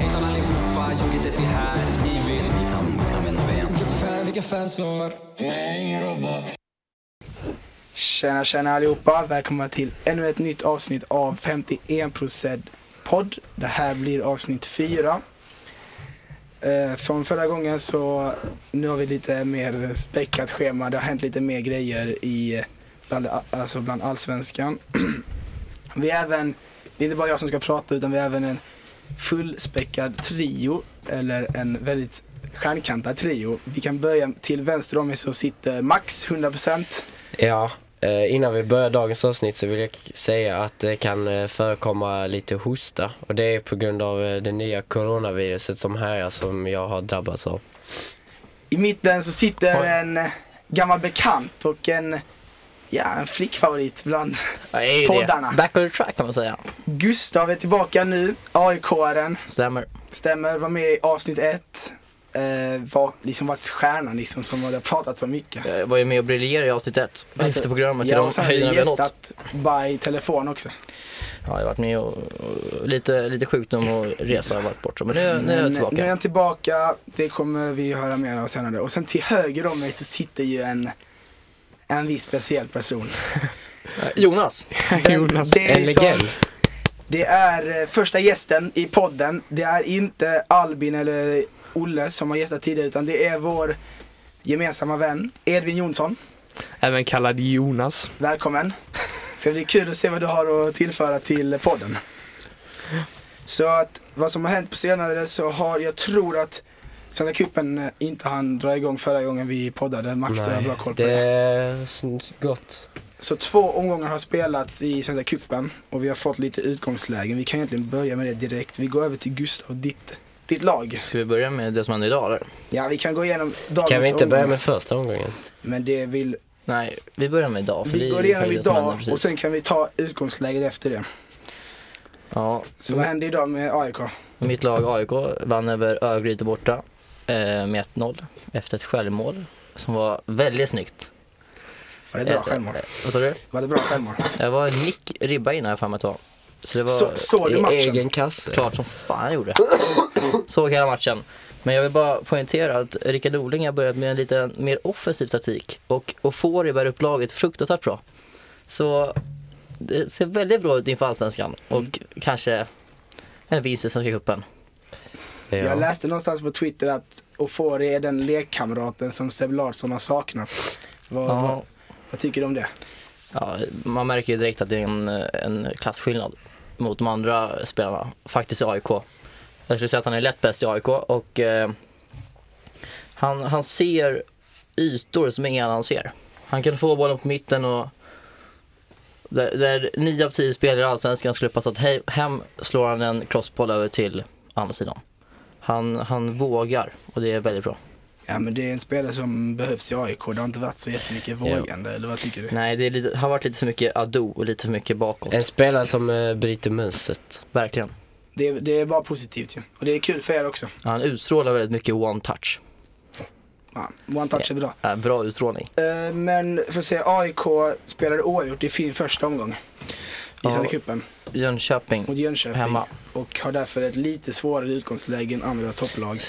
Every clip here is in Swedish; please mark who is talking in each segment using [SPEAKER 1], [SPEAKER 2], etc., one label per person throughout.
[SPEAKER 1] Hejsan allihopa, Joggit är här, ni vet. Mitt namn kan vända ben. Vilket fan, vilka fans vi har.
[SPEAKER 2] Tjena, tjena allihopa. Välkomna till ännu ett nytt avsnitt av 51% podd. Det här blir avsnitt 4. Eh, från förra gången så, nu har vi lite mer späckat schema. Det har hänt lite mer grejer i, bland, alltså bland allsvenskan. vi är även, det är inte bara jag som ska prata utan vi är även en fullspäckad trio, eller en väldigt stjärnkantad trio. Vi kan börja till vänster om mig så sitter Max 100%.
[SPEAKER 3] Ja, eh, innan vi börjar dagens avsnitt så vill jag k- säga att det kan eh, förekomma lite hosta och det är på grund av eh, det nya coronaviruset som härjar som jag har drabbats av.
[SPEAKER 2] I mitten så sitter
[SPEAKER 3] Oj.
[SPEAKER 2] en eh, gammal bekant och en, ja, en flickfavorit bland
[SPEAKER 4] Ja, det är ju
[SPEAKER 2] Poddarna.
[SPEAKER 4] det. Back on the track kan man säga.
[SPEAKER 2] Gustav är tillbaka nu, AIK-aren,
[SPEAKER 4] Stämmer.
[SPEAKER 2] stämmer, var med i avsnitt ett. Eh, var liksom varit stjärnan liksom som det har pratat så mycket.
[SPEAKER 4] Jag var ju med och briljerade i avsnitt ett. Lyfte programmet till
[SPEAKER 2] Ja, och
[SPEAKER 4] de
[SPEAKER 2] sen har vi
[SPEAKER 4] höjderna vi har nått.
[SPEAKER 2] gästat by telefon också.
[SPEAKER 4] Ja, jag har varit med och, och lite, lite sjukdom och resa har varit borta. Men nu, nu är jag
[SPEAKER 2] Men, nu
[SPEAKER 4] tillbaka.
[SPEAKER 2] är han tillbaka, det kommer vi höra mer av senare. Och sen till höger om mig så sitter ju en, en viss speciell person.
[SPEAKER 4] Jonas!
[SPEAKER 2] Jonas. Det är
[SPEAKER 3] En
[SPEAKER 2] liksom-
[SPEAKER 3] legend.
[SPEAKER 2] Det är eh, första gästen i podden. Det är inte Albin eller Olle som har gästat tidigare utan det är vår gemensamma vän Edvin Jonsson.
[SPEAKER 5] Även kallad Jonas.
[SPEAKER 2] Välkommen! Ska bli kul att se vad du har att tillföra till podden. Så att vad som har hänt på senare så har, jag tror att Svenska cupen eh, inte han dra igång förra gången vi poddade. Max, du har bra koll på
[SPEAKER 3] det
[SPEAKER 2] det.
[SPEAKER 3] är s- gott.
[SPEAKER 2] Så två omgångar har spelats i Svenska cupen och vi har fått lite utgångslägen. Vi kan egentligen börja med det direkt. Vi går över till Gustav, ditt, ditt lag.
[SPEAKER 4] Ska vi börja med det som hände idag eller?
[SPEAKER 2] Ja, vi kan gå igenom dagens
[SPEAKER 3] Kan vi inte
[SPEAKER 2] omgångar.
[SPEAKER 3] börja med första omgången?
[SPEAKER 2] Men det vill...
[SPEAKER 4] Nej, vi börjar med idag. För det
[SPEAKER 2] vi
[SPEAKER 4] är
[SPEAKER 2] går
[SPEAKER 4] ju
[SPEAKER 2] igenom
[SPEAKER 4] faktiskt det som
[SPEAKER 2] idag
[SPEAKER 4] hände precis.
[SPEAKER 2] och sen kan vi ta utgångsläget efter det.
[SPEAKER 4] Ja,
[SPEAKER 2] Så
[SPEAKER 3] Mm.
[SPEAKER 2] vad hände idag med AIK?
[SPEAKER 4] mitt lag AIK vann över Örgryte borta eh, med 1-0 efter ett självmål som var väldigt snyggt.
[SPEAKER 2] Var det bra
[SPEAKER 4] Eh,
[SPEAKER 2] självmål?
[SPEAKER 4] eh, Vad sa du?
[SPEAKER 2] Var det bra självmål?
[SPEAKER 3] eh,
[SPEAKER 4] Det var en nick ribba innan jag för mig att det var. Så det var
[SPEAKER 2] Så, såg du
[SPEAKER 3] I
[SPEAKER 2] matchen?
[SPEAKER 3] egen kasse.
[SPEAKER 4] klart som fan jag gjorde. Såg hela matchen. Men jag vill bara poängtera att Rickard Oling har börjat med en lite mer offensiv taktik och Ofori bär upp laget fruktansvärt bra. Så det ser väldigt bra ut inför Allsvenskan och kanske en vinst i Svenska cupen.
[SPEAKER 2] Jag
[SPEAKER 3] Ja.
[SPEAKER 2] läste någonstans på Twitter att Ofori är den lekkamraten som Seb Larsson har saknat. Vad, vad,
[SPEAKER 4] Ja,
[SPEAKER 2] vad tycker du om det?
[SPEAKER 4] ja, man märker ju direkt att det är en, en klassskillnad mot de andra spelarna, faktiskt i AIK. Jag skulle säga att han är lätt bäst i AIK och eh, han, han ser ytor som ingen annan ser. Han kan få bollen på mitten och där, där 9 av 10 spelare i Allsvenskan skulle passat he- hem slår han en crossboll över till andra sidan. Han, han vågar och det är väldigt bra.
[SPEAKER 2] Ja men det är en spelare som behövs i AIK. Det har inte varit så jättemycket vågande, eller vad tycker du?
[SPEAKER 4] Nej, det är lite, har varit lite för mycket ado och lite för mycket bakåt.
[SPEAKER 3] En spelare som eh, bryter mönstret.
[SPEAKER 4] Verkligen.
[SPEAKER 2] Det, är- det är bara positivt ju. Och det är kul för er också.
[SPEAKER 4] Han utstrålar väldigt mycket one touch.
[SPEAKER 2] Ja, one touch är bra.
[SPEAKER 4] Ja, Bra utstrålning.
[SPEAKER 2] Eh, Men för att säga AIK spelade oavgjort i fin första omgång. I
[SPEAKER 4] Ja.
[SPEAKER 2] Svenska cupen
[SPEAKER 4] Jönköping.
[SPEAKER 2] mot Jönköping.
[SPEAKER 4] Hemma.
[SPEAKER 2] Och har därför ett lite svårare utgångsläge än andra topplag.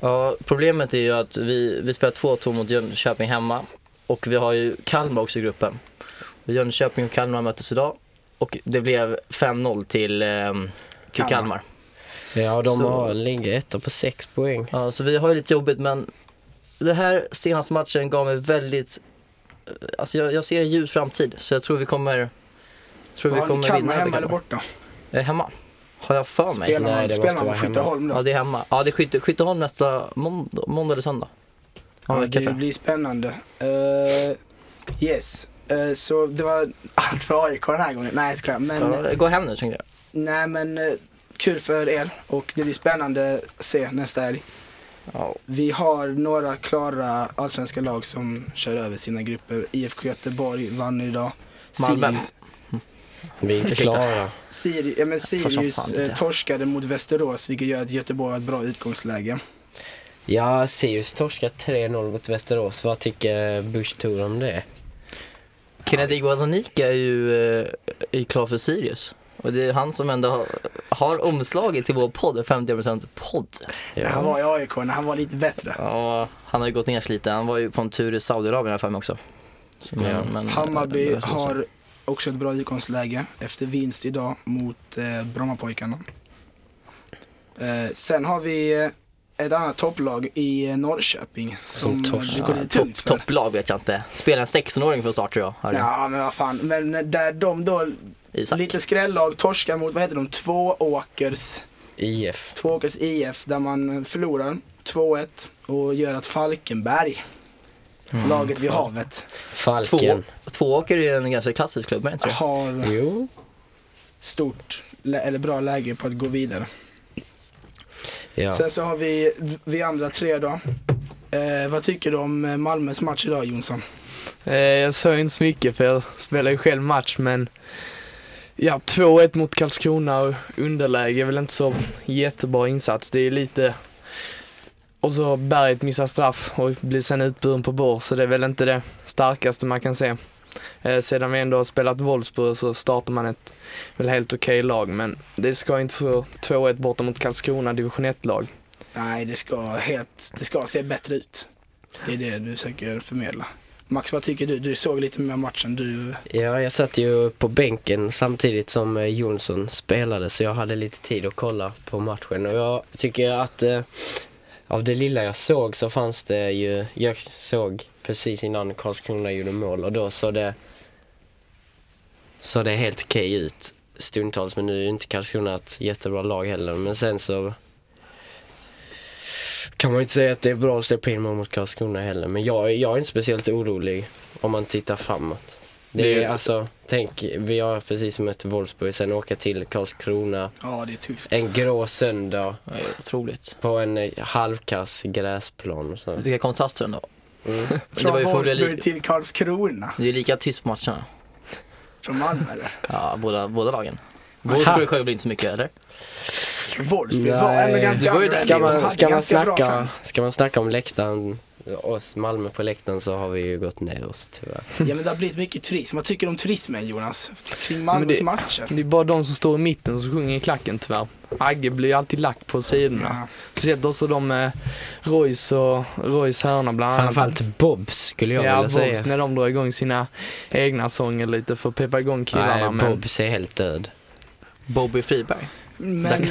[SPEAKER 4] Ja, problemet är ju att vi, vi spelar 2-2 mot Jönköping hemma och vi har ju Kalmar också i gruppen. Och Jönköping och Kalmar möttes idag och det blev 5-0 till, ehm, till
[SPEAKER 2] Kalmar.
[SPEAKER 4] Kalmar.
[SPEAKER 3] Ja, de
[SPEAKER 4] Så-
[SPEAKER 3] har, ligger etta på sex poäng.
[SPEAKER 4] Ja, så vi har ju lite jobbigt men den här senaste matchen gav mig väldigt, alltså jag, jag ser en ljus framtid så jag tror vi kommer, tror vi
[SPEAKER 2] Har ni
[SPEAKER 4] kommer
[SPEAKER 2] Kalmar
[SPEAKER 4] över
[SPEAKER 2] hemma eller borta?
[SPEAKER 4] Eh, Hemma, har jag för mig.
[SPEAKER 2] Spelar man-
[SPEAKER 3] Nej, det
[SPEAKER 2] Spelar
[SPEAKER 3] måste
[SPEAKER 2] man
[SPEAKER 3] vara
[SPEAKER 2] mot
[SPEAKER 3] hemma.
[SPEAKER 2] Skytteholm
[SPEAKER 4] Ja,
[SPEAKER 2] då?
[SPEAKER 4] det är hemma. Ja, det är Skytte, Skytteholm nästa måndag, måndag eller söndag. Om
[SPEAKER 2] Ja,
[SPEAKER 4] en vecka,
[SPEAKER 2] det
[SPEAKER 4] tror jag.
[SPEAKER 2] blir spännande. Eh, yes. Eh, så det var allt för AIK den här gången. Nej jag skojar. Men, eh,
[SPEAKER 4] Ja, eh, Gå hem nu tänkte jag.
[SPEAKER 2] nej, men eh, kul för er och det blir spännande att se nästa helg.
[SPEAKER 4] Ja.
[SPEAKER 2] Vi har några klara allsvenska lag som kör över sina grupper. IFK Göteborg vann idag.
[SPEAKER 4] Malmö.
[SPEAKER 2] Sirius,
[SPEAKER 3] Vi är inte
[SPEAKER 4] Ursäkta.
[SPEAKER 3] klara.
[SPEAKER 2] Siri, ja, men
[SPEAKER 4] tar som
[SPEAKER 2] Sirius
[SPEAKER 4] fan
[SPEAKER 2] eh,
[SPEAKER 4] inte.
[SPEAKER 2] torskade mot Västerås vilket gör att Göteborg har ett bra utgångsläge.
[SPEAKER 3] Ja, Sirius torskar 3-0 mot Västerås. Vad tycker Busch Thor om det?
[SPEAKER 4] Kennedy Guadanica är ju, eh, är ju klar för Sirius. Och det är han som ändå har, har omslaget till vår podd, 50% podd.
[SPEAKER 2] När han
[SPEAKER 3] Ja.
[SPEAKER 2] var i AIK, när han var lite bättre.
[SPEAKER 4] Ja, han har ju gått ner sig lite. Han var ju på en tur i Saudiarabien här för mig också. Så, men-
[SPEAKER 3] Ja.
[SPEAKER 4] men-
[SPEAKER 2] Hammarby
[SPEAKER 4] eh,
[SPEAKER 2] har också ett bra utgångsläge efter vinst idag mot eh, Brommapojkarna. Eh, sen har vi eh, ett annat topplag i eh, Norrköping som,
[SPEAKER 3] Som torsk-
[SPEAKER 2] det
[SPEAKER 4] Ja,
[SPEAKER 2] går lite tungt
[SPEAKER 4] topp,
[SPEAKER 2] för.
[SPEAKER 4] topplag vet jag inte. Spelar en 16-åring från start tror jag. Harry.
[SPEAKER 2] Ja men vad fan, men eh, där de då,
[SPEAKER 4] Isak.
[SPEAKER 2] lite skrällag torskar mot, vad heter de, Tvååkers,
[SPEAKER 3] IF.
[SPEAKER 2] Tvååkers IF där man förlorar 2-1 och gör att Falkenberg,
[SPEAKER 4] Mm.
[SPEAKER 2] laget vid havet,
[SPEAKER 3] Falken.
[SPEAKER 4] Två, Tvååker är ju en ganska klassisk klubb, men inte det?
[SPEAKER 2] har
[SPEAKER 3] Jo.
[SPEAKER 2] stort, lä- eller bra läge på att gå vidare.
[SPEAKER 3] Ja.
[SPEAKER 2] Sen så har vi, vi andra tre då. Eh, vad tycker du om Malmös match idag Jonsson?
[SPEAKER 5] Eh, jag såg inte så mycket för jag spelar ju själv match men ja, 2-1 mot Karlskrona och underläge är väl inte så jättebra insats. Det är lite och så Berget missar straff och blir sen utburen på bår så det är väl inte det starkaste man kan se. Eh, sedan vi ändå har spelat Wolfsburg så startar man ett väl helt okej lag men det ska inte få 2-1 borta mot Karlskrona division 1-lag.
[SPEAKER 2] Nej, det ska, helt, det ska se bättre ut. Det är det du försöker förmedla. Max, vad tycker du? Du såg lite mer matchen. Du,
[SPEAKER 3] Ja, jag satt ju på bänken samtidigt som eh, Jonsson spelade så jag hade lite tid att kolla på matchen och jag tycker att eh, av det lilla jag såg så fanns det ju, jag såg precis innan Karlskrona gjorde mål och då såg det såg det helt okej ut stundtals men nu är ju inte Karlskrona ett jättebra lag heller men sen så kan man ju inte säga att det är bra att släppa in mål mot Karlskrona heller men jag, är- jag är inte speciellt orolig om man tittar framåt.
[SPEAKER 5] Det är
[SPEAKER 3] Det
[SPEAKER 5] ju-
[SPEAKER 3] är alltså, tänk, vi har precis mött Wolfsburg, sen åka till Karlskrona.
[SPEAKER 2] ja, det är tufft.
[SPEAKER 4] Eh,
[SPEAKER 3] En grå söndag
[SPEAKER 4] Ja, det är Otroligt.
[SPEAKER 3] på en eh, halvkass gräsplan. och Så.
[SPEAKER 4] Vilka kontraster ändå.
[SPEAKER 3] Mm.
[SPEAKER 4] det var
[SPEAKER 2] Från
[SPEAKER 4] ju förmodligen-
[SPEAKER 2] Wolfsburg till Karlskrona.
[SPEAKER 4] Det är ju lika tyst på matcherna.
[SPEAKER 2] Från Malmö eller?
[SPEAKER 4] Ja, båda, båda lagen. Wolfsburg sjöng väl inte så mycket eller?
[SPEAKER 2] Wolfsburg var ändå
[SPEAKER 3] Nej,
[SPEAKER 2] ganska
[SPEAKER 4] det var ju
[SPEAKER 2] underrated.
[SPEAKER 3] Ska,
[SPEAKER 2] De
[SPEAKER 3] man,
[SPEAKER 2] hade
[SPEAKER 3] ska, man
[SPEAKER 2] ganska bra
[SPEAKER 3] snacka,
[SPEAKER 2] fans.
[SPEAKER 3] ska man snacka om läktaren, oss Malmö på läktaren så har vi ju gått ner oss tyvärr.
[SPEAKER 2] Ja, men det har blivit mycket turism. Vad tycker du om turismen Jonas? Kring Malmös
[SPEAKER 5] det-
[SPEAKER 2] matcher?
[SPEAKER 5] Det är bara de som står i mitten som sjunger i klacken tyvärr. Agge blir ju alltid lack på sidorna.
[SPEAKER 2] Ja.
[SPEAKER 5] Speciellt också de eh, Royce och Royce hörna bland annat.
[SPEAKER 3] Framförallt Bobs skulle jag
[SPEAKER 5] Ja,
[SPEAKER 3] vilja
[SPEAKER 5] Bobs
[SPEAKER 3] säga.
[SPEAKER 5] när de drar igång sina egna sånger lite för att peppa igång killarna.
[SPEAKER 3] Nej,
[SPEAKER 5] men
[SPEAKER 3] Bobs är helt död.
[SPEAKER 4] Bobby Friberg.
[SPEAKER 2] Men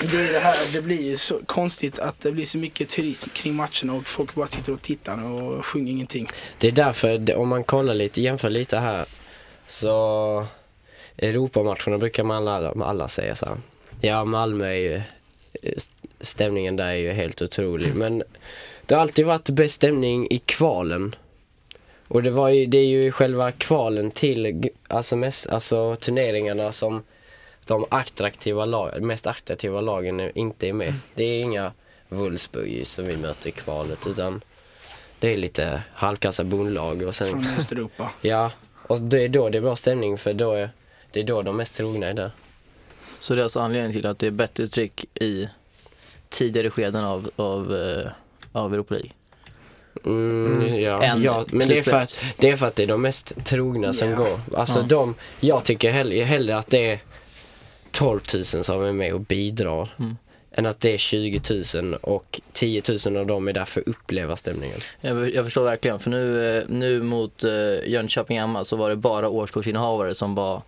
[SPEAKER 2] det, är det, här, det blir ju så konstigt att det blir så mycket turism kring matcherna och folk bara sitter och tittar och sjunger ingenting.
[SPEAKER 3] Det är därför, det- om man kollar lite, jämför lite här, så Europamatcherna brukar man alla, alla säga så här. Ja, Malmö är ju, eh, stämningen där är ju helt otrolig, men det har alltid varit bäst stämning i kvalen. Och det, var ju, det är ju själva kvalen till g- alltså mest, alltså turneringarna som de attraktiva lag, mest attraktiva lagen är- inte är med. Det är inga Wolfsburg som vi möter i kvalet utan det är lite halvkassa bondlag och sen
[SPEAKER 2] Från Östeuropa.
[SPEAKER 3] Ja, och det är då det är bra stämning för då är, det är då de mest trogna är där.
[SPEAKER 4] Så det är alltså anledningen till att det är bättre tryck i tidigare skeden av, av, eh, av Europa League.
[SPEAKER 3] Mm, ja,
[SPEAKER 4] Än
[SPEAKER 3] ja, men det är, för att,
[SPEAKER 4] slutspelet.
[SPEAKER 3] det är för att det är de mest trogna som
[SPEAKER 2] Ja.
[SPEAKER 3] går. Alltså
[SPEAKER 4] Ja.
[SPEAKER 3] de, jag tycker hellre, hellre att det är 12 000 som är med och bidrar.
[SPEAKER 4] Mm.
[SPEAKER 3] Än att det är 20 000 och 10 000 av dem är där för att uppleva stämningen.
[SPEAKER 4] Jag, jag förstår verkligen, för nu, eh, nu mot eh, Jönköping hemma så var det bara årskortsinnehavare som var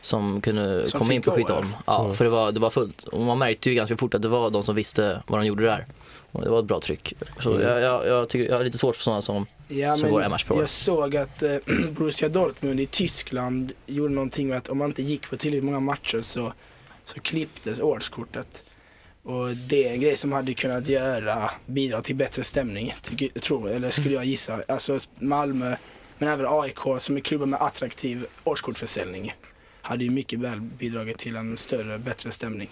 [SPEAKER 4] som kunde
[SPEAKER 2] Som
[SPEAKER 4] komma in
[SPEAKER 2] fick
[SPEAKER 4] på
[SPEAKER 2] gå,
[SPEAKER 4] Skytteholm. Ja,
[SPEAKER 3] Mm.
[SPEAKER 4] För det var, det var fullt. Och man märkte ju ganska fort att det var de som visste vad de gjorde där. Och det var ett bra tryck. Så
[SPEAKER 3] Mm.
[SPEAKER 4] jag, jag, jag, tycker, jag har lite svårt för sådana som...
[SPEAKER 2] Ja,
[SPEAKER 4] Så
[SPEAKER 2] men
[SPEAKER 4] går det en match per år.
[SPEAKER 2] jag såg att eh, Borussia Dortmund i Tyskland gjorde någonting med att om man inte gick på tillräckligt många matcher så, så klipptes årskortet. Och det är en grej som hade kunnat göra, bidra till bättre stämning, tycker, tror, eller skulle
[SPEAKER 4] Mm.
[SPEAKER 2] jag gissa. Alltså Malmö, men även AIK som är klubbar med attraktiv årskortförsäljning hade ju mycket väl bidragit till en större, bättre stämning.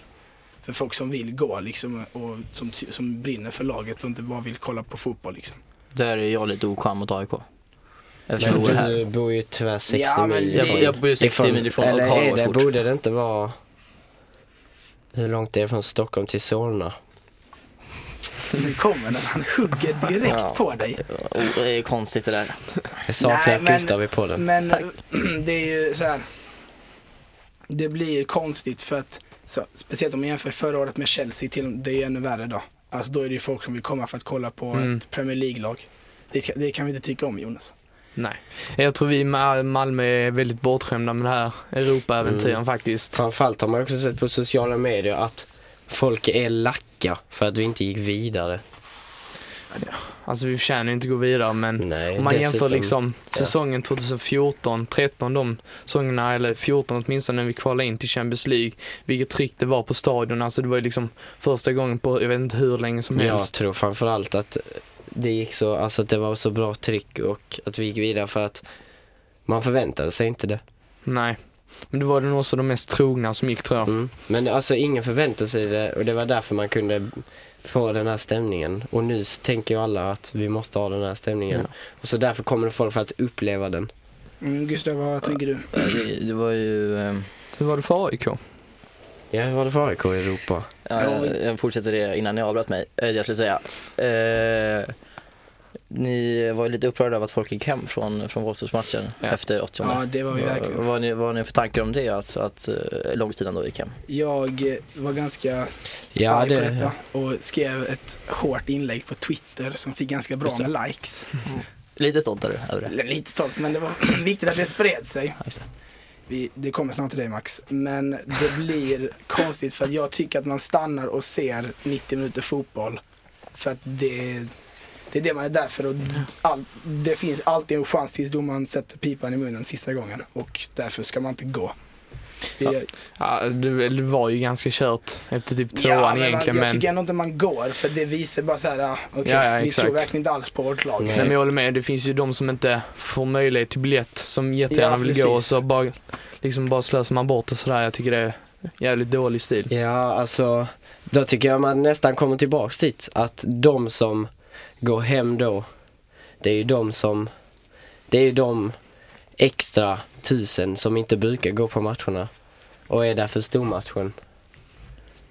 [SPEAKER 2] För folk som vill gå liksom och som, som brinner för laget och inte bara vill kolla på fotboll liksom.
[SPEAKER 4] Där är jag lite oskön mot AIK. Eftersom jag bor
[SPEAKER 3] Men
[SPEAKER 4] här.
[SPEAKER 3] du bor ju tyvärr 60
[SPEAKER 2] Ja, men
[SPEAKER 3] mil
[SPEAKER 2] det-
[SPEAKER 4] Jag, bor- jag bor ju 60
[SPEAKER 3] ifrån-
[SPEAKER 4] mil ifrån och
[SPEAKER 3] Eller
[SPEAKER 4] har
[SPEAKER 3] är det,
[SPEAKER 4] årskort.
[SPEAKER 3] borde det inte vara... Hur långt är det från Stockholm till Solna?
[SPEAKER 2] Nu kommer den, han hugger direkt
[SPEAKER 4] Ja.
[SPEAKER 2] på dig.
[SPEAKER 4] Oh, Det är konstigt det där.
[SPEAKER 3] Jag saknar
[SPEAKER 2] Nej, men-
[SPEAKER 3] Gustav i podden.
[SPEAKER 2] Men det är ju så här. Det blir konstigt för att, så, speciellt om man jämför förra året med Chelsea, till, det är ju ännu värre då. Alltså då är det ju folk som vill komma för att kolla på
[SPEAKER 5] Mm.
[SPEAKER 2] ett Premier League-lag. Det, kan- det kan vi inte tycka om Jonas.
[SPEAKER 5] Nej. Jag tror vi i Ma- Malmö är väldigt bortskämda med det här Europa-äventyren
[SPEAKER 3] Mm.
[SPEAKER 5] faktiskt.
[SPEAKER 3] Framförallt har man också sett på sociala medier att folk är lacka för att vi inte gick vidare.
[SPEAKER 5] Alltså vi förtjänar ju inte gå vidare men
[SPEAKER 3] Nej,
[SPEAKER 5] Mm. Om man
[SPEAKER 3] dessutom-
[SPEAKER 5] jämför liksom
[SPEAKER 3] ja.
[SPEAKER 5] säsongen 2014, 13 de säsongerna, eller 14 åtminstone när vi kvalade in till Champions League, vilket tryck det var på stadion. Alltså det var ju liksom första gången på jag vet inte hur länge som
[SPEAKER 3] Jag
[SPEAKER 5] helst.
[SPEAKER 3] tror framförallt att det gick så, alltså att det var så bra tryck och att vi gick vidare för att man förväntade sig inte det.
[SPEAKER 5] Nej. Men det var det nog också de mest trogna som gick tror jag.
[SPEAKER 3] Mm. Men alltså ingen förväntade sig det och det var därför man kunde få den här stämningen. Och nu så tänker ju alla att vi måste ha den här stämningen. Och så därför kommer det folk för att uppleva den.
[SPEAKER 2] Mm, Gustav, vad tänker du?
[SPEAKER 4] Ja, Det, det var ju... eh,
[SPEAKER 5] Hur var det för AIK?
[SPEAKER 3] Ja, hur var det för AIK i Europa?
[SPEAKER 4] Ja,
[SPEAKER 2] Ja,
[SPEAKER 4] jag, jag fortsätter det innan ni avbröt mig. Eh, Jag skulle säga. Eh, ni var ju lite upprörda över att folk gick hem från, från Wolfsburgsmatchen
[SPEAKER 5] Ja.
[SPEAKER 4] efter 80
[SPEAKER 2] Ja, det var vi
[SPEAKER 4] Vad
[SPEAKER 2] verkligen.
[SPEAKER 4] vad har ni, vad har ni för tankar om det? Att, att eh, långsidan då gick hem?
[SPEAKER 2] Jag eh, var ganska
[SPEAKER 3] Ja,
[SPEAKER 2] arg på detta och skrev ett hårt inlägg på Twitter som fick ganska bra
[SPEAKER 4] Just det.
[SPEAKER 2] med likes.
[SPEAKER 4] Lite stolt är du över det.
[SPEAKER 2] Eller Lite stolt, men det var viktigt att det spred sig.
[SPEAKER 4] just det.
[SPEAKER 2] Vi, det kommer snart till dig Max, men det blir konstigt för att jag tycker att man stannar och ser 90 minuter fotboll. För att det, det är det man är där för och all, det finns alltid en chans tills domaren sätter pipan i munnen sista gången och därför ska man inte gå. Det-
[SPEAKER 5] Ja, det, det var ju ganska kört efter typ tvåan
[SPEAKER 2] Ja, men man,
[SPEAKER 5] egentligen
[SPEAKER 2] jag
[SPEAKER 5] men...
[SPEAKER 2] tycker ändå inte man går för det visar bara så här, ah, okej,
[SPEAKER 5] Ja, ja,
[SPEAKER 2] vi
[SPEAKER 5] exakt.
[SPEAKER 2] tror verkligen inte alls på vårt lag.
[SPEAKER 3] Nej.
[SPEAKER 5] Nej men jag håller med, det finns ju de som inte får möjlighet till biljett som jättegärna
[SPEAKER 2] Ja,
[SPEAKER 5] vill
[SPEAKER 2] precis.
[SPEAKER 5] gå och så bara, liksom bara slösar man bort och sådär. Jag tycker det är jävligt dålig stil.
[SPEAKER 3] Ja, alltså då tycker jag man nästan kommer tillbaks dit. Att de som går hem då, det är ju de som, det är ju de extra tusen som inte brukar gå på matcherna och är där för stormatchen.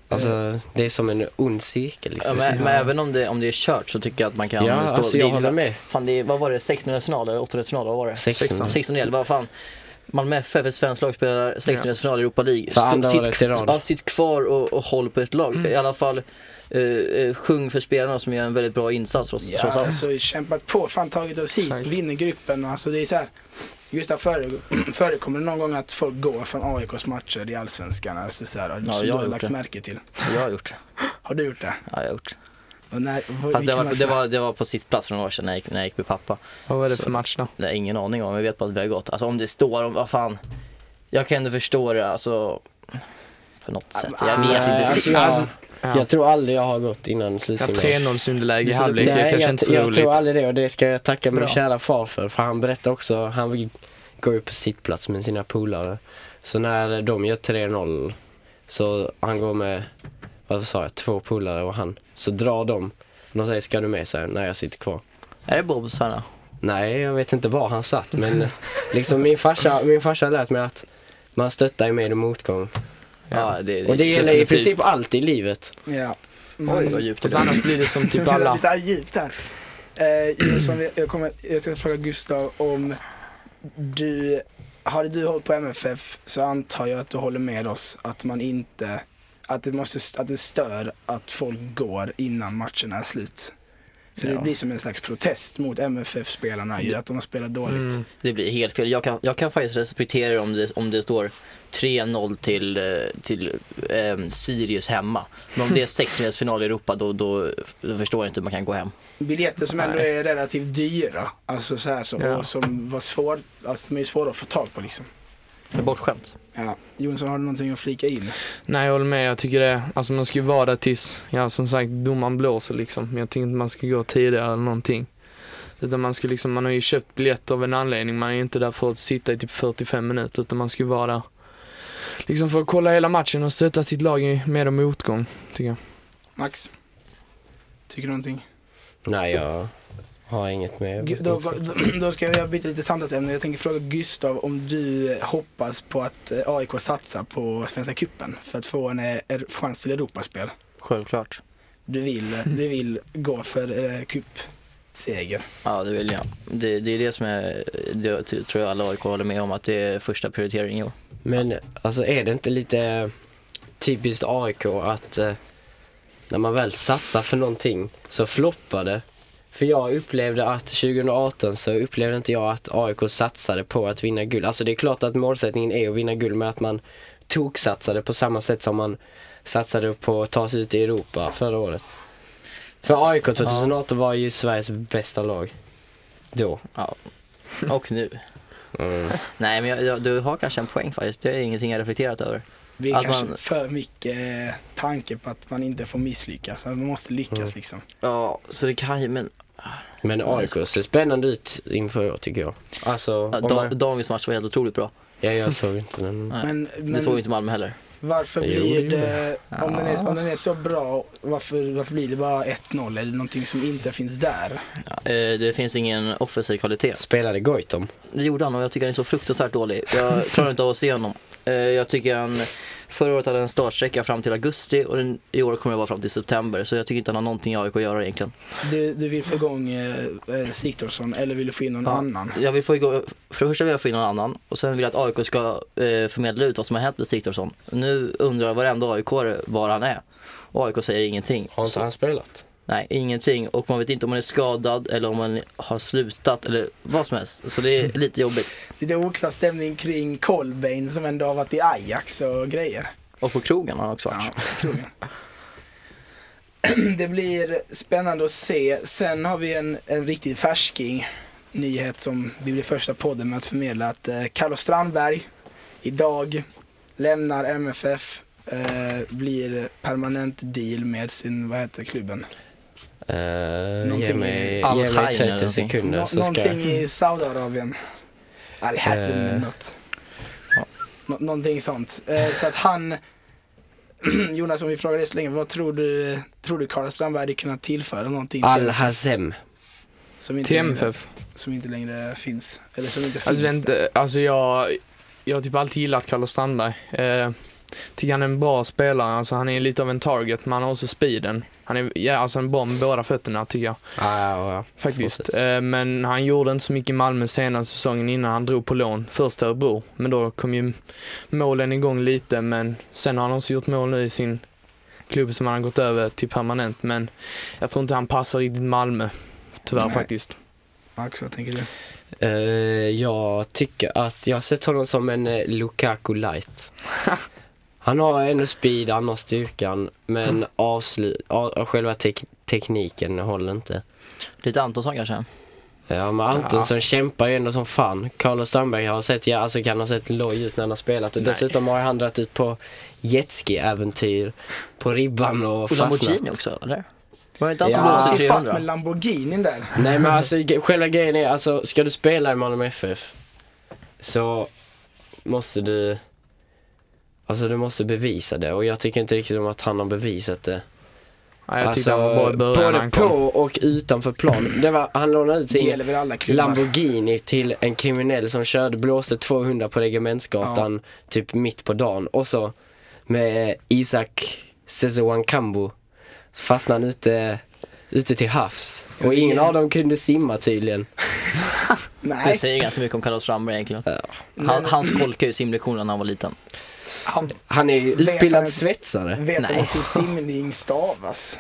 [SPEAKER 3] Alltså det är som en ond cirkel
[SPEAKER 4] Ja,
[SPEAKER 3] liksom.
[SPEAKER 4] men, men även om det, om det är kört så tycker jag att man kan
[SPEAKER 3] Ja,
[SPEAKER 4] stå...
[SPEAKER 3] alltså jag
[SPEAKER 4] det,
[SPEAKER 3] håller med.
[SPEAKER 4] Fan, det, är- vad var det? 16-delsfinal eller 8-delsfinal? Vad var det?
[SPEAKER 3] 16.
[SPEAKER 4] 16-del, vad fan. Malmö FF, ett svenskt lag, spelar 16-delsfinal i Europa League.
[SPEAKER 3] För
[SPEAKER 4] Stå-
[SPEAKER 3] andra
[SPEAKER 4] sitt-
[SPEAKER 3] året i rad. Mm.
[SPEAKER 4] Ja, sitt kvar och, och håll på ett lag. I alla fall eh, eh, sjung för spelarna som gör en väldigt bra insats trots,
[SPEAKER 2] Ja,
[SPEAKER 4] trots allt.
[SPEAKER 2] alltså kämpat på, fan tagit oss hit,
[SPEAKER 5] Exakt.
[SPEAKER 2] vinner gruppen. Alltså det är så här, just där före- förekommer det någon gång att folk går från AIKs matcher i Allsvenskan. Alltså så här,
[SPEAKER 4] Ja,
[SPEAKER 2] som
[SPEAKER 4] jag
[SPEAKER 2] du
[SPEAKER 4] har
[SPEAKER 2] har
[SPEAKER 4] gjort
[SPEAKER 2] lagt
[SPEAKER 4] det.
[SPEAKER 2] märke till.
[SPEAKER 4] Jag har gjort det.
[SPEAKER 2] Har du gjort det?
[SPEAKER 4] Ja, jag har gjort.
[SPEAKER 2] Och när, vad-
[SPEAKER 4] Fast det,
[SPEAKER 2] vilken
[SPEAKER 4] var,
[SPEAKER 2] match
[SPEAKER 4] det, var, det var på sitt plats för några år sedan när jag gick, när jag gick med pappa.
[SPEAKER 5] Vad var det
[SPEAKER 4] Så-
[SPEAKER 5] för match då?
[SPEAKER 4] Det har jag ingen aning om, men jag vet bara att vi har gått. Alltså om det står, om, vad fan. Jag kan ändå förstå det alltså. På något sätt. Jag
[SPEAKER 3] Nej,
[SPEAKER 4] vet inte.
[SPEAKER 3] Ah, alltså,
[SPEAKER 4] Alltså,
[SPEAKER 3] jag,
[SPEAKER 5] Ja.
[SPEAKER 3] jag tror aldrig jag har gått innan
[SPEAKER 5] Ja,
[SPEAKER 3] slutsignal.
[SPEAKER 5] 3-0 underläge i
[SPEAKER 4] Du såg
[SPEAKER 5] halvlek, det
[SPEAKER 3] Nej,
[SPEAKER 5] är kanske inte så
[SPEAKER 3] jag
[SPEAKER 5] roligt.
[SPEAKER 3] tror aldrig det och det ska jag tacka min
[SPEAKER 4] Bra.
[SPEAKER 3] kära far för. För han berättar också, han går ju på sittplats med sina polare. Så när de gör 3-0, så han går med, vad sa jag, två polare och han. Så drar de, de säger ska du med? Så här, nej jag sitter kvar.
[SPEAKER 4] är det Bobs här?
[SPEAKER 3] Nej jag vet inte var han satt men liksom min farsa, min farsa lät mig att man stöttar ju med motgång.
[SPEAKER 4] Ja, det,
[SPEAKER 3] Och det gäller i
[SPEAKER 4] definitivt.
[SPEAKER 3] princip allt i livet.
[SPEAKER 2] Ja.
[SPEAKER 4] Oj,
[SPEAKER 2] Man,
[SPEAKER 4] vad djupt det
[SPEAKER 5] Fast
[SPEAKER 4] blev.
[SPEAKER 5] annars blir det som typ
[SPEAKER 2] det är
[SPEAKER 5] alla...
[SPEAKER 2] lite djupt här. Eh, Jon, som jag, jag, kommer, jag ska fråga Gustav om du, hade du hållit på MFF så antar jag att du håller med oss att man inte, att det, måste, att det stör att folk går innan matchen är slut. För
[SPEAKER 4] Ja.
[SPEAKER 2] det blir som en slags protest mot MFF-spelarna ju, att de har spelat dåligt.
[SPEAKER 5] Mm.
[SPEAKER 4] Det blir helt fel. Jag kan, jag kan faktiskt respektera det om det, om det står 3-0 till, eh, till ehm, Sirius hemma. Men om det är sexdelsfinal i Europa då, då, då förstår jag inte hur man kan gå hem.
[SPEAKER 2] Biljetter som ändå
[SPEAKER 5] Nej.
[SPEAKER 2] är relativt dyra, alltså så här så,
[SPEAKER 5] Ja.
[SPEAKER 2] och som var svår, alltså de är ju svåra att få tag på liksom.
[SPEAKER 4] Det är bortskämt.
[SPEAKER 2] Ja. Jonsson, har du någonting att flika in?
[SPEAKER 5] Nej jag håller med, jag tycker det, alltså man ska ju vara där tills, ja som sagt domaren blåser liksom. Men jag tycker inte man ska gå tidigare eller någonting. Utan man ska liksom, man har ju köpt biljett av en anledning, man är ju inte där för att sitta i typ 45 minuter utan man ska ju vara där. Liksom för att kolla hela matchen och stötta sitt lag i- med och motgång, tycker jag.
[SPEAKER 2] Max? Tycker du någonting?
[SPEAKER 3] Nej jag har inget med.
[SPEAKER 2] Gu- Då, då ska jag byta lite samtalsämne. Jag tänker fråga Gustav om du hoppas på att eh, AIK satsar på Svenska Cupen för att få en eh, er- chans till Europaspel.
[SPEAKER 4] Självklart.
[SPEAKER 2] Du vill, du vill gå för eh, cup. seger.
[SPEAKER 4] Ja, det vill jag. Det, det är det som är, det tror jag alla AIK håller med om, att det är första prioritering i år.
[SPEAKER 3] Men alltså är det inte lite typiskt AIK att eh, när man väl satsar för någonting så floppar det? För jag upplevde att 2018 så upplevde inte jag att AIK satsade på att vinna guld. Alltså det är klart att målsättningen är att vinna guld men att man toksatsade på samma sätt som man satsade på att ta sig ut i Europa förra året. För AIK 2018 var ju Sveriges bästa lag. Då. Mm.
[SPEAKER 4] Och nu. Nej, men jag, jag, du har kanske en poäng faktiskt. Det är ingenting jag reflekterat över.
[SPEAKER 2] Det är
[SPEAKER 4] Att
[SPEAKER 2] kanske
[SPEAKER 4] man-
[SPEAKER 2] för mycket eh, tanke på att man inte får misslyckas. Att man måste lyckas
[SPEAKER 3] Mm.
[SPEAKER 2] liksom.
[SPEAKER 4] Ja, så det kan ju, men
[SPEAKER 3] Men AIK ser spännande ut inför i år tycker jag. Alltså,
[SPEAKER 4] ja,
[SPEAKER 3] om
[SPEAKER 4] da,
[SPEAKER 3] man-
[SPEAKER 4] dagens match var helt otroligt bra.
[SPEAKER 3] Ja, jag såg inte den.
[SPEAKER 4] Nej,
[SPEAKER 2] Men,
[SPEAKER 4] Det såg ju
[SPEAKER 2] men
[SPEAKER 4] inte Malmö heller.
[SPEAKER 2] varför
[SPEAKER 3] Jo,
[SPEAKER 2] blir
[SPEAKER 3] det
[SPEAKER 2] det, om den, är,
[SPEAKER 4] Ja.
[SPEAKER 2] om den är så bra, varför, varför blir det bara 1-0 eller någonting som inte finns där?
[SPEAKER 4] Eh, Det finns ingen offensiv kvalitet.
[SPEAKER 3] Spelade Goitom.
[SPEAKER 4] Det gjorde han och jag tycker han är så fruktansvärt dålig. Jag klarar inte av att se honom. Eh, Jag tycker han, förra året hade han en startsträcka fram till augusti och den, i år kommer det vara fram till september. Så jag tycker inte han har någonting i AIK att göra egentligen.
[SPEAKER 2] Du, du vill få igång eh, eh, Sigthorsson eller vill du få in någon
[SPEAKER 4] Ja.
[SPEAKER 2] annan?
[SPEAKER 4] Jag vill få igång, för det första vill jag få in någon annan och sen vill jag att AIK ska eh, förmedla ut vad som har hänt med Sigthorsson. Nu undrar varenda aik var han är. Och AIK säger ingenting.
[SPEAKER 3] Har inte
[SPEAKER 4] Så,
[SPEAKER 3] han spelat?
[SPEAKER 4] nej, ingenting. Och man vet inte om han är skadad eller om han har slutat eller vad som helst. Så det är
[SPEAKER 3] Mm.
[SPEAKER 4] lite jobbigt.
[SPEAKER 2] Lite oklar stämning kring Colbain som ändå har varit i Ajax och grejer.
[SPEAKER 4] Och på krogen har han också varit.
[SPEAKER 2] Ja, krogen. Det blir spännande att se. Sen har vi en, en riktig färsking nyhet som vi blir första podden med att förmedla. Att eh, Carlos Strandberg idag lämnar MFF, eh, blir permanent deal med sin, vad heter klubben?
[SPEAKER 3] Uh, ge
[SPEAKER 2] Någonting i
[SPEAKER 3] mig,
[SPEAKER 4] Al
[SPEAKER 3] ge
[SPEAKER 4] Khair
[SPEAKER 3] mig
[SPEAKER 4] eller
[SPEAKER 3] 30
[SPEAKER 4] någonting.
[SPEAKER 3] sekunder
[SPEAKER 2] Nå-
[SPEAKER 3] så ska
[SPEAKER 2] någonting
[SPEAKER 3] jag...
[SPEAKER 2] i Saudiarabien. Al-Hassan
[SPEAKER 3] Eh.
[SPEAKER 2] eller något.
[SPEAKER 4] Ja.
[SPEAKER 2] Nå- någonting sånt. Eh, så att han, Jonas om vi frågar dig så länge, vad tror du, tror du Karl Strandberg hade kunnat tillföra någonting
[SPEAKER 3] Al
[SPEAKER 2] till,
[SPEAKER 3] Hazem.
[SPEAKER 2] som, inte
[SPEAKER 5] Till
[SPEAKER 2] längre,
[SPEAKER 5] MFF.
[SPEAKER 2] som inte längre finns? Eller som inte
[SPEAKER 5] Alltså,
[SPEAKER 2] finns?
[SPEAKER 5] vänta, alltså jag, jag har typ alltid gillat Carlos Strandberg. Eh, tycker han är en bra spelare, alltså han är lite av en target men han har också speeden. Han är ja, alltså en bra med båda fötterna tycker jag
[SPEAKER 3] Ah, ja,
[SPEAKER 5] faktiskt.
[SPEAKER 3] Fortsätt.
[SPEAKER 5] Eh, men han gjorde inte så mycket i Malmö senaste säsongen innan han drog på lån. Först Örebro, men då kom ju målen igång lite men sen har han också gjort mål nu i sin klubb som han har gått över till permanent men jag tror inte han passar riktigt Malmö. Tyvärr
[SPEAKER 2] Nej.
[SPEAKER 5] faktiskt.
[SPEAKER 2] Max, vad tänker du?
[SPEAKER 3] Eh, jag tycker att jag har sett honom som en eh, Lukaku light. Han har ändå speed, han har styrkan, men avslu- av, själva tek- tekniken håller inte.
[SPEAKER 4] Lite Antonsson kanske.
[SPEAKER 3] Ja, men Antonsson kämpar ju ändå som fan. Carlos Strandberg har sett, ja, alltså kan ha sett loj ut när han har spelat och
[SPEAKER 5] Nej.
[SPEAKER 3] dessutom har han dragit ut på jetski-äventyr på ribban och
[SPEAKER 4] Och Lamborghini
[SPEAKER 3] fastnat.
[SPEAKER 4] också, eller? Var det inte han
[SPEAKER 3] Ja.
[SPEAKER 4] som typ
[SPEAKER 2] Han
[SPEAKER 4] blåste
[SPEAKER 2] åkte ju fast med
[SPEAKER 4] 300?
[SPEAKER 2] Lamborghinin där.
[SPEAKER 3] Nej men alltså ge- själva grejen är alltså, ska du spela i Malmö FF så måste du, alltså du måste bevisa det och jag tycker inte riktigt om att han har bevisat det.
[SPEAKER 5] Ja, jag tyckte
[SPEAKER 3] alltså,
[SPEAKER 5] han var bra i början när
[SPEAKER 3] både
[SPEAKER 5] han kom.
[SPEAKER 3] på och utanför plan. Det var, han lånade ut
[SPEAKER 2] Det
[SPEAKER 3] sin
[SPEAKER 2] gäller väl alla klubbar.
[SPEAKER 3] Lamborghini till en kriminell som körde, blåste 200 på Regementsgatan typ mitt på dagen och så med Isak Sezoan Kambo så fastnade han ute, ute till havs och ingen av dem kunde simma tydligen.
[SPEAKER 4] Det
[SPEAKER 2] Nej,
[SPEAKER 4] säger ganska mycket om Carlos Strandberg egentligen. Han,
[SPEAKER 2] men-
[SPEAKER 4] han skolkade ju simlektionerna när han var liten.
[SPEAKER 2] han
[SPEAKER 3] Han är ju
[SPEAKER 2] Vet han
[SPEAKER 3] utbildad
[SPEAKER 2] inte-
[SPEAKER 3] svetsare.
[SPEAKER 2] vet
[SPEAKER 4] Nej.
[SPEAKER 2] hur sin simning stavas.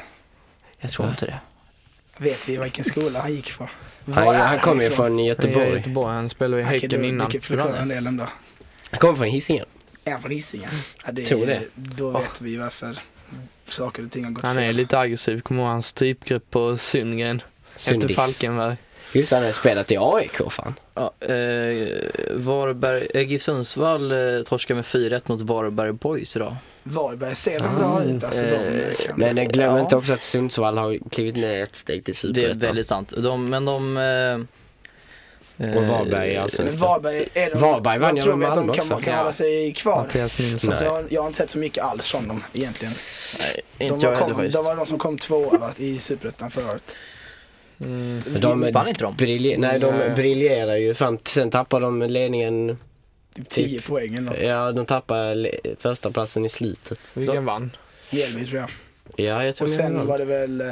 [SPEAKER 4] Jag tror inte det.
[SPEAKER 2] Vet vi vilken skola han gick på?
[SPEAKER 3] Han,
[SPEAKER 2] Var är
[SPEAKER 3] han kommer ju
[SPEAKER 2] ifrån?
[SPEAKER 3] från
[SPEAKER 5] Göteborg.
[SPEAKER 3] Göteborg.
[SPEAKER 5] Göteborg. Han spelade i
[SPEAKER 2] Okej,
[SPEAKER 5] Häcken
[SPEAKER 2] då-
[SPEAKER 5] innan.
[SPEAKER 2] Vilken förklarandel då.
[SPEAKER 3] Han kommer från Hisingen.
[SPEAKER 2] Är han från Hisingen? Ja, det,
[SPEAKER 3] Tror det.
[SPEAKER 2] Då
[SPEAKER 5] Ja.
[SPEAKER 2] vet vi varför saker och ting har gått
[SPEAKER 5] Han är
[SPEAKER 2] fel.
[SPEAKER 5] lite aggressiv. Kommer ihåg hans typgrepp på Sundgren efter
[SPEAKER 3] Sundis.
[SPEAKER 5] Falkenberg.
[SPEAKER 3] Just det, han har spelat i AIK fan.
[SPEAKER 4] Ja, eh, Varberg, eh, GIF Sundsvall eh, torskar med 4-1 mot Varberg Boys idag.
[SPEAKER 2] Varberg ser väl bra ut alltså. De
[SPEAKER 4] Eh,
[SPEAKER 2] kan...
[SPEAKER 3] Men eh, glöm
[SPEAKER 4] Ja.
[SPEAKER 3] inte också att Sundsvall har klivit ner Typ ett steg till
[SPEAKER 4] Det är
[SPEAKER 3] Superettan.
[SPEAKER 4] väldigt sant. De, men de... Eh,
[SPEAKER 3] Och Varberg är
[SPEAKER 4] eh,
[SPEAKER 3] alltså-
[SPEAKER 2] Men Varberg, är de,
[SPEAKER 3] Varberg vann
[SPEAKER 2] jag
[SPEAKER 3] ju
[SPEAKER 2] tror
[SPEAKER 3] med
[SPEAKER 2] att de
[SPEAKER 3] Malmö
[SPEAKER 2] kan,
[SPEAKER 3] också.
[SPEAKER 2] kan hålla sig kvar.
[SPEAKER 5] Mattias Nilsson.
[SPEAKER 2] Alltså, jag, jag har inte sett så mycket alls från dem egentligen.
[SPEAKER 4] Nej,
[SPEAKER 2] De
[SPEAKER 4] inte jag
[SPEAKER 2] var,
[SPEAKER 4] heller
[SPEAKER 2] kom, de
[SPEAKER 4] faktiskt.
[SPEAKER 2] var de som kom tvåa va, i Superettan förra året.
[SPEAKER 5] Mm.
[SPEAKER 3] De,
[SPEAKER 4] Vann inte de?
[SPEAKER 3] brilje- nej, de
[SPEAKER 5] Nej.
[SPEAKER 3] briljerar ju fram, sen tappar de ledningen,
[SPEAKER 2] Typ 10 poäng eller något.
[SPEAKER 3] ja de tappar le- första platsen i slutet.
[SPEAKER 5] Vilken vann?
[SPEAKER 2] Mjällby tror jag.
[SPEAKER 3] Ja jag tror
[SPEAKER 2] Och
[SPEAKER 3] det
[SPEAKER 2] sen
[SPEAKER 3] var-
[SPEAKER 2] var det väl eh,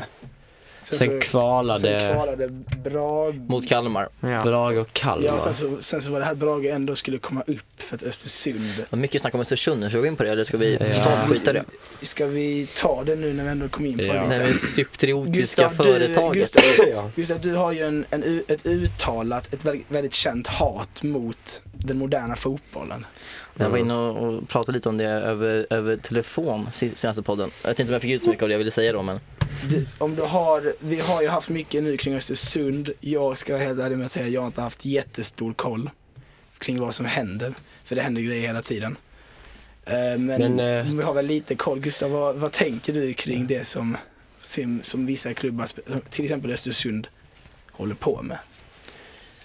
[SPEAKER 2] Sen,
[SPEAKER 3] Sen
[SPEAKER 2] så, sen
[SPEAKER 3] kvalade
[SPEAKER 2] kvalade Brage.
[SPEAKER 4] mot Kalmar.
[SPEAKER 5] Ja.
[SPEAKER 3] Brage och
[SPEAKER 2] Ja,
[SPEAKER 3] Kalmar.
[SPEAKER 2] sen, så, sen så var det här att Brage ändå skulle komma upp för att Östersund.
[SPEAKER 4] Det var mycket snack om Östersund, nu. ska vi gå in på det eller ska vi
[SPEAKER 3] Ja.
[SPEAKER 4] totalt skita i det?
[SPEAKER 2] Ska vi ta det nu när vi ändå kom in på
[SPEAKER 3] Ja.
[SPEAKER 2] det
[SPEAKER 4] Det
[SPEAKER 2] lite?
[SPEAKER 4] här cypriotiska
[SPEAKER 2] Gustav, du,
[SPEAKER 4] företaget.
[SPEAKER 2] Gustav, Gustav, du har ju en, en, u- ett uttalat, ett väldigt, väldigt känt hat mot den moderna fotbollen.
[SPEAKER 4] Jag var inne och, och pratade lite om det över, över telefon si- senaste podden. Jag vet inte om jag fick ut så mycket av det jag ville säga då men.
[SPEAKER 2] Du, om du har, vi har ju haft mycket nu kring Östersund. Jag ska vara helt ärlig med att säga att jag har inte haft jättestor koll kring vad som händer. För det händer grejer hela tiden. Eh, Men,
[SPEAKER 3] Men, eh,
[SPEAKER 2] vi har väl lite koll. Gustav, vad, vad tänker du kring det som, som, som vissa klubbar, spe- till exempel Östersund, håller på med?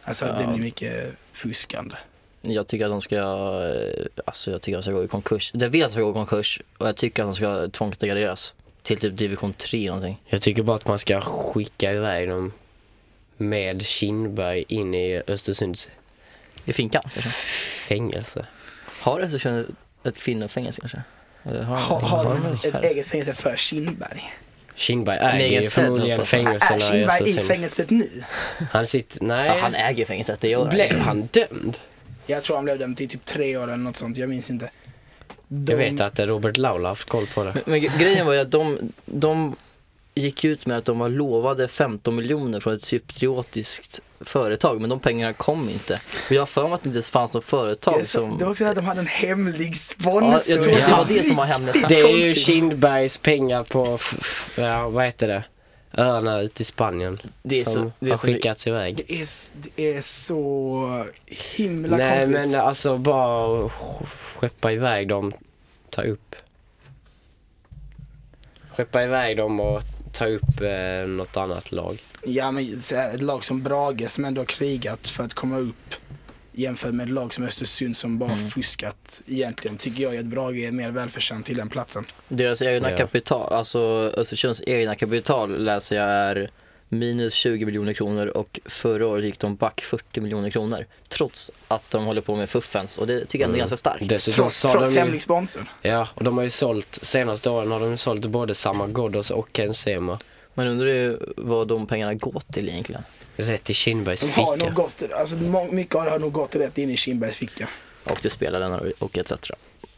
[SPEAKER 2] Alltså att det
[SPEAKER 4] Ja.
[SPEAKER 2] blir mycket fuskande.
[SPEAKER 4] Jag tycker att de ska, eh, alltså jag tycker att de ska gå i konkurs. Jag vill att de ska gå i konkurs och jag tycker att de ska tvångsdegraderas. Till typ division 3 någonting.
[SPEAKER 3] Jag tycker bara att man ska skicka iväg dem med Kindberg in i Östersunds
[SPEAKER 4] I finkan kanske.
[SPEAKER 3] fängelse.
[SPEAKER 4] Har Östersund ett kvinnofängelse kanske? Eller har,
[SPEAKER 2] Har,
[SPEAKER 4] har
[SPEAKER 2] har
[SPEAKER 4] de
[SPEAKER 2] ett,
[SPEAKER 4] det?
[SPEAKER 2] ett eget fängelse för Kindberg?
[SPEAKER 3] Kindberg
[SPEAKER 4] En
[SPEAKER 3] äger
[SPEAKER 4] egen
[SPEAKER 3] ju
[SPEAKER 4] cell,
[SPEAKER 3] förmodligen
[SPEAKER 4] hoppas jag.
[SPEAKER 2] Är
[SPEAKER 3] fängelserna i
[SPEAKER 2] Äh, Kindberg i
[SPEAKER 3] Östersund.
[SPEAKER 2] fängelset nu?
[SPEAKER 3] Han sitter,
[SPEAKER 4] Ja, han
[SPEAKER 3] nej,
[SPEAKER 4] äger fängelset, det gör han.
[SPEAKER 3] blev han dömd?
[SPEAKER 2] Jag tror han blev dömd till typ tre år eller något sånt, jag minns inte. De,
[SPEAKER 3] Jag vet att Robert Laula har haft koll på det.
[SPEAKER 4] Men, men grejen var ju att de, de gick ut med att de var lovade 15 miljoner från ett cypriotiskt företag men de pengarna kom inte. Och jag har för mig att det inte ens fanns något företag
[SPEAKER 2] det,
[SPEAKER 4] som...
[SPEAKER 2] det var också det att de hade en hemlig sponsor.
[SPEAKER 4] ja, jag tror att det
[SPEAKER 3] Ja.
[SPEAKER 4] var det som var hemligt.
[SPEAKER 3] Det är ju Kindbergs pengar på, f- f- ja, vad heter det, öarna ute i Spanien.
[SPEAKER 4] Det är så-
[SPEAKER 3] som
[SPEAKER 4] det är
[SPEAKER 3] har
[SPEAKER 4] så-
[SPEAKER 3] skickats iväg.
[SPEAKER 2] Det är, s- det är så himla
[SPEAKER 3] Nej
[SPEAKER 2] konstigt.
[SPEAKER 3] men
[SPEAKER 4] eh,
[SPEAKER 3] alltså bara sk- skeppa iväg dem, ta upp. Skeppa iväg dem och ta upp eh, något annat lag.
[SPEAKER 2] Ja men så här, ett lag som Brage som ändå har krigat för att komma upp jämfört med ett lag som Östersund som bara
[SPEAKER 4] Mm.
[SPEAKER 2] fuskat egentligen tycker jag ju att Brage är mer välförtjänt till den platsen.
[SPEAKER 4] Deras egna
[SPEAKER 3] Ja.
[SPEAKER 4] kapital, alltså Östersunds egna kapital läser jag är minus 20 miljoner kronor och förra året gick de back 40 miljoner kronor. Trots att de håller på med fuffens och det tycker jag ändå
[SPEAKER 3] Mm.
[SPEAKER 4] är ganska starkt.
[SPEAKER 3] Dessutom
[SPEAKER 2] Trots,
[SPEAKER 3] sa
[SPEAKER 2] trots
[SPEAKER 3] de ju,
[SPEAKER 2] hemlig sponsor.
[SPEAKER 3] Ja, och de har ju sålt, senaste åren har de ju sålt både Samma Ghoddos och Ken Sema.
[SPEAKER 4] Man undrar ju vad de pengarna går till egentligen.
[SPEAKER 3] Rätt i Kindbergs
[SPEAKER 2] De har nog
[SPEAKER 3] ficka.
[SPEAKER 2] gått, alltså, må- mycket av det har nog gått rätt in i Kindbergs ficka.
[SPEAKER 4] och till spelarna och etc.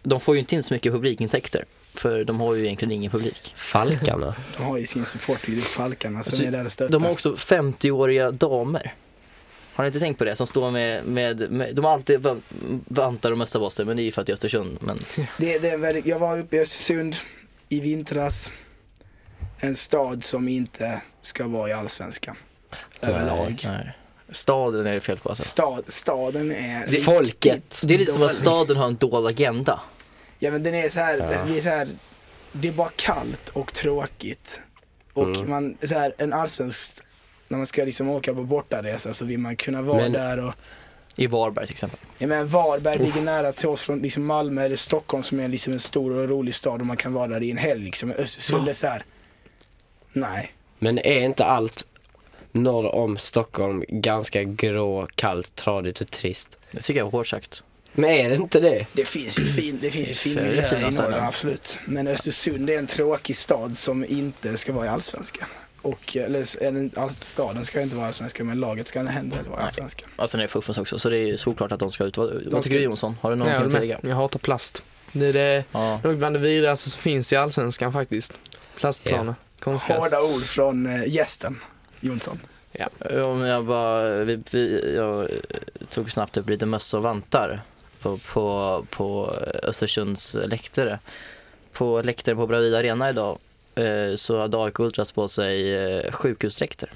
[SPEAKER 4] De får ju inte in så mycket publikintäkter för de har ju egentligen ingen publik.
[SPEAKER 3] Falkarna.
[SPEAKER 2] De har ju sin supportergrupp Falkarna som
[SPEAKER 4] Alltså,
[SPEAKER 2] är där och stöttar.
[SPEAKER 4] De har också 50-åriga damer. Har ni inte tänkt på det? Som står med, med, med de har alltid va- vantar och mössabosser men det är ju för att det är Östersund. Men
[SPEAKER 2] Det, det är väldigt, jag var uppe i Östersund i vintras. En stad som inte ska vara i Allsvenskan. Överlag.
[SPEAKER 4] nej. staden är det fel på alltså.
[SPEAKER 2] Stad, staden är...
[SPEAKER 3] Det- folket.
[SPEAKER 4] Det är lite som att
[SPEAKER 2] dålig.
[SPEAKER 4] staden har en dold agenda.
[SPEAKER 2] Ja men den är så här,
[SPEAKER 3] Ja.
[SPEAKER 2] det är så här, det är bara kallt och tråkigt. Och
[SPEAKER 3] Mm.
[SPEAKER 2] man, så här, en allsvensk, när man ska liksom åka på bortaresa så vill man kunna vara
[SPEAKER 3] Men-
[SPEAKER 2] där och
[SPEAKER 4] I Varberg till exempel.
[SPEAKER 2] Ja, men Varberg ligger nära till oss från liksom Malmö eller Stockholm som är liksom en stor och rolig stad och man kan vara där i en helg. Liksom. Men Östersund är så här. Nej.
[SPEAKER 3] Men är inte allt norr om Stockholm ganska grå, kallt, tradigt och trist?
[SPEAKER 4] Det tycker jag var hårt sagt.
[SPEAKER 3] Men är det inte det?
[SPEAKER 2] Det finns ju fin, det finns ju fin
[SPEAKER 4] Det är
[SPEAKER 2] miljö
[SPEAKER 4] fina
[SPEAKER 2] i
[SPEAKER 4] ställen.
[SPEAKER 2] norr, absolut. Men Östersund är en tråkig stad som inte ska vara i Allsvenskan. Och, eller, s- eller all, staden ska inte vara i Allsvenskan men laget ska inte heller vara i
[SPEAKER 4] Nej.
[SPEAKER 2] Allsvenskan.
[SPEAKER 4] Alltså det är fuffens också så det är ju såklart att de ska ut. Vad
[SPEAKER 2] ska-
[SPEAKER 4] vad tycker du Jonsson? Har du
[SPEAKER 5] Nej, jag,
[SPEAKER 4] någonting att
[SPEAKER 5] håller
[SPEAKER 4] tillägga?
[SPEAKER 5] med. jag hatar plast. Det är det,
[SPEAKER 4] Ja.
[SPEAKER 5] nog bland det vidrigaste som finns i Allsvenskan faktiskt. Plastplaner, konstgräs.
[SPEAKER 2] Hårda ord från eh, gästen Jonsson.
[SPEAKER 4] Ja, men Eh, jag bara, vi, vi, jag tog snabbt upp lite möss och vantar på, på, på Östersunds läktare. På läktaren på Bravida Arena idag eh, så hade AIK Ultras på sig eh, sjukhusdräkter.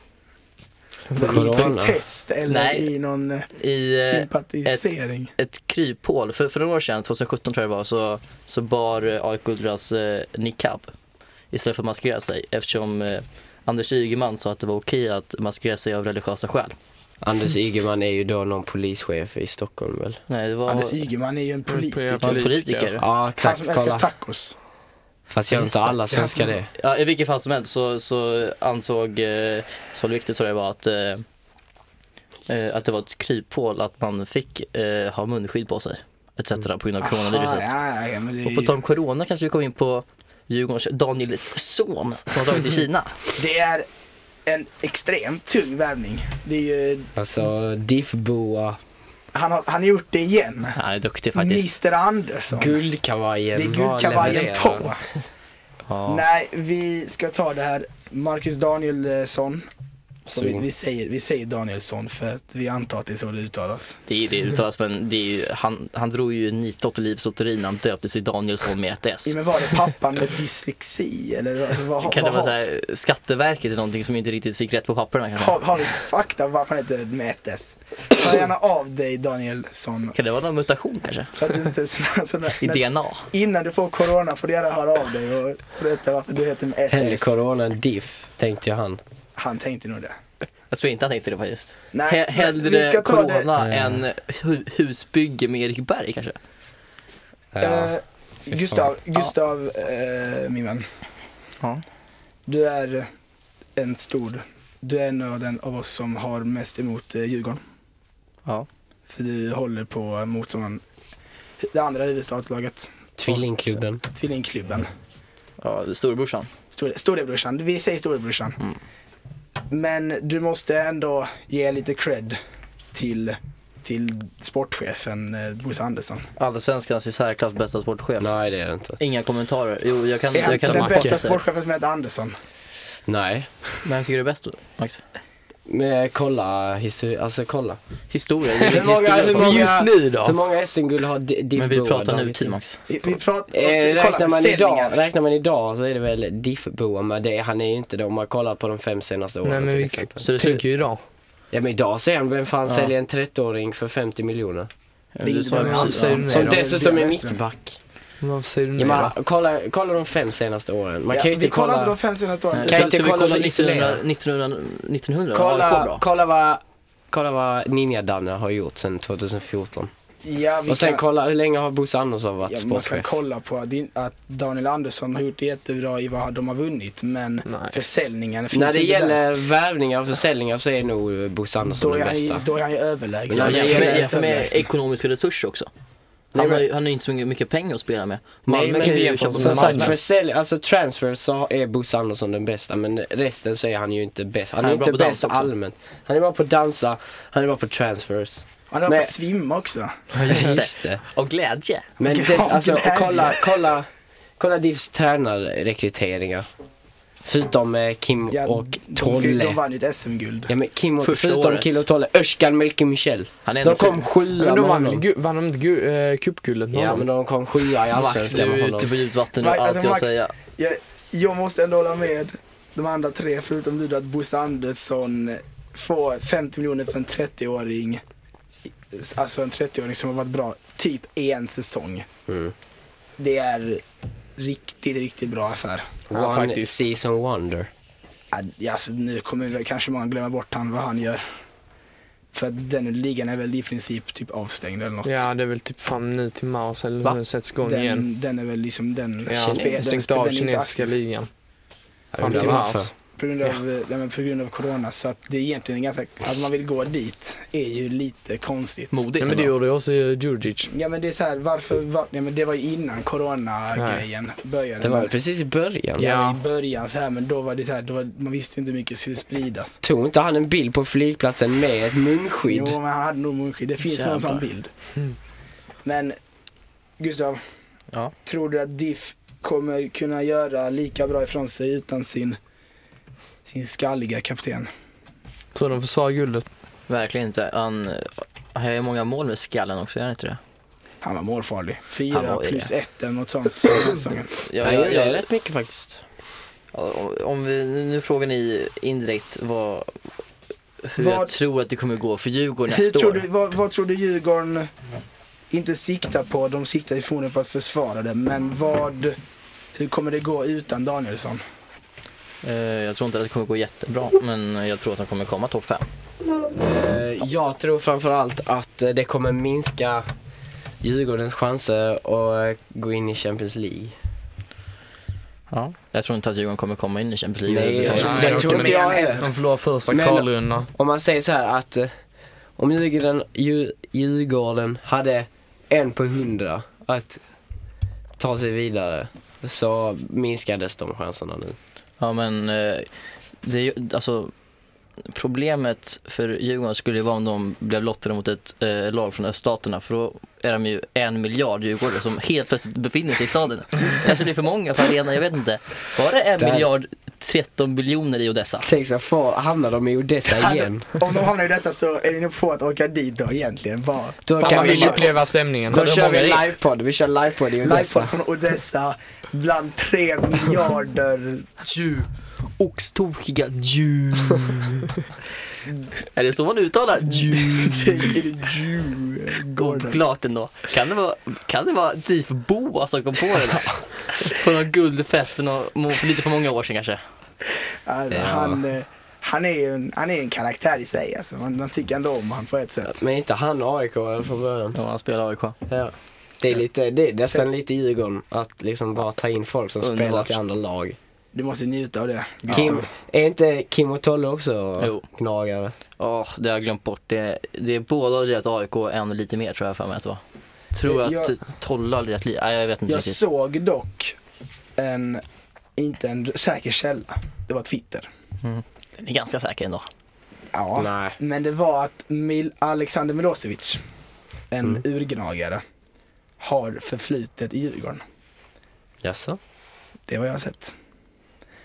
[SPEAKER 2] I protest eller
[SPEAKER 4] Nej.
[SPEAKER 2] i någon eh,
[SPEAKER 4] I eh,
[SPEAKER 2] sympatisering.
[SPEAKER 4] ett kryphål, för, för några år sedan, 2017 tror jag det var, så, så bar eh, AIK Ultras eh, niqab istället för att maskera sig eftersom eh, Anders Ygeman sa att det var okej att maskera sig av religiösa skäl.
[SPEAKER 3] Anders Ygeman är ju då någon polischef i Stockholm väl?
[SPEAKER 4] Nej, det var...
[SPEAKER 2] Anders Ygeman är ju en politiker.
[SPEAKER 4] Han är politiker.
[SPEAKER 3] Ja
[SPEAKER 2] Han
[SPEAKER 3] exakt,
[SPEAKER 2] som älskar
[SPEAKER 3] kolla.
[SPEAKER 2] tacos.
[SPEAKER 3] Fast gör
[SPEAKER 4] Just
[SPEAKER 3] inte
[SPEAKER 4] det.
[SPEAKER 3] alla svenskar det?
[SPEAKER 4] Ja, I vilket fall som helst så, så ansåg eh, Solvik, tror jag det var, att, eh, eh, att det var ett kryphål att man fick eh, ha munskydd på sig. Etc. på grund av
[SPEAKER 2] Mm. Aha,
[SPEAKER 4] coronaviruset.
[SPEAKER 2] ja, ja, men det,
[SPEAKER 4] Och på
[SPEAKER 2] är ju,
[SPEAKER 4] tal om corona kanske vi kommer in på Djurgårdens Daniels son som har tagit till Kina.
[SPEAKER 2] det är en extremt tung värvning. Det är ju,
[SPEAKER 3] Alltså Diff-boa,
[SPEAKER 2] han, har, han har gjort det igen.
[SPEAKER 4] Han är duktig faktiskt.
[SPEAKER 2] Mr Andersson.
[SPEAKER 3] guldkavajen.
[SPEAKER 2] det är
[SPEAKER 3] har
[SPEAKER 2] guldkavajen
[SPEAKER 3] levererat.
[SPEAKER 2] på.
[SPEAKER 4] Ja.
[SPEAKER 2] Nej, vi ska ta det här. Marcus Danielsson. Och vi,
[SPEAKER 3] Så.
[SPEAKER 2] vi, säger, vi säger Danielsson för att vi antar att det är så det uttalas.
[SPEAKER 4] Det är det uttalas, men det är ju, han, han drog ju nitlott och livslotteri när han döptes till Danielsson med ett S.
[SPEAKER 2] Ja, men var det pappan med dyslexi eller? Alltså, vad,
[SPEAKER 4] Kan det
[SPEAKER 2] vad,
[SPEAKER 4] vara såhär, Skatteverket eller någonting som inte riktigt fick rätt på papperna kanske?
[SPEAKER 2] har, har du fakta varför han heter Mätes? Hör gärna av dig Danielsson.
[SPEAKER 4] Kan det vara någon mutation kanske?
[SPEAKER 2] Så att du inte, så, så,
[SPEAKER 4] I
[SPEAKER 2] när,
[SPEAKER 4] DNA?
[SPEAKER 2] innan du får corona får du gärna höra av dig och berätta varför du heter
[SPEAKER 3] Hellre
[SPEAKER 2] Mätes.
[SPEAKER 3] corona än Diff, tänkte ju han.
[SPEAKER 2] Han tänkte nog det.
[SPEAKER 4] Jag tror inte han tänkte det faktiskt.
[SPEAKER 2] Nej,
[SPEAKER 4] He-
[SPEAKER 2] men
[SPEAKER 4] hellre
[SPEAKER 2] det.
[SPEAKER 3] Ja.
[SPEAKER 4] corona än hu- husbygge med Erik Berg kanske?
[SPEAKER 3] Ja.
[SPEAKER 2] Eh, Gustav, Gustav eh, min vän.
[SPEAKER 4] Ja.
[SPEAKER 2] Du är en stor, du är en av, den, av oss som har mest emot eh, Djurgården.
[SPEAKER 4] Ja.
[SPEAKER 2] För du håller på mot som en, det andra huvudstadslaget,
[SPEAKER 3] Tvillingklubben.
[SPEAKER 2] Tvillingklubben.
[SPEAKER 4] Ja, storebrorsan.
[SPEAKER 2] Store, storebrorsan, vi säger storebrorsan.
[SPEAKER 4] Mm.
[SPEAKER 2] Men du måste ändå ge lite cred till, till sportchefen eh, Bosse Andersson.
[SPEAKER 4] Allsvenskans i särklass bästa sportchef.
[SPEAKER 3] Nej det är det inte.
[SPEAKER 4] Inga kommentarer. Jo, jag kan,
[SPEAKER 2] Är han
[SPEAKER 4] jag kan
[SPEAKER 2] den bästa
[SPEAKER 4] Max.
[SPEAKER 2] sportchefen som heter Andersson?
[SPEAKER 3] Nej.
[SPEAKER 4] Vem tycker du är bäst då, Max?
[SPEAKER 3] Men kolla histori- alltså kolla.
[SPEAKER 4] Historia? Det är lite
[SPEAKER 2] många- hur många-
[SPEAKER 4] historia på.
[SPEAKER 5] Men just nu
[SPEAKER 3] Hur
[SPEAKER 5] då?
[SPEAKER 3] många SM-guld har Di- Diff
[SPEAKER 4] Men vi
[SPEAKER 3] Boa
[SPEAKER 4] pratar
[SPEAKER 3] dragit
[SPEAKER 4] nutid
[SPEAKER 3] in?
[SPEAKER 4] Max.
[SPEAKER 2] Vi, vi pratar,
[SPEAKER 3] Eh,
[SPEAKER 2] kolla
[SPEAKER 3] räknar, man
[SPEAKER 2] försäljningar.
[SPEAKER 3] idag, räknar man idag så är det väl Diff-Boa, men det, han är ju inte det om man kollar på de fem senaste åren
[SPEAKER 5] Nej men
[SPEAKER 3] till
[SPEAKER 5] vi
[SPEAKER 3] exempel.
[SPEAKER 4] Så det
[SPEAKER 5] tänker ju idag.
[SPEAKER 3] Ja men idag ser han, vem fan
[SPEAKER 4] Ja.
[SPEAKER 3] säljer en 30-åring för 50 miljoner?
[SPEAKER 4] Ja,
[SPEAKER 2] Det är
[SPEAKER 4] du
[SPEAKER 2] inte
[SPEAKER 4] sa ju
[SPEAKER 2] de
[SPEAKER 4] precis.
[SPEAKER 5] som-
[SPEAKER 2] Nej,
[SPEAKER 3] Som
[SPEAKER 2] då är det
[SPEAKER 3] dessutom är
[SPEAKER 2] Björn Westrum.
[SPEAKER 3] mittback.
[SPEAKER 5] Men Varför säger du nej
[SPEAKER 3] Ja,
[SPEAKER 5] då?
[SPEAKER 3] men, kolla, kolla de fem senaste åren. Man
[SPEAKER 2] Ja,
[SPEAKER 3] kan ju
[SPEAKER 2] vi
[SPEAKER 3] inte
[SPEAKER 2] kollar
[SPEAKER 3] kolla...
[SPEAKER 2] inte de fem senaste åren.
[SPEAKER 4] Nej,
[SPEAKER 3] Kan
[SPEAKER 4] så-
[SPEAKER 3] inte
[SPEAKER 4] Eh, så vi
[SPEAKER 3] kolla så
[SPEAKER 4] kollar 1900,
[SPEAKER 3] isolerat.
[SPEAKER 4] 1900, 1900 AIK
[SPEAKER 3] Kolla,
[SPEAKER 4] bra.
[SPEAKER 3] kolla vad, kolla vad Ninja-Danne har gjort sedan 2014.
[SPEAKER 2] Ja, vi
[SPEAKER 3] Och sen
[SPEAKER 2] kan,
[SPEAKER 3] kolla, hur länge har Bosse Andersson varit
[SPEAKER 2] ja, man kan
[SPEAKER 3] sportchef?
[SPEAKER 2] kolla på att din- att Daniel Andersson har gjort det jättebra i vad de har vunnit, men
[SPEAKER 5] Nej.
[SPEAKER 2] försäljningen finns
[SPEAKER 3] När det
[SPEAKER 2] ju inte där.
[SPEAKER 3] gäller värvningar och försäljningar så är nog Bosse
[SPEAKER 2] Då
[SPEAKER 3] Andersson
[SPEAKER 2] är,
[SPEAKER 3] den
[SPEAKER 2] han, ju-
[SPEAKER 3] bästa.
[SPEAKER 2] då är han ju överlägsen.
[SPEAKER 3] Men
[SPEAKER 4] Ja,
[SPEAKER 3] när det
[SPEAKER 4] jämför
[SPEAKER 3] gäller-
[SPEAKER 4] med, jämför med
[SPEAKER 2] överlägsen.
[SPEAKER 4] ekonomiska resurser också.
[SPEAKER 3] Nej,
[SPEAKER 4] Han har
[SPEAKER 3] men-
[SPEAKER 4] ju han har ju inte så mycket- mycket pengar att spela med.
[SPEAKER 3] Nej,
[SPEAKER 4] Malmö
[SPEAKER 3] men
[SPEAKER 4] kan
[SPEAKER 3] det
[SPEAKER 4] ju
[SPEAKER 3] är
[SPEAKER 4] köpa
[SPEAKER 3] som
[SPEAKER 4] som
[SPEAKER 3] sagt,
[SPEAKER 4] Malmö.
[SPEAKER 3] försälj, alltså transfer så är Bosse Andersson den bästa men resten så är han ju inte bäst. Han,
[SPEAKER 4] Han
[SPEAKER 3] är
[SPEAKER 4] är bra
[SPEAKER 3] inte
[SPEAKER 4] på
[SPEAKER 3] bäst
[SPEAKER 4] dansa också.
[SPEAKER 3] allmänt. Han är bra på att dansa, han är bra på transfers.
[SPEAKER 2] Han har
[SPEAKER 3] Men-
[SPEAKER 2] fått svimma också.
[SPEAKER 4] just det.
[SPEAKER 3] Just det.
[SPEAKER 4] Och glädje.
[SPEAKER 3] Men
[SPEAKER 2] Gran
[SPEAKER 3] dess, alltså,
[SPEAKER 2] glädje.
[SPEAKER 3] kolla, kolla, kolla Divs tränarrekryteringar. Förutom eh, Kim
[SPEAKER 2] Ja,
[SPEAKER 3] och
[SPEAKER 2] De, de
[SPEAKER 3] Tolle.
[SPEAKER 2] vann ju ett SM-guld.
[SPEAKER 3] Ja men Kim och,
[SPEAKER 4] Första
[SPEAKER 3] förutom
[SPEAKER 4] året.
[SPEAKER 3] Kim och Tolle, Özcan Melke Michel.
[SPEAKER 4] Han är
[SPEAKER 3] De
[SPEAKER 4] ändå
[SPEAKER 3] kom
[SPEAKER 4] fin.
[SPEAKER 3] sjua
[SPEAKER 5] Men
[SPEAKER 3] med
[SPEAKER 5] de vann väl
[SPEAKER 3] honom.
[SPEAKER 5] gu- vann de inte gu- eh, cupguldet med
[SPEAKER 3] Ja
[SPEAKER 5] honom?
[SPEAKER 3] men de kom sjua i
[SPEAKER 4] Max,
[SPEAKER 3] Allsvenskan
[SPEAKER 4] du
[SPEAKER 3] med
[SPEAKER 4] är typ- ute
[SPEAKER 3] honom.
[SPEAKER 4] på djupt vatten nu,
[SPEAKER 2] Max,
[SPEAKER 4] allt
[SPEAKER 2] alltså,
[SPEAKER 4] jag
[SPEAKER 2] Max-
[SPEAKER 4] säger.
[SPEAKER 2] Jag, jag måste ändå hålla med de andra tre, förutom du, då, att Bosse Andersson får 50 miljoner för en 30-åring. Alltså en 30-åring som har varit bra typ en säsong.
[SPEAKER 3] Mm.
[SPEAKER 2] Det är riktigt, riktigt bra affär.
[SPEAKER 5] Ja,
[SPEAKER 3] One
[SPEAKER 5] faktiskt.
[SPEAKER 3] season wonder.
[SPEAKER 2] Ja, Alltså, nu kommer väl kanske många glömma bort han, vad han gör. För att den ligan är väl i princip typ avstängd eller något.
[SPEAKER 5] Ja det är väl typ fram nu till mars eller
[SPEAKER 4] Va?
[SPEAKER 5] när den sätts igång igen.
[SPEAKER 2] den, den är väl liksom den...
[SPEAKER 5] Ja,
[SPEAKER 3] Kine-
[SPEAKER 2] spe- den
[SPEAKER 5] stängt
[SPEAKER 2] spe-
[SPEAKER 5] av
[SPEAKER 2] den är inte
[SPEAKER 5] kinesiska
[SPEAKER 2] aktiv.
[SPEAKER 5] ligan.
[SPEAKER 3] Jag
[SPEAKER 5] Fram
[SPEAKER 3] undrar
[SPEAKER 5] till
[SPEAKER 3] varför.
[SPEAKER 5] mars.
[SPEAKER 2] På grund, av, eh, nej, men på grund av corona så att det är egentligen ganska, att man vill gå dit är ju lite konstigt.
[SPEAKER 5] Ja,
[SPEAKER 4] Modigt
[SPEAKER 5] men det
[SPEAKER 4] ändå.
[SPEAKER 5] gjorde ju också eh, Djurdjic.
[SPEAKER 2] Ja men det är så här, varför, var, nej, men det var ju innan corona-grejen började.
[SPEAKER 3] Det var
[SPEAKER 2] Men-
[SPEAKER 3] väl precis i början.
[SPEAKER 2] ja,
[SPEAKER 5] Ja.
[SPEAKER 2] men i början så här men då var det så här, då var, man visste inte hur mycket skulle spridas.
[SPEAKER 3] Tog inte han en bild på flygplatsen med ett munskydd?
[SPEAKER 2] Jo men han hade nog munskydd, det finns någon sån
[SPEAKER 4] Jävlar.
[SPEAKER 2] bild. Men Gustav,
[SPEAKER 4] Ja.
[SPEAKER 2] tror du att Diff kommer kunna göra lika bra ifrån sig utan sin, sin skalliga kapten?
[SPEAKER 5] Tror de försvarar guldet.
[SPEAKER 4] Verkligen inte. Han han har ju många mål med skallen också, gör han inte det?
[SPEAKER 2] Han var målfarlig.
[SPEAKER 4] Han
[SPEAKER 2] Fyra
[SPEAKER 4] var ju
[SPEAKER 2] plus ett eller något sånt den här säsongen.
[SPEAKER 3] Ja, jag gör rätt mycket faktiskt.
[SPEAKER 4] Ja, Om vi, nu nu frågar ni indirekt vad, hur
[SPEAKER 2] Vad-
[SPEAKER 4] jag tror att det kommer gå för Djurgården
[SPEAKER 2] Hur
[SPEAKER 4] nästa
[SPEAKER 2] tror
[SPEAKER 4] år.
[SPEAKER 2] du, vad, vad tror du Djurgården inte siktar på? De siktar ju förmodligen på att försvara det, men vad... Hur kommer det gå utan Danielsson?
[SPEAKER 4] Eh, Jag tror inte att det kommer gå jättebra, men jag tror att de kommer komma topp 5.
[SPEAKER 3] Eh, Jag tror framförallt att eh, det kommer minska Djurgårdens chanser att eh, gå in i Champions League.
[SPEAKER 4] Ja. Jag tror inte att Djurgården kommer komma in i Champions League.
[SPEAKER 3] Nej,
[SPEAKER 4] överhuvudtaget.
[SPEAKER 3] jag
[SPEAKER 5] Nej,
[SPEAKER 3] tror,
[SPEAKER 5] jag tror
[SPEAKER 3] inte jag heller.
[SPEAKER 5] De förlorar första
[SPEAKER 3] Men-
[SPEAKER 5] kvalrundan.
[SPEAKER 3] Om man säger så här att eh, om Djurgården, Djur- Djurgården hade en på hundra att ta sig vidare så minskades de chanserna nu.
[SPEAKER 4] Ja men eh, det är ju, alltså, problemet för Djurgården skulle ju vara om de blev lottade mot ett eh, lag från öststaterna för då är de ju en miljard djurgårdare som helt plötsligt befinner sig i staden. Kanske blir för många på arenan, jag vet inte. Var det en
[SPEAKER 3] Där.
[SPEAKER 4] miljard 13 biljoner i Odessa?
[SPEAKER 3] Tänk så far, hamnar de i Odessa igen?
[SPEAKER 2] Om de hamnar i dessa så är det nog få att åka dit då egentligen bara.
[SPEAKER 3] Då
[SPEAKER 2] Fan,
[SPEAKER 5] Kan
[SPEAKER 3] kan
[SPEAKER 5] man
[SPEAKER 3] vi
[SPEAKER 5] vill
[SPEAKER 3] ju
[SPEAKER 2] bara-
[SPEAKER 5] uppleva stämningen.
[SPEAKER 3] Då
[SPEAKER 4] det
[SPEAKER 3] kör vi
[SPEAKER 4] många det.
[SPEAKER 3] livepodd, vi kör livepodd i
[SPEAKER 2] Livepodd
[SPEAKER 3] Odessa.
[SPEAKER 2] från Odessa bland tre miljarder
[SPEAKER 4] Djur. Oxtokiga djur. är det så man uttalar djur?
[SPEAKER 2] djurgårdar.
[SPEAKER 4] Oklart ändå. Kan det vara, kan det vara DIF Boa som kom på det då? På någon guldfest för, någon, må- för lite för många år sedan kanske.
[SPEAKER 2] Alltså,
[SPEAKER 3] Ja.
[SPEAKER 2] han, eh, han, är ju en, han är en karaktär i sig alltså. Man, man tycker ändå om han på ett sätt.
[SPEAKER 3] Men inte han AIK eller från början.
[SPEAKER 4] Ja, han spelar AIK.
[SPEAKER 3] Ja. Det är, lite, det är nästan lite Djurgården, att liksom bara ta in folk som
[SPEAKER 4] Underbart.
[SPEAKER 3] spelat i andra lag.
[SPEAKER 2] Du måste njuta av det.
[SPEAKER 4] Mm,
[SPEAKER 3] Kim, är inte Kim och Tolle också
[SPEAKER 4] Jo.
[SPEAKER 3] gnagare?
[SPEAKER 4] Ja, det har jag glömt bort. Det, det är båda hade rätt AIK, en lite mer tror jag för mig att det var. Tror att
[SPEAKER 2] Jag-
[SPEAKER 4] Tolle hade rätt li- Nej, jag vet inte
[SPEAKER 2] Jag
[SPEAKER 4] riktigt.
[SPEAKER 2] såg dock en, inte en säker källa. Det var Twitter.
[SPEAKER 4] Den är ganska säker ändå.
[SPEAKER 2] Ja.
[SPEAKER 3] Nej.
[SPEAKER 2] Men det var att Mil Alexander Milosevic, en
[SPEAKER 4] Mm.
[SPEAKER 2] urgnagare, har förflutet i Djurgården.
[SPEAKER 3] Jaså?
[SPEAKER 2] Det är vad jag har sett.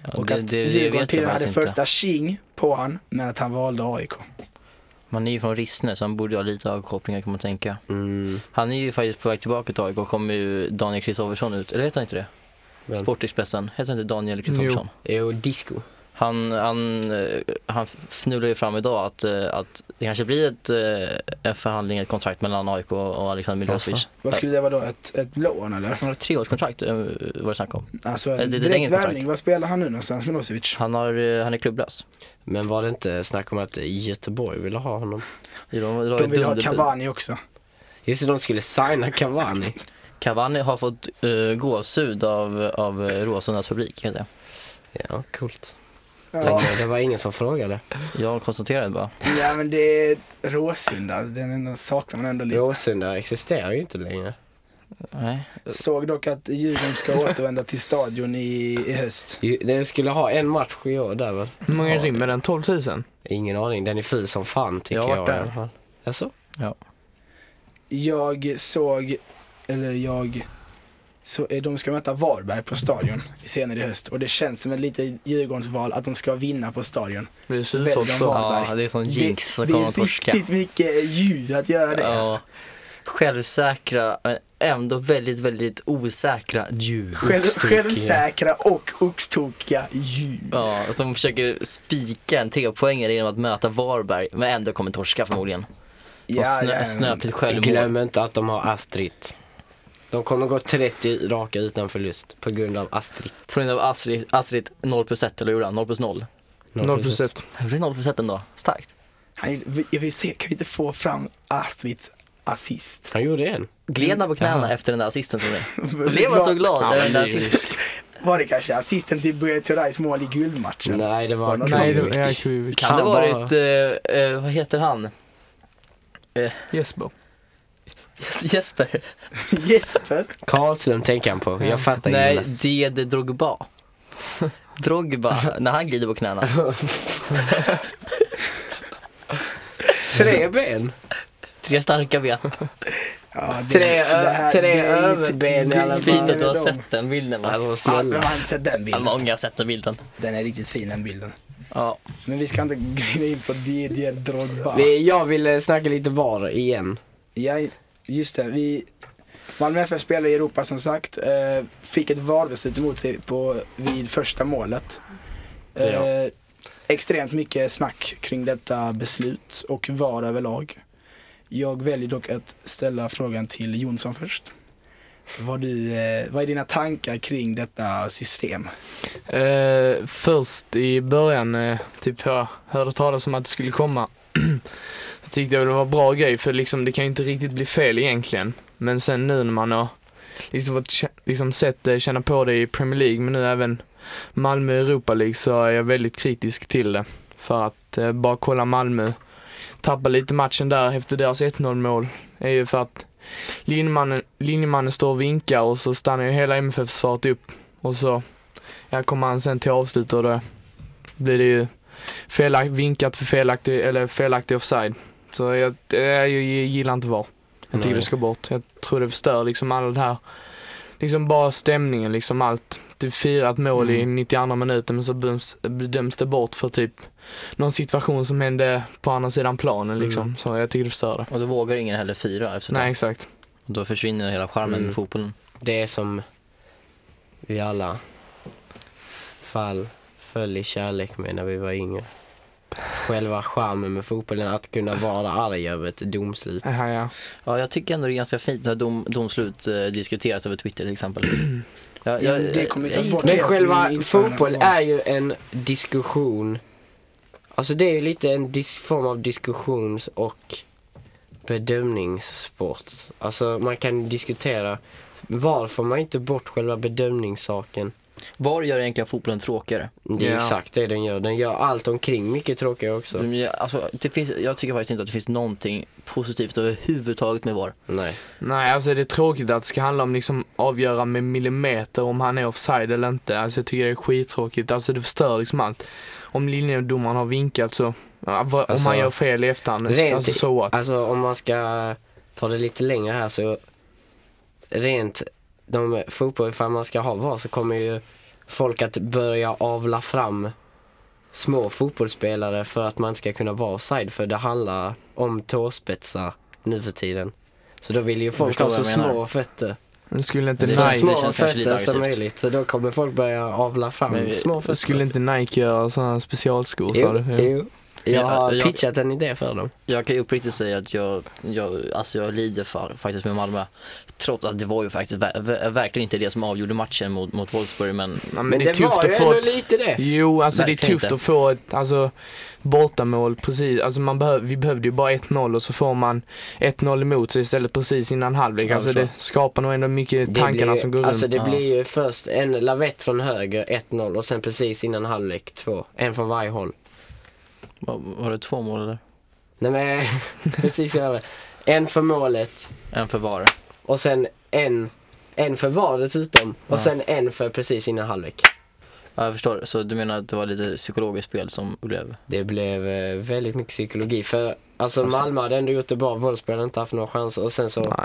[SPEAKER 4] Ja,
[SPEAKER 2] Och
[SPEAKER 4] det,
[SPEAKER 2] att
[SPEAKER 4] det, det
[SPEAKER 2] Djurgården
[SPEAKER 4] vet
[SPEAKER 2] till och
[SPEAKER 4] jag
[SPEAKER 2] med hade
[SPEAKER 4] faktiskt inte.
[SPEAKER 2] första tjing på han, men att han valde AIK.
[SPEAKER 4] Man är ju från Rissne så han borde ju ha lite AIK-kopplingar kan man tänka.
[SPEAKER 3] Mm.
[SPEAKER 4] Han är ju faktiskt på väg tillbaka till AIK, kommer ju Daniel Kristoffersson ut, eller heter han inte det?
[SPEAKER 3] Vem?
[SPEAKER 4] Sportexpressen, heter han inte Daniel Kristoffersson?
[SPEAKER 3] Jo, disco.
[SPEAKER 4] Han, han, eh, han fnular ju fram idag att, eh, att det kanske blir ett, eh, en förhandling, ett kontrakt mellan AIK och Alexander Milosevic.
[SPEAKER 3] Jaså?
[SPEAKER 2] Vad skulle det vara då? Ett, ett blån eller?
[SPEAKER 4] Han har ett treårskontrakt eh, var det snack om.
[SPEAKER 2] Alltså
[SPEAKER 4] det
[SPEAKER 2] en
[SPEAKER 4] är ett
[SPEAKER 2] direkt
[SPEAKER 4] längre kontrakt.
[SPEAKER 2] värvning. Vad spelar han nu någonstans Milosevic?
[SPEAKER 4] Han, har, eh, han är klubblös.
[SPEAKER 3] Men var det inte snack om att Göteborg ville ha honom?
[SPEAKER 4] De, de,
[SPEAKER 2] De vill ha
[SPEAKER 4] dunderbud.
[SPEAKER 2] Cavani också.
[SPEAKER 3] Just det, de skulle signa Cavani.
[SPEAKER 4] Cavani har fått uh, gåshud av, av eh, Råsundas publik. heter det.
[SPEAKER 3] Ja, coolt.
[SPEAKER 2] Ja,
[SPEAKER 3] Men Det var ingen som frågade.
[SPEAKER 4] Jag konstaterade bara.
[SPEAKER 2] ja men det är alltså. Råsunda, den ändå saknar man ändå lite.
[SPEAKER 3] Råsunda existerar ju inte längre.
[SPEAKER 4] Nej.
[SPEAKER 2] Såg dock att Djurgården ska återvända till stadion i, i höst.
[SPEAKER 3] Ju- De skulle ha en match i år där väl?
[SPEAKER 5] Hur många rymmer den? 12 000?
[SPEAKER 3] Ingen aning, den är ful som fan tycker
[SPEAKER 4] Jag
[SPEAKER 3] jag.
[SPEAKER 4] har varit
[SPEAKER 3] i
[SPEAKER 4] där.
[SPEAKER 3] alla fall. Jaså?
[SPEAKER 2] Jag såg, eller jag, så eh, de ska möta Varberg på stadion senare i höst och det känns som ett lite Djurgårdens val att de ska vinna på stadion.
[SPEAKER 5] Blir det
[SPEAKER 2] väljer
[SPEAKER 5] slutsålt
[SPEAKER 2] de
[SPEAKER 5] då?
[SPEAKER 2] Varberg.
[SPEAKER 4] Ja, det är sån jinx
[SPEAKER 2] det,
[SPEAKER 4] som
[SPEAKER 2] det
[SPEAKER 4] kommer
[SPEAKER 2] är
[SPEAKER 4] att torska.
[SPEAKER 2] riktigt mycket ljud att göra det.
[SPEAKER 4] Ja.
[SPEAKER 2] Alltså.
[SPEAKER 4] Självsäkra, men ändå väldigt, väldigt osäkra djur.
[SPEAKER 2] Själv,
[SPEAKER 3] oxtokiga.
[SPEAKER 2] självsäkra och oxtokiga ljud.
[SPEAKER 4] Ja, som försöker spika en trepoängare genom att möta Varberg, men ändå kommer torska förmodligen. Ja, snö, Snöpligt självmål.
[SPEAKER 3] Glöm inte att de har Astrid. De kommer gå 30 raka utan förlust på grund av Astrid.
[SPEAKER 4] På grund av Astrid, Astrid 0 plus 1, eller hur gjorde han? 0 plus 0?
[SPEAKER 5] 0 plus 1.
[SPEAKER 4] Han gjorde 0 plus 1 ändå, starkt.
[SPEAKER 2] Han, vi- jag vill se, kan vi inte få fram Astvids assist?
[SPEAKER 3] Han gjorde en.
[SPEAKER 4] Gled han på knäna
[SPEAKER 5] Jaha.
[SPEAKER 4] efter den där assisten tror ni? Blev han så glad över den där assisten?
[SPEAKER 2] Var det kanske assisten till Börje Thurais mål i guldmatchen?
[SPEAKER 3] Nej, det var
[SPEAKER 2] Nej,
[SPEAKER 5] Nej,
[SPEAKER 3] Kujovic.
[SPEAKER 5] det- jag- vi-
[SPEAKER 4] Kan det
[SPEAKER 5] bara-
[SPEAKER 4] varit, eh, eh, vad heter han?
[SPEAKER 5] Jesper.
[SPEAKER 4] Jesper?
[SPEAKER 2] Jesper?
[SPEAKER 3] Karlström tänker han på. Jag fattar
[SPEAKER 4] Nej,
[SPEAKER 3] Jonas.
[SPEAKER 4] Dede Drogba. Drogba, när han glider på knäna.
[SPEAKER 3] Tre ben.
[SPEAKER 4] Tre starka ben.
[SPEAKER 2] Ja, det-
[SPEAKER 3] Tre ö-
[SPEAKER 2] det här-
[SPEAKER 3] tre
[SPEAKER 2] det är lite-
[SPEAKER 3] överben i
[SPEAKER 2] det är
[SPEAKER 3] alla
[SPEAKER 2] lite
[SPEAKER 4] Fint att du har
[SPEAKER 2] dem.
[SPEAKER 4] sett den bilden va?
[SPEAKER 3] Alltså
[SPEAKER 2] Ja, men
[SPEAKER 3] snälla.
[SPEAKER 2] har inte sett den
[SPEAKER 4] Ja,
[SPEAKER 2] bilden?
[SPEAKER 4] Många har sett den bilden.
[SPEAKER 2] Den är riktigt fin den bilden.
[SPEAKER 4] Ja.
[SPEAKER 2] Men vi ska inte glida in på Didier Drogba.
[SPEAKER 3] Vi- Jag ville snacka lite VAR igen.
[SPEAKER 2] Jag, just det, vi... Malmö FF spelar i Europa som sagt. Eh, fick ett valbeslut emot sig på, vid första målet. Eh,
[SPEAKER 3] Ja.
[SPEAKER 2] Extremt mycket snack kring detta beslut och VAR överlag. Jag väljer dock att ställa frågan till Jonsson först. Vad, du, eh, vad är dina tankar kring detta system?
[SPEAKER 5] Eh, först i början, eh, typ jag hörde talas om att det skulle komma. jag tyckte jag det var en bra grej för liksom, det kan ju inte riktigt bli fel egentligen. Men sen nu när man har liksom, fått, kä- liksom sett det, känna på det i Premier League men nu även Malmö i Europa League så är jag väldigt kritisk till det. För att eh, bara kolla Malmö, tappa lite matchen där efter deras 1-0 mål är ju för att linjemannen, linjemannen står och vinkar och så stannar ju hela MFF-försvaret upp och så Ja, kommer han sen till avslut och då blir det ju felakt, vinkat för felaktig, eller felaktig offside. Så jag, eh, jag gillar inte VAR. Jag tycker
[SPEAKER 3] Nej.
[SPEAKER 5] det ska bort. Jag tror det förstör liksom all det här, liksom bara stämningen liksom allt. Du firar ett mål
[SPEAKER 3] Mm.
[SPEAKER 5] i 92 minuten men så bedöms, bedöms det bort för typ någon situation som hände på andra sidan planen liksom.
[SPEAKER 3] Mm.
[SPEAKER 5] Så jag tycker det förstör det.
[SPEAKER 4] Och då vågar ingen heller fira efter
[SPEAKER 5] Nej
[SPEAKER 4] det.
[SPEAKER 5] exakt.
[SPEAKER 4] Och då försvinner hela charmen
[SPEAKER 3] Mm.
[SPEAKER 4] med fotbollen.
[SPEAKER 3] Det är som vi alla fall föll i kärlek med när vi var yngre. Själva charmen med fotbollen, att kunna vara arg över ett domslut.
[SPEAKER 5] Aha, ja.
[SPEAKER 4] Ja, jag tycker ändå det är ganska fint när dom, domslut eh, diskuteras över Twitter till exempel. Ja,
[SPEAKER 2] Ja,
[SPEAKER 4] jag-
[SPEAKER 2] det kommer
[SPEAKER 4] jag-
[SPEAKER 2] tas bort
[SPEAKER 3] Men
[SPEAKER 2] helt
[SPEAKER 3] själva
[SPEAKER 2] i införandet av
[SPEAKER 3] fotboll
[SPEAKER 2] VAR.
[SPEAKER 3] är ju en diskussion. Alltså det är ju lite en dis- form av diskussions och bedömningssport. Alltså man kan diskutera varför man inte bort själva bedömningssaken.
[SPEAKER 4] Var gör egentligen fotbollen tråkigare?
[SPEAKER 3] Det är
[SPEAKER 5] Ja.
[SPEAKER 3] exakt det den gör. Den gör allt omkring mycket tråkigare också.
[SPEAKER 4] Men jag- Alltså, det finns, jag tycker faktiskt inte att det finns någonting positivt överhuvudtaget med VAR.
[SPEAKER 3] Nej.
[SPEAKER 5] Nej, alltså det är tråkigt att det ska handla om liksom avgöra med millimeter om han är offside eller inte. Alltså jag tycker det är skittråkigt. Alltså det förstör liksom allt. Om linjedomaren har vinkat så, ja, vad- om
[SPEAKER 3] Alltså,
[SPEAKER 5] han gör fel i efterhand,
[SPEAKER 3] rent-
[SPEAKER 5] alltså så what?
[SPEAKER 3] Alltså om man ska ta det lite längre här så rent de fotboll, ifall man ska ha VAR så kommer ju folk att börja avla fram små fotbollsspelare för att man inte ska kunna vara offside för det handlar om tåspetsar nu för tiden. Så då vill ju folk
[SPEAKER 4] förstår
[SPEAKER 3] ha
[SPEAKER 4] vad
[SPEAKER 3] så
[SPEAKER 4] jag menar.
[SPEAKER 3] små fötter.
[SPEAKER 5] Men Skulle inte,
[SPEAKER 4] Det
[SPEAKER 3] Så
[SPEAKER 4] känns-
[SPEAKER 5] Nike,
[SPEAKER 3] små
[SPEAKER 4] känns kanske lite
[SPEAKER 3] fötter som
[SPEAKER 4] aggressivt.
[SPEAKER 3] möjligt. Så då kommer folk börja avla fram
[SPEAKER 4] Men vi-
[SPEAKER 3] små fötter.
[SPEAKER 5] skulle inte Nike göra sådana specialskor sa
[SPEAKER 3] Jo,
[SPEAKER 5] du? Ja.
[SPEAKER 3] jo. Jag
[SPEAKER 4] Ja,
[SPEAKER 3] har
[SPEAKER 4] jag-
[SPEAKER 3] pitchat en idé för dem.
[SPEAKER 4] Jag kan ju uppriktigt säga att jag, jag, alltså jag lider för, faktiskt med Malmö. Trots att det var ju faktiskt ver- ver- verkligen inte det som avgjorde matchen mot, mot Wolfsburg. Men
[SPEAKER 5] Ja, men,
[SPEAKER 3] Men
[SPEAKER 5] det är
[SPEAKER 3] det
[SPEAKER 5] tufft
[SPEAKER 3] var ju
[SPEAKER 5] att få
[SPEAKER 3] ändå
[SPEAKER 5] ett,
[SPEAKER 3] lite det.
[SPEAKER 5] Jo, alltså det är
[SPEAKER 4] Verkligen
[SPEAKER 5] tufft
[SPEAKER 4] inte.
[SPEAKER 5] att få ett alltså, bortamål precis. Alltså man behöv, vi behövde ju bara 1-0 och så får man 1-0 emot sig istället precis innan halvlek.
[SPEAKER 4] Ja,
[SPEAKER 5] Alltså
[SPEAKER 4] förstå.
[SPEAKER 5] det skapar nog ändå mycket
[SPEAKER 3] Det
[SPEAKER 5] tankarna
[SPEAKER 3] blir,
[SPEAKER 5] som går
[SPEAKER 3] Alltså
[SPEAKER 5] runt.
[SPEAKER 3] det
[SPEAKER 4] Ja.
[SPEAKER 3] blir ju först en lavett från höger, 1-0 och sen precis innan halvlek 2. En från varje håll.
[SPEAKER 4] var, var det två mål eller?
[SPEAKER 3] Nej men, precis innan det. En för målet
[SPEAKER 4] En för VAR.
[SPEAKER 3] och sen en, en för var dessutom. Och
[SPEAKER 4] Ja.
[SPEAKER 3] sen en för precis innan halvlek.
[SPEAKER 4] Ja, jag förstår. Så du menar att det var lite psykologiskt spel som blev...
[SPEAKER 3] Det blev eh, väldigt mycket psykologi för alltså
[SPEAKER 4] Alltså.
[SPEAKER 3] Malmö hade ändå gjort det bra, Wolfsburg hade inte haft några chanser och sen så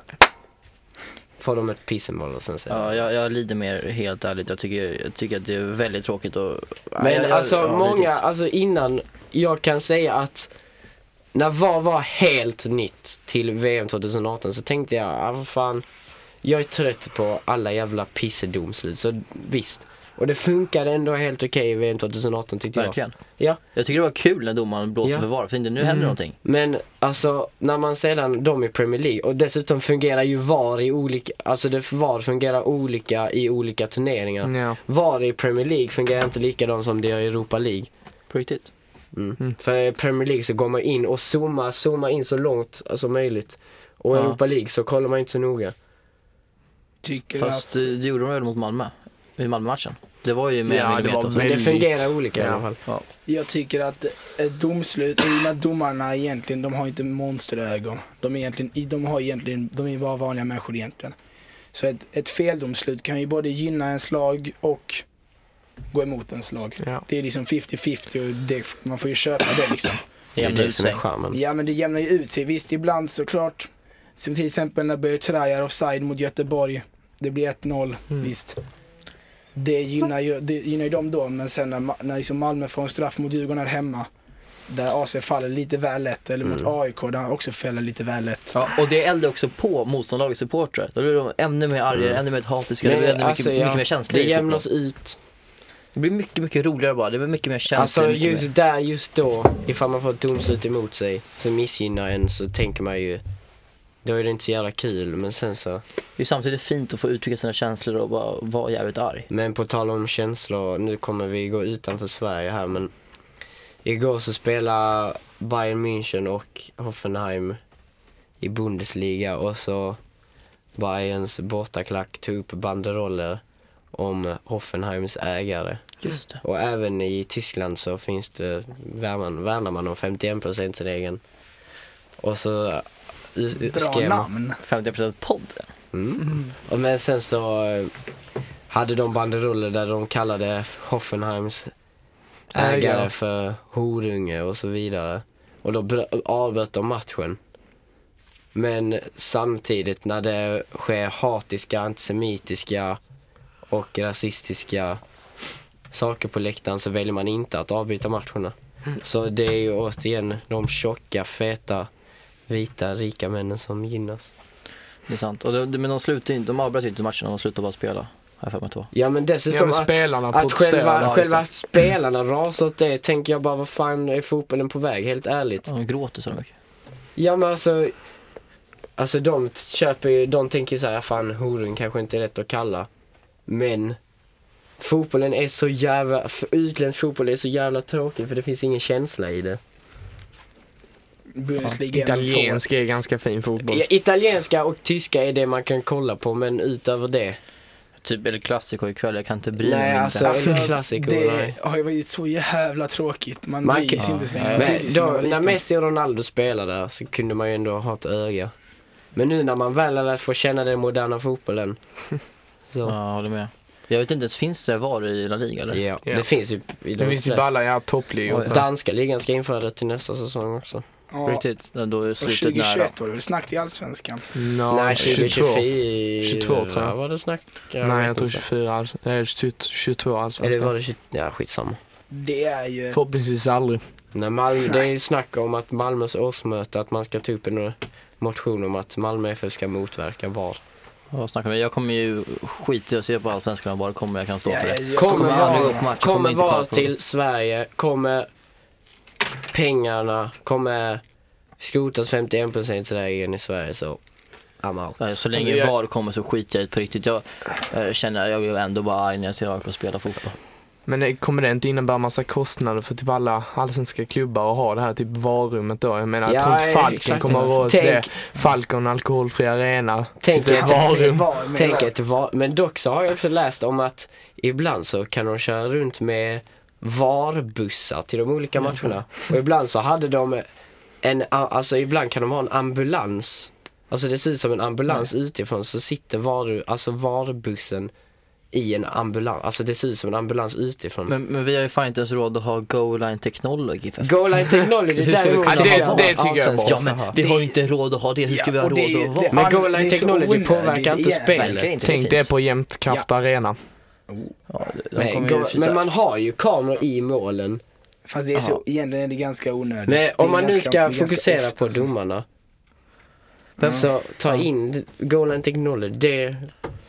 [SPEAKER 3] får de ett pissemål och sen så.
[SPEAKER 4] Ja, jag, jag lider med er helt ärligt. Jag tycker, jag tycker att det är väldigt tråkigt och...
[SPEAKER 3] Men
[SPEAKER 4] jag, jag,
[SPEAKER 3] alltså
[SPEAKER 4] jag har
[SPEAKER 3] många,
[SPEAKER 4] lidit.
[SPEAKER 3] alltså innan jag kan säga att när VAR var helt nytt till VM 2018 så tänkte jag, ah, vad fan, jag är trött på alla jävla pissedomslut, så visst. Och det funkade ändå helt okej i VM 2018 tyckte jag.
[SPEAKER 4] Verkligen.
[SPEAKER 3] Ja.
[SPEAKER 4] Jag tycker det var kul när domaren blåste
[SPEAKER 3] Ja. Mm.
[SPEAKER 4] för VAR, för inte nu händer någonting.
[SPEAKER 3] Men alltså när man sedan, de i Premier League och dessutom fungerar ju VAR i olika, alltså det, VAR fungerar olika i olika turneringar.
[SPEAKER 5] Ja.
[SPEAKER 3] VAR i Premier League fungerar inte likadant som det gör i Europa League.
[SPEAKER 4] På riktigt.
[SPEAKER 3] Mm. För i Premier League så går man in och zoomar, zoomar in så långt som möjligt. Och i
[SPEAKER 4] Ja.
[SPEAKER 3] Europa League så kollar man inte så noga.
[SPEAKER 2] Tycker
[SPEAKER 4] Fast eh, det gjorde de väl mot Malmö? I Malmö-matchen? Det var ju med
[SPEAKER 5] Ja,
[SPEAKER 4] en
[SPEAKER 5] det
[SPEAKER 4] millimeter
[SPEAKER 5] var
[SPEAKER 4] och så.
[SPEAKER 3] Men det
[SPEAKER 5] Väldigt.
[SPEAKER 3] fungerar olika i
[SPEAKER 5] Ja.
[SPEAKER 3] alla fall.
[SPEAKER 2] Jag tycker att ett domslut, i och med att domarna egentligen, de har inte monsterögon. De är egentligen, de har egentligen, de är bara vanliga människor egentligen. Så ett, ett feldomslut kan ju både gynna ens lag och gå emot ens lag.
[SPEAKER 5] Ja.
[SPEAKER 2] Det är liksom 50-50 och det, man får ju köpa det liksom.
[SPEAKER 3] Det är
[SPEAKER 4] Jämna
[SPEAKER 3] det
[SPEAKER 4] ut
[SPEAKER 3] som är
[SPEAKER 4] sig.
[SPEAKER 3] charmen.
[SPEAKER 2] Ja men det jämnar ju ut sig. Visst ibland såklart. Som till exempel när Böjer Trajar offside mot Göteborg. Det blir 1-0,
[SPEAKER 5] Mm.
[SPEAKER 2] visst. Det gynnar, ju, det gynnar ju dem då, men sen när, Ma- när liksom Malmö får en straff mot Djurgården här hemma. Där AC faller lite väl lätt, eller mot
[SPEAKER 3] Mm.
[SPEAKER 2] AIK där han också fäller lite väl lätt.
[SPEAKER 4] Ja, och det eldar också på motståndarlagets supportrar. Då blir de ännu mer arga, ännu mer hatiska, det blir ännu mycket,
[SPEAKER 3] Mm. alltså, ja,
[SPEAKER 4] mycket mer känsliga
[SPEAKER 3] Det
[SPEAKER 4] i fotboll.
[SPEAKER 3] jämnas ut.
[SPEAKER 4] Det blir mycket, mycket roligare bara. Det blir mycket mer känsligt.
[SPEAKER 3] Alltså
[SPEAKER 4] mycket mer-
[SPEAKER 3] just där, just då, ifall man får ett domslut emot sig som missgynnar en så tänker man ju, då är det inte så jävla kul. Men sen så,
[SPEAKER 4] Det är samtidigt fint att få uttrycka sina känslor och bara vara jävligt arg.
[SPEAKER 3] men på tal om känslor, nu kommer vi gå utanför Sverige här men Igår så spelade Bayern München och Hoffenheim i Bundesliga och så Bayerns bortaklack tog upp banderoller om Hoffenheims ägare.
[SPEAKER 4] Just det.
[SPEAKER 3] Och även i Tyskland så finns det, värnar, värnar man om 51 regeln Och så u- u-
[SPEAKER 2] Bra
[SPEAKER 3] skrev man.
[SPEAKER 2] namn.
[SPEAKER 4] 50% podd.
[SPEAKER 3] Mm. Och men sen så eh, hade de banderoller där de kallade Hoffenheims
[SPEAKER 5] Ägare.
[SPEAKER 3] ägare för Horunge och så vidare. Och då br- avbröt de matchen. Men samtidigt när det sker hatiska, antisemitiska och rasistiska saker på läktaren så väljer man inte att avbryta matcherna.
[SPEAKER 5] Mm.
[SPEAKER 3] Så det är ju återigen de tjocka, feta, vita, rika männen som gynnas.
[SPEAKER 4] Det är sant. Och de, men de slutar ju inte, de avbröt ju inte matchen, de slutar bara spela. Har jag för mig att det var.
[SPEAKER 3] Ja men
[SPEAKER 5] Ja,
[SPEAKER 3] dessutom
[SPEAKER 5] men
[SPEAKER 3] att
[SPEAKER 5] spelarna
[SPEAKER 3] Att själva,
[SPEAKER 5] protesterar.
[SPEAKER 3] själva att spelarna rasar åt det tänker jag bara, vad fan är fotbollen på väg? Helt ärligt.
[SPEAKER 4] De gråter så mycket.
[SPEAKER 3] Ja men alltså, alltså de t- köper ju, de tänker ju såhär, fan horun kanske inte är rätt att kalla. Men fotbollen är så jävla, för utländsk fotboll är så jävla tråkig för det finns ingen känsla i det.
[SPEAKER 2] Bundesliga är en forward.
[SPEAKER 5] Italiensk är ganska fin fotboll.
[SPEAKER 3] Ja, italienska och tyska är det man kan kolla på men utöver det.
[SPEAKER 4] Typ El Clasico ikväll, jag kan inte bry
[SPEAKER 3] Nej,
[SPEAKER 4] mig.
[SPEAKER 3] alltså-
[SPEAKER 4] inte.
[SPEAKER 3] en klassiker,
[SPEAKER 2] det
[SPEAKER 3] nej.
[SPEAKER 2] har ju varit så jävla tråkigt. Man
[SPEAKER 3] Man
[SPEAKER 2] bryr
[SPEAKER 3] kan-
[SPEAKER 2] sig inte så länge. Man
[SPEAKER 3] Men
[SPEAKER 2] bryr sig
[SPEAKER 3] då,
[SPEAKER 2] Eh, man
[SPEAKER 3] när
[SPEAKER 2] liten.
[SPEAKER 3] Messi och Ronaldo spelade så kunde man ju ändå ha ett öga. Men nu när man väl har lärt få känna den moderna fotbollen.
[SPEAKER 4] Ja,
[SPEAKER 3] Så,
[SPEAKER 4] jag håller med. Jag vet inte ens, finns det VAR i La Liga eller?
[SPEAKER 3] ja. Det finns ju i
[SPEAKER 5] Det
[SPEAKER 3] de
[SPEAKER 5] finns ju
[SPEAKER 3] flesta.
[SPEAKER 5] balla, ja, toppligor.
[SPEAKER 4] Oj,
[SPEAKER 5] så.
[SPEAKER 3] Danska ligan ska införa det till nästa säsong också.
[SPEAKER 2] Ja,
[SPEAKER 3] typ
[SPEAKER 2] och
[SPEAKER 4] Riktigt, då är slutet nära.
[SPEAKER 2] 2021 var det väl snack i Allsvenskan.
[SPEAKER 5] Nå,
[SPEAKER 3] Nej,
[SPEAKER 5] 22.
[SPEAKER 3] 2024
[SPEAKER 5] 22, tror jag.
[SPEAKER 3] var det snack. Jag
[SPEAKER 5] Nej,
[SPEAKER 3] vet
[SPEAKER 5] jag tror
[SPEAKER 3] inte.
[SPEAKER 5] 24 alls. Nej, 22 22
[SPEAKER 3] Eller var
[SPEAKER 5] allsvenskan.
[SPEAKER 3] det 20? Ja, skitsamma.
[SPEAKER 2] Det är ju...
[SPEAKER 5] Förhoppningsvis aldrig.
[SPEAKER 3] Nej, Malmö, det är ju snack om att Malmös årsmöte, att man ska ta upp en motion om att Malmö FF ska motverka VAR.
[SPEAKER 4] Vad snackar vi? Jag kommer ju skita i att se på Allsvenskan och bara kommer jag kan stå för
[SPEAKER 2] Ja,
[SPEAKER 4] det.
[SPEAKER 2] jag
[SPEAKER 3] Kommer
[SPEAKER 4] Kommer aldrig gå
[SPEAKER 3] VAR,
[SPEAKER 4] på match, kommer
[SPEAKER 3] kommer
[SPEAKER 4] inte kolla
[SPEAKER 3] VAR
[SPEAKER 4] på.
[SPEAKER 3] till Sverige, kommer pengarna, kommer skrotas 51%-regeln i Sverige så I'm out.
[SPEAKER 4] Så här, Så länge
[SPEAKER 5] Alltså, jag-
[SPEAKER 4] VAR kommer så skiter jag i det på riktigt. Jag eh, känner, jag blir ändå bara arg när jag ser AIK spela fotboll.
[SPEAKER 5] Men det- kommer det inte innebära massa kostnader för typ alla allsvenska klubbar att ha det här typ varummet då? Jag menar, jag
[SPEAKER 3] Ja,
[SPEAKER 5] tror inte Falken
[SPEAKER 3] exakt.
[SPEAKER 5] kommer att råda till det.
[SPEAKER 3] Tänk-
[SPEAKER 5] Falken alkoholfri arena.
[SPEAKER 3] Tänk
[SPEAKER 5] sitt
[SPEAKER 3] ett-
[SPEAKER 5] varum.
[SPEAKER 2] Var med.
[SPEAKER 3] Tänk ett VAR, men dock så har jag också läst om att ibland så kan de köra runt med VAR-bussar till de olika matcherna. Och ibland så hade de en, a- alltså ibland kan de ha en ambulans. Alltså det ser ut som en ambulans utifrån så sitter VAR, alltså VAR-bussen i en ambulans. Alltså det ser ut som en ambulans utifrån.
[SPEAKER 4] Men, men vi har ju fan inte ens råd att ha goal line technology för
[SPEAKER 3] Goal line technology,
[SPEAKER 4] Hur ska vi
[SPEAKER 3] däremot.
[SPEAKER 4] kunna
[SPEAKER 5] Ja, det-
[SPEAKER 4] ha
[SPEAKER 5] det tycker jag
[SPEAKER 4] Allsvenskan?
[SPEAKER 5] bara
[SPEAKER 4] Ja
[SPEAKER 5] ska
[SPEAKER 4] men
[SPEAKER 5] ha.
[SPEAKER 4] vi har ju inte råd att ha det, hur ska vi ha
[SPEAKER 2] Ja, och
[SPEAKER 4] råd
[SPEAKER 2] det-
[SPEAKER 4] att vara?
[SPEAKER 2] det-
[SPEAKER 3] Men goal
[SPEAKER 2] det
[SPEAKER 3] line
[SPEAKER 2] är så
[SPEAKER 3] technology
[SPEAKER 2] onödigt
[SPEAKER 3] påverkar inte
[SPEAKER 2] igen.
[SPEAKER 3] spelet.
[SPEAKER 4] Verkligen inte
[SPEAKER 5] Tänk
[SPEAKER 4] finns.
[SPEAKER 5] det på Jämtkraft arena.
[SPEAKER 4] Ja, de- de
[SPEAKER 3] Men,
[SPEAKER 4] kommer ju
[SPEAKER 3] goal,
[SPEAKER 4] försöka-
[SPEAKER 3] men man har ju kameror i målen.
[SPEAKER 2] Fast det är så,
[SPEAKER 4] Aha.
[SPEAKER 2] egentligen är det ganska onödigt.
[SPEAKER 3] Men
[SPEAKER 2] Det är
[SPEAKER 3] om man nu
[SPEAKER 2] ganska-
[SPEAKER 3] ska
[SPEAKER 2] det är ganska
[SPEAKER 3] fokusera
[SPEAKER 2] ofta
[SPEAKER 3] på
[SPEAKER 5] alltså.
[SPEAKER 2] så.
[SPEAKER 3] domarna. Så ta in goal and technology, det är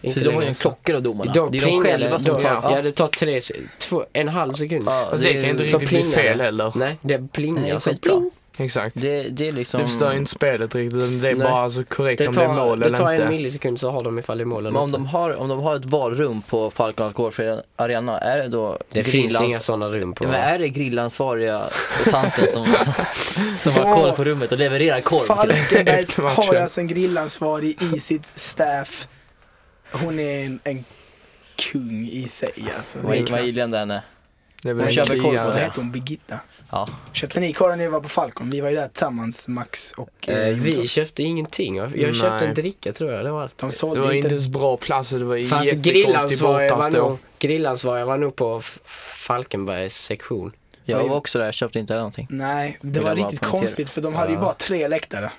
[SPEAKER 3] inte
[SPEAKER 4] För de har ju
[SPEAKER 3] längre
[SPEAKER 4] en
[SPEAKER 3] så.
[SPEAKER 4] klocka då domarna.
[SPEAKER 3] De
[SPEAKER 4] det är de
[SPEAKER 3] plingar det,
[SPEAKER 4] själva som
[SPEAKER 3] de,
[SPEAKER 4] tar.
[SPEAKER 3] ja det tar tre, se- två, en halv sekund.
[SPEAKER 4] Ja,
[SPEAKER 5] Alltså det
[SPEAKER 4] är
[SPEAKER 5] kan ju inte
[SPEAKER 4] ju-
[SPEAKER 3] så
[SPEAKER 5] riktigt bli
[SPEAKER 3] plingar det.
[SPEAKER 5] fel heller.
[SPEAKER 3] Nej, det plingar
[SPEAKER 4] Nej,
[SPEAKER 3] så
[SPEAKER 4] skitbra.
[SPEAKER 3] pling.
[SPEAKER 5] Exakt.
[SPEAKER 4] Det, det är liksom...
[SPEAKER 5] Det förstör ju inte spelet riktigt. utan Det är
[SPEAKER 3] Nej.
[SPEAKER 5] bara så korrekt
[SPEAKER 3] Det
[SPEAKER 5] om det är
[SPEAKER 3] tar,
[SPEAKER 5] mål
[SPEAKER 3] det tar
[SPEAKER 5] eller
[SPEAKER 3] en
[SPEAKER 5] inte.
[SPEAKER 3] millisekund så har de ifall det är mål
[SPEAKER 4] Men
[SPEAKER 3] eller
[SPEAKER 4] om de,
[SPEAKER 3] inte.
[SPEAKER 4] har, om de har ett valrum på Falcon Alkoholfri Arena, är det då
[SPEAKER 3] Det finns
[SPEAKER 4] grillans-
[SPEAKER 3] inga sådana rum på
[SPEAKER 4] Ja, men eh, är det grillansvariga tanten som, som, som har koll på rummet och levererar korv till dig?
[SPEAKER 2] Falkenbergs
[SPEAKER 5] Efter matchen.
[SPEAKER 2] har alltså en grillansvarig i sitt staff. Hon är en, en kung i sig alltså. Det är
[SPEAKER 4] Man gick- Man
[SPEAKER 2] klass.
[SPEAKER 4] gillar ändå henne.
[SPEAKER 5] Det är väl
[SPEAKER 4] Hon
[SPEAKER 5] en
[SPEAKER 4] köper korv på
[SPEAKER 5] kliare.
[SPEAKER 2] Vad
[SPEAKER 4] sig.
[SPEAKER 2] hette hon? Birgitta?
[SPEAKER 4] Ja.
[SPEAKER 2] Köpte ni korven när vi var på Falcon? Vi var ju där tillsammans, Max och eh,
[SPEAKER 3] Eh,
[SPEAKER 2] Jonsson.
[SPEAKER 3] vi köpte ingenting. Jag jag köpte
[SPEAKER 5] Nej.
[SPEAKER 3] en dricka tror jag, det var allt.
[SPEAKER 2] De
[SPEAKER 5] Det var
[SPEAKER 2] sålde
[SPEAKER 5] inte
[SPEAKER 2] inte...
[SPEAKER 5] ens bra plats och det var
[SPEAKER 3] Fanns
[SPEAKER 5] jättekonstig
[SPEAKER 3] grillansvariga var,
[SPEAKER 5] bortastå.
[SPEAKER 3] nog, grillansvariga var nog på F- Falkenbergs sektion.
[SPEAKER 4] Jag var också där, jag köpte inte heller någonting.
[SPEAKER 2] Nej, det
[SPEAKER 4] jag
[SPEAKER 2] var
[SPEAKER 4] bara
[SPEAKER 2] riktigt
[SPEAKER 4] poängtera.
[SPEAKER 2] konstigt för de hade ju
[SPEAKER 3] Ja.
[SPEAKER 2] bara tre läktare.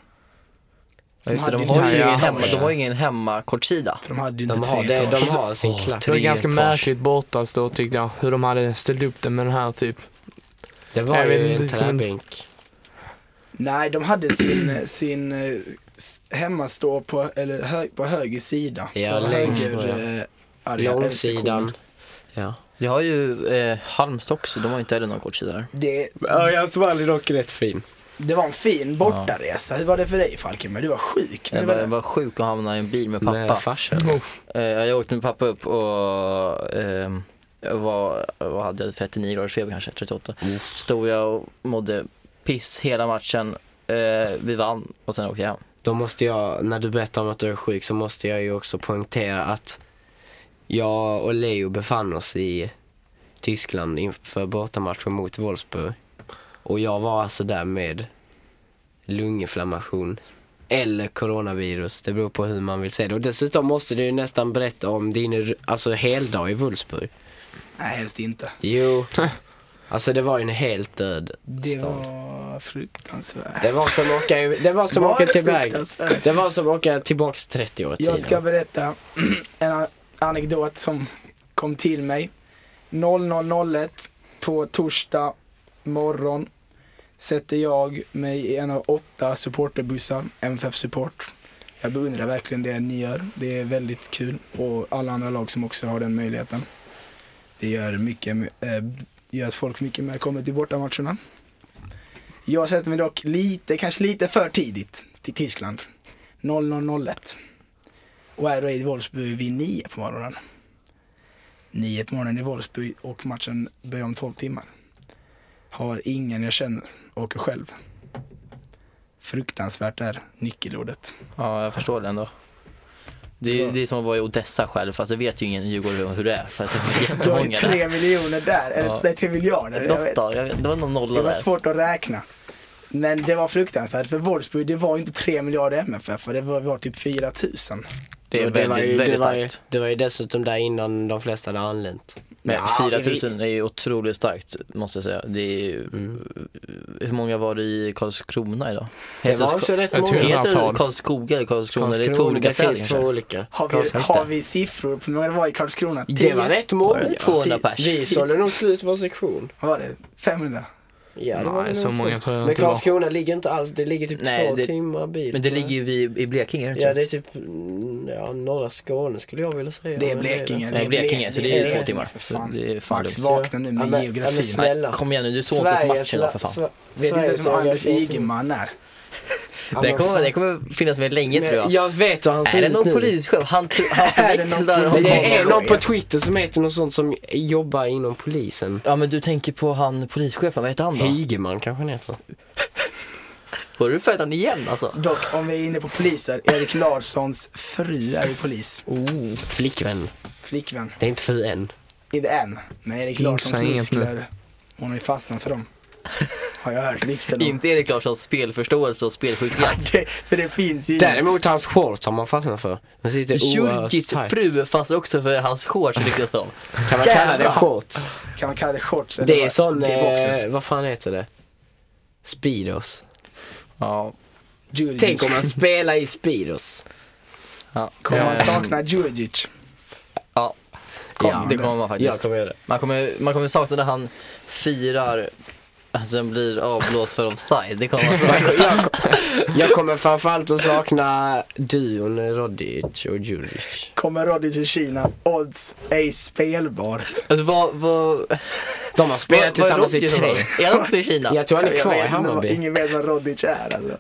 [SPEAKER 4] Ja, just det, de,
[SPEAKER 2] hade
[SPEAKER 4] har ju
[SPEAKER 5] ju
[SPEAKER 4] ingen
[SPEAKER 5] inte-
[SPEAKER 4] hemma, de har ju ingen hemmakortsida.
[SPEAKER 2] För de hade ju inte
[SPEAKER 3] De
[SPEAKER 2] tre
[SPEAKER 3] har, det,
[SPEAKER 2] etage.
[SPEAKER 3] de har sin
[SPEAKER 4] Åh,
[SPEAKER 3] klack.
[SPEAKER 5] Det var
[SPEAKER 4] Tre
[SPEAKER 5] ganska
[SPEAKER 4] etage.
[SPEAKER 5] märkligt bortastå tyckte jag. Hur de hade ställt upp det med den här typ.
[SPEAKER 3] Det var
[SPEAKER 5] Jag vet
[SPEAKER 3] ju en
[SPEAKER 5] inte, kommer inte-
[SPEAKER 3] träbänk.
[SPEAKER 2] Nej, de hade sin, sin eh, s- hemmastå på, eller hö, på höger sida.
[SPEAKER 3] Ja,
[SPEAKER 2] På
[SPEAKER 3] längst
[SPEAKER 2] höger,
[SPEAKER 3] på, ja.
[SPEAKER 2] eh, area- eller sektion.
[SPEAKER 3] Långsidan. Ja.
[SPEAKER 4] Vi har ju eh, Halmstad också, de har ju inte heller någon kortsida där.
[SPEAKER 2] Det,
[SPEAKER 3] Örjans vall är dock rätt fin.
[SPEAKER 2] det var en fin bortaresa. Hur var det för dig Falkenberg? Du var sjuk när
[SPEAKER 4] Jag
[SPEAKER 2] du
[SPEAKER 4] var,
[SPEAKER 2] var
[SPEAKER 4] jag
[SPEAKER 2] där.
[SPEAKER 4] var sjuk och hamnade i en bil med pappa.
[SPEAKER 3] Med farsan.
[SPEAKER 4] Eh, Jag åkte med pappa upp och ehm, jag var, vad hade jag, 39 graders feber kanske, 38. Stod jag och mådde piss hela matchen. Eh, Vi vann och sen åkte jag hem.
[SPEAKER 3] Då måste jag, när du berättar om att du är sjuk så måste jag ju också poängtera att jag och Leo befann oss i Tyskland inför bortamatchen mot Wolfsburg. Och jag var alltså där med lunginflammation eller coronavirus. Det beror på hur man vill se det. Och dessutom måste du ju nästan berätta om din alltså, heldag i Wolfsburg.
[SPEAKER 2] Nej, helst inte.
[SPEAKER 3] Jo, Alltså det var ju en helt död
[SPEAKER 2] Det
[SPEAKER 3] stad.
[SPEAKER 2] var fruktansvärt.
[SPEAKER 3] Det var som att åka, det var som att
[SPEAKER 2] Var
[SPEAKER 3] åka
[SPEAKER 2] det
[SPEAKER 3] tillbaka.
[SPEAKER 2] fruktansvärt?
[SPEAKER 3] Det var som att åka tillbaks 30 år i tiden.
[SPEAKER 2] Jag ska berätta en an- anekdot som kom till mig. 00.01 på torsdag morgon sätter jag mig i en av åtta supporterbussar, MFF Support. Jag beundrar verkligen det ni gör. Det är väldigt kul och alla andra lag som också har den möjligheten. Det gör, mycket, eh, gör att folk mycket mer kommer till bortamatcherna. Jag sätter mig dock lite, kanske lite för tidigt till Tyskland. 00.01. Och är då i Wolfsburg vid 9 på morgonen. 9 på morgonen i Wolfsburg och matchen börjar om 12 timmar. Har ingen jag känner, åker själv. Fruktansvärt är nyckelordet.
[SPEAKER 4] Ja, jag förstår det ändå. Det är, det är som att vara i Odessa själv, fast det vet ju ingen djurgårdare hur det är. För att det är
[SPEAKER 2] Du har ju
[SPEAKER 4] jättemånga där.
[SPEAKER 2] tre miljoner där, eller
[SPEAKER 4] Ja.
[SPEAKER 2] nej, tre miljarder. Jag
[SPEAKER 4] Något
[SPEAKER 2] vet.
[SPEAKER 4] där, jag vet, det var någon nolla
[SPEAKER 2] Det var
[SPEAKER 4] där.
[SPEAKER 2] svårt att räkna. Men det var fruktansvärt för Wolfsburg, det var inte tre miljarder MFF, för det var, var typ 4000.
[SPEAKER 4] Det är
[SPEAKER 3] Och
[SPEAKER 4] väldigt,
[SPEAKER 3] var ju-
[SPEAKER 4] väldigt
[SPEAKER 3] det var ju,
[SPEAKER 4] starkt.
[SPEAKER 3] det var ju dessutom där innan de flesta hade anlänt.
[SPEAKER 4] Men
[SPEAKER 2] Ja,
[SPEAKER 4] 4000 är ju otroligt starkt måste jag säga. Det är ju, Hur många var det i Karlskrona idag?
[SPEAKER 3] Mm. Det var
[SPEAKER 4] Karls-
[SPEAKER 3] också rätt
[SPEAKER 5] jag tror
[SPEAKER 3] många.
[SPEAKER 5] det
[SPEAKER 4] Heter det
[SPEAKER 5] Hundratal.
[SPEAKER 4] Karlskoga eller Karlskrona? Det är
[SPEAKER 3] Karlskrona,
[SPEAKER 4] två olika städer
[SPEAKER 3] finns två
[SPEAKER 4] kanske.
[SPEAKER 3] olika.
[SPEAKER 2] Har vi,
[SPEAKER 4] Karlskrona, just
[SPEAKER 2] har
[SPEAKER 4] det.
[SPEAKER 2] vi siffror på hur många det var i Karlskrona?
[SPEAKER 3] Det
[SPEAKER 2] Tio?
[SPEAKER 3] var rätt
[SPEAKER 4] Var
[SPEAKER 3] många.
[SPEAKER 4] det 200
[SPEAKER 2] Ti-
[SPEAKER 4] pers?
[SPEAKER 3] Vi sålde nog slut vår sektion.
[SPEAKER 2] Vad var det? 500?
[SPEAKER 3] Ja, det
[SPEAKER 5] Nej,
[SPEAKER 3] var det nog
[SPEAKER 5] så många
[SPEAKER 3] slut.
[SPEAKER 5] tror jag
[SPEAKER 3] Men
[SPEAKER 5] inte det var.
[SPEAKER 3] Karlskrona ligger inte alls, det ligger typ
[SPEAKER 4] Nej,
[SPEAKER 3] två
[SPEAKER 4] det-
[SPEAKER 3] timmar bil.
[SPEAKER 4] Men det ligger ju vid, i Blekinge, är det
[SPEAKER 3] Ja,
[SPEAKER 4] inte?
[SPEAKER 3] det är typ mm, ja, norra Skåne skulle jag vilja säga.
[SPEAKER 2] Det är
[SPEAKER 3] men
[SPEAKER 2] Blekinge.
[SPEAKER 4] Nej, Blekinge, så det är två timmar.
[SPEAKER 2] För
[SPEAKER 4] Så
[SPEAKER 2] fan.
[SPEAKER 4] det är fan
[SPEAKER 2] Max,
[SPEAKER 4] lugnt.
[SPEAKER 2] vakna nu med
[SPEAKER 3] Ja, men- ja, men
[SPEAKER 2] geografin.
[SPEAKER 3] snälla.
[SPEAKER 4] Nej, kom igen nu, du såg inte ens
[SPEAKER 3] Sveriges
[SPEAKER 4] matchen
[SPEAKER 3] la-
[SPEAKER 4] då för fan.
[SPEAKER 3] Sve-
[SPEAKER 2] Vet inte
[SPEAKER 3] Sveriges
[SPEAKER 2] ens vem Anders
[SPEAKER 3] geografi.
[SPEAKER 2] Ygeman är.
[SPEAKER 3] Ja,
[SPEAKER 4] Det
[SPEAKER 3] men
[SPEAKER 4] kommer,
[SPEAKER 3] fan.
[SPEAKER 4] det kommer finnas med länge tror
[SPEAKER 3] Men
[SPEAKER 4] jag.
[SPEAKER 3] Jag vet hur han ser
[SPEAKER 4] Är det
[SPEAKER 3] ut
[SPEAKER 4] någon
[SPEAKER 3] nu.
[SPEAKER 4] polischef? Han, tr- han
[SPEAKER 2] Är det
[SPEAKER 4] växer
[SPEAKER 2] någon
[SPEAKER 4] där.
[SPEAKER 2] polis?
[SPEAKER 3] Men det är
[SPEAKER 2] Polischef.
[SPEAKER 3] någon på Twitter som heter något sånt som jobbar inom polisen.
[SPEAKER 4] Ja men du tänker på han polischefen, vad heter han då?
[SPEAKER 3] Hygeman kanske han heter.
[SPEAKER 4] Var du född han igen alltså?
[SPEAKER 2] Dock, om vi är inne på poliser, Erik Larssons fru är ju polis.
[SPEAKER 4] Oh.
[SPEAKER 3] Flickvän.
[SPEAKER 2] Flickvän.
[SPEAKER 3] Det är inte fru än.
[SPEAKER 2] Inte än, men Erik
[SPEAKER 5] Jinxa
[SPEAKER 2] Larssons
[SPEAKER 5] inget nu.
[SPEAKER 2] muskler. Hon har ju fastnat för dem. Har jag hört rykten om.
[SPEAKER 4] Inte Erik Larssons spelförståelse och spelskicklighet.
[SPEAKER 2] Det- För det finns ju inget.
[SPEAKER 3] Däremot hans shorts har man fastnat för. Den sitter oerhört
[SPEAKER 4] Jurgits
[SPEAKER 3] tajt.
[SPEAKER 4] fru fast också för hans shorts ryktas det om.
[SPEAKER 3] Kan man kalla det shorts?
[SPEAKER 2] Kan man kalla det shorts? eller
[SPEAKER 3] Det är
[SPEAKER 2] vad?
[SPEAKER 3] sån,
[SPEAKER 2] Det är boxers.
[SPEAKER 3] eh, vad fan heter det? Speedos.
[SPEAKER 4] Ja.
[SPEAKER 2] Djurdjic.
[SPEAKER 3] Tänk om man spelar i Speedos.
[SPEAKER 4] ja.
[SPEAKER 2] Kommer man
[SPEAKER 4] Eh,
[SPEAKER 2] sakna Djurdjic?
[SPEAKER 4] Ja,
[SPEAKER 3] Ja,
[SPEAKER 4] det kommer man
[SPEAKER 3] jag
[SPEAKER 4] faktiskt.
[SPEAKER 3] kommer göra det.
[SPEAKER 4] Man kommer, man kommer sakna när han firar att sen blir avblåst för offside. Det kommer man sakna.
[SPEAKER 3] Jag, kom- jag kommer framförallt att sakna duon Rodic och Djurdjic.
[SPEAKER 2] Kommer Roddy till Kina? Odds ej spelbart.
[SPEAKER 4] Alltså vad, vad,
[SPEAKER 3] De har
[SPEAKER 4] vad,
[SPEAKER 3] spelat tillsammans i tre.
[SPEAKER 4] Är han också i Kina?
[SPEAKER 3] Jag tror han är
[SPEAKER 2] Jag
[SPEAKER 3] kvar i
[SPEAKER 2] vet inte vad-
[SPEAKER 3] Hammarby.
[SPEAKER 2] Ingen vet vad Rodic är alltså.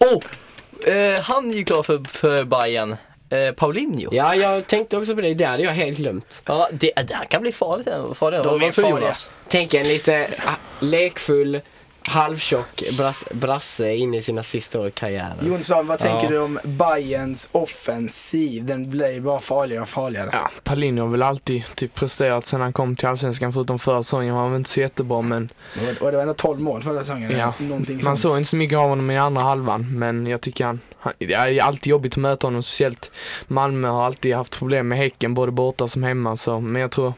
[SPEAKER 4] Oh! Eh, han är ju klar för, för Bayern. Eh, Paulinho.
[SPEAKER 3] Ja, jag tänkte också på det. Det hade jag helt glömt.
[SPEAKER 4] Ja, det, det här kan bli farligt. ändå. farligt.
[SPEAKER 2] De
[SPEAKER 4] Vad
[SPEAKER 2] är
[SPEAKER 4] tror
[SPEAKER 2] farliga.
[SPEAKER 4] Jonas?
[SPEAKER 3] Tänk en lite ah, lekfull, halvtjock bras, brasse in i sina sista år i karriären.
[SPEAKER 2] Jonsson, vad tänker
[SPEAKER 4] Ja.
[SPEAKER 2] du om Bayerns offensiv? Den blir bara farligare och farligare.
[SPEAKER 5] Ja, Palinho har väl alltid typ presterat sen han kom till Allsvenskan förutom förra säsongen var han väl inte så jättebra men
[SPEAKER 2] Och- Och det var ändå 12 mål förra säsongen.
[SPEAKER 5] Ja.
[SPEAKER 2] Någonting
[SPEAKER 5] man
[SPEAKER 2] sånt.
[SPEAKER 5] såg inte så mycket av honom i andra halvan men jag tycker han, han det är alltid jobbigt att möta honom speciellt Malmö har alltid haft problem med Häcken både borta som hemma så men jag tror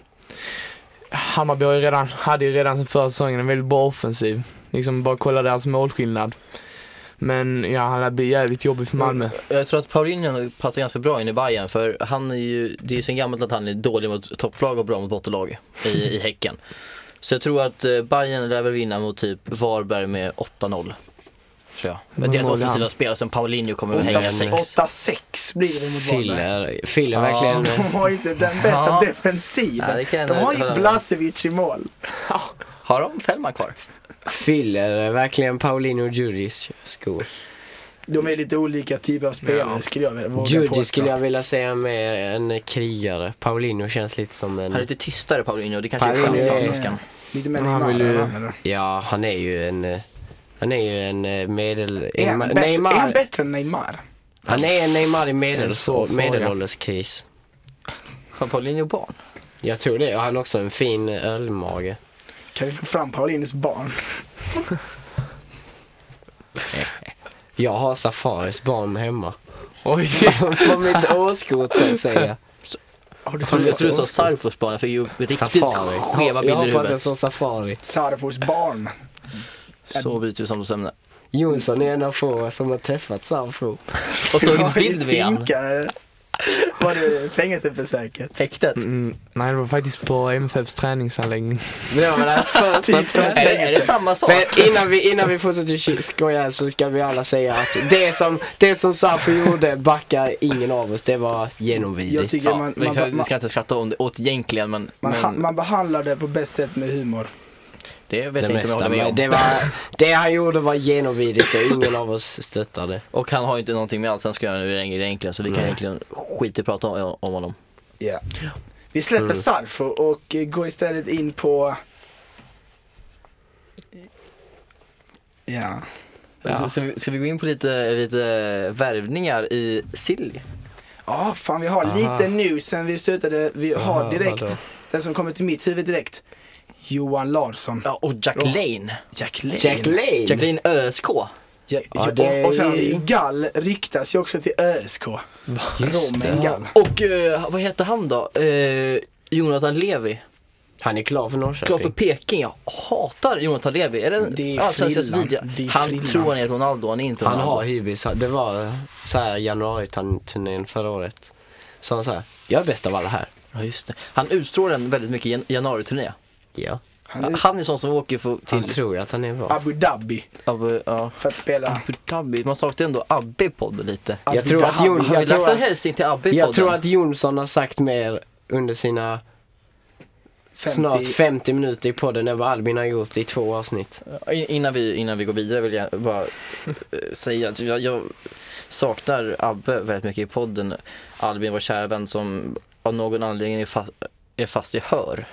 [SPEAKER 5] Hammarby har ju redan, hade ju redan sen förra säsongen en väldigt bra offensiv. Liksom bara kolla deras målskillnad. Men ja, han lär bli jävligt jobbig för Malmö.
[SPEAKER 4] Jag tror att Paulinho passar ganska bra in i Bayern för han är ju, det är ju sen gammalt att han är dålig mot topplag och bra mot bottenlag i, i Häcken. Så jag tror att eh, Bayern lär väl vinna mot typ Varberg med 8-0. Tror jag.
[SPEAKER 5] Men
[SPEAKER 4] Deras
[SPEAKER 5] mål är
[SPEAKER 4] offensiva
[SPEAKER 5] han?
[SPEAKER 4] alltså spelare som Paulinho kommer att hänga
[SPEAKER 2] Åtta-
[SPEAKER 4] sex.
[SPEAKER 2] 8-6 blir det mot Varberg.
[SPEAKER 3] Fyller, fyller
[SPEAKER 4] Ja.
[SPEAKER 3] verkligen.
[SPEAKER 2] De har ju inte den bästa
[SPEAKER 4] Ja. Ja,
[SPEAKER 2] defensiven.
[SPEAKER 4] det kan jag
[SPEAKER 2] de har
[SPEAKER 4] hålla
[SPEAKER 2] ju
[SPEAKER 4] med.
[SPEAKER 2] Blasevic i mål.
[SPEAKER 4] Har de Fällman kvar?
[SPEAKER 3] Fyller verkligen Paulino Djurdjic skor.
[SPEAKER 2] De är lite olika typer av spelare skulle jag våga påstå.
[SPEAKER 3] Djurdjic skulle jag vilja säga mer en krigare. Paulino känns lite som
[SPEAKER 4] Han är
[SPEAKER 3] en...
[SPEAKER 4] lite tystare Paulinho, det kanske är
[SPEAKER 3] Paulinho
[SPEAKER 4] skönt i
[SPEAKER 3] är-
[SPEAKER 4] Allsvenskan.
[SPEAKER 2] Lite mer
[SPEAKER 5] Men han vill ju-
[SPEAKER 2] Neymar.
[SPEAKER 3] Ja, han är ju en... eh, Han är ju en eh, medel...
[SPEAKER 2] Är han
[SPEAKER 3] Ma-
[SPEAKER 2] bättre- är han
[SPEAKER 3] Neymar.
[SPEAKER 2] bättre än Neymar?
[SPEAKER 3] Han är en Neymar i
[SPEAKER 5] En
[SPEAKER 3] medel,
[SPEAKER 5] svår fråga.
[SPEAKER 3] medelålderskris.
[SPEAKER 4] Har Paulinho barn?
[SPEAKER 3] Jag tror det. Och han har också en fin ölmage.
[SPEAKER 2] Kan vi få fram Paulinus barn?
[SPEAKER 3] Jag har Safaris barn hemma.
[SPEAKER 5] Oj!
[SPEAKER 3] På mitt årskort så att säga.
[SPEAKER 2] Har du
[SPEAKER 4] Jag tror du sa Sarfors barn, jag fick ju riktigt
[SPEAKER 3] Safari.
[SPEAKER 4] skeva
[SPEAKER 3] Jag
[SPEAKER 4] bilder i
[SPEAKER 3] hoppas jag
[SPEAKER 4] huvudet.
[SPEAKER 3] sa Safari.
[SPEAKER 2] Sarfors barn.
[SPEAKER 4] Så byter vi samtalsämne.
[SPEAKER 3] Jonsson är en av få som har träffat Safro.
[SPEAKER 4] Och
[SPEAKER 2] Ja,
[SPEAKER 4] tagit
[SPEAKER 2] i
[SPEAKER 4] bild med han.
[SPEAKER 2] finkar, eller? Var det fängelsebesöket?
[SPEAKER 4] Häktet.
[SPEAKER 5] Mm, nej, det var faktiskt på MFFs träningsanläggning.
[SPEAKER 3] Det var väl hans första
[SPEAKER 4] Är det, är det samma sak?
[SPEAKER 3] Men innan vi, innan vi fortsätter ki- skoja så ska vi alla säga att det som, det som Safo gjorde backar ingen av oss. Det var
[SPEAKER 2] Jag
[SPEAKER 3] genomvidrigt.
[SPEAKER 2] tycker
[SPEAKER 4] Ja,
[SPEAKER 2] man,
[SPEAKER 4] vi,
[SPEAKER 2] man,
[SPEAKER 4] ska,
[SPEAKER 2] man,
[SPEAKER 4] vi ska inte skratta om det, åt egentligen men,
[SPEAKER 2] man,
[SPEAKER 4] men
[SPEAKER 2] ha- man behandlar det på bäst sätt med humor.
[SPEAKER 4] det vet
[SPEAKER 3] Det
[SPEAKER 4] jag inte om jag
[SPEAKER 3] mesta.
[SPEAKER 4] håller med
[SPEAKER 3] Men
[SPEAKER 4] om.
[SPEAKER 3] det, var, det han gjorde var genomvidrigt och ingen av oss stöttade.
[SPEAKER 4] Och han har ju inte någonting med Allsvenskan att göra egentligen så vi kan
[SPEAKER 3] Nej.
[SPEAKER 4] egentligen skita i att prata om, om honom.
[SPEAKER 2] Ja. Vi släpper
[SPEAKER 3] Mm.
[SPEAKER 2] Sarfo och eh, går istället in på... Ja.
[SPEAKER 5] Ja.
[SPEAKER 4] Så, ska, vi, ska vi gå in på lite, lite värvningar i Silly?
[SPEAKER 2] Ja, fan vi har
[SPEAKER 5] Aha.
[SPEAKER 2] lite nu sen vi slutade. Vi har
[SPEAKER 5] Aha,
[SPEAKER 2] direkt,
[SPEAKER 5] vadå?
[SPEAKER 2] den som kommer till mitt huvud direkt. Johan Larsson.
[SPEAKER 4] Ja, och Jack Lane.
[SPEAKER 2] Jack Lane.
[SPEAKER 3] Jack Lane!
[SPEAKER 4] Jack Lane ÖSK.
[SPEAKER 2] Ja,
[SPEAKER 3] Ja,
[SPEAKER 2] ja,
[SPEAKER 3] det-
[SPEAKER 2] och, och sen har vi Gall riktas ju också till ÖSK.
[SPEAKER 3] Just det.
[SPEAKER 2] Romen Gall.
[SPEAKER 4] Och eh, vad heter han då? Eh, Jonathan Levi.
[SPEAKER 3] Han är klar för Norrköping.
[SPEAKER 4] Klar för Peking, jag hatar Jonathan Levi. Är
[SPEAKER 2] Det
[SPEAKER 4] det
[SPEAKER 2] är
[SPEAKER 4] allsvenskans
[SPEAKER 2] frillan.
[SPEAKER 4] video?
[SPEAKER 2] Det är
[SPEAKER 4] Han
[SPEAKER 2] frillan.
[SPEAKER 4] tror han är Ronaldo, han är inte
[SPEAKER 3] Han
[SPEAKER 4] Ronaldo.
[SPEAKER 3] har hybris. Det var eh, så här januariturnén förra året. Så han så här, jag är bäst av alla här.
[SPEAKER 4] Ja, just det. Han utstrålar en väldigt mycket jan- januari-turné.
[SPEAKER 3] Ja.
[SPEAKER 2] Han är
[SPEAKER 4] Han är sån som åker för,
[SPEAKER 3] Han
[SPEAKER 4] till
[SPEAKER 3] tror ju att han är bra.
[SPEAKER 2] Abu Dhabi
[SPEAKER 4] Abu, ja.
[SPEAKER 2] för att spela.
[SPEAKER 4] Abu Dhabi. Man saknar ändå Abbe i podden lite.
[SPEAKER 2] Abu
[SPEAKER 3] Jag tror att
[SPEAKER 2] Dhabi.
[SPEAKER 3] Jon,
[SPEAKER 4] Har vi
[SPEAKER 3] jag tror
[SPEAKER 4] lagt en
[SPEAKER 3] att,
[SPEAKER 4] hälsning till Abbe i podden?
[SPEAKER 3] jag tror att Jonsson har sagt mer under sina
[SPEAKER 2] 50.
[SPEAKER 3] snart 50 minuter i podden än vad Albin har gjort i två avsnitt.
[SPEAKER 4] In- Innan vi, innan vi går vidare vill jag bara eh, säga att jag, jag saknar Abbe väldigt mycket i podden. Albin, vår kära vän som av någon anledning är fast, är fast i hör.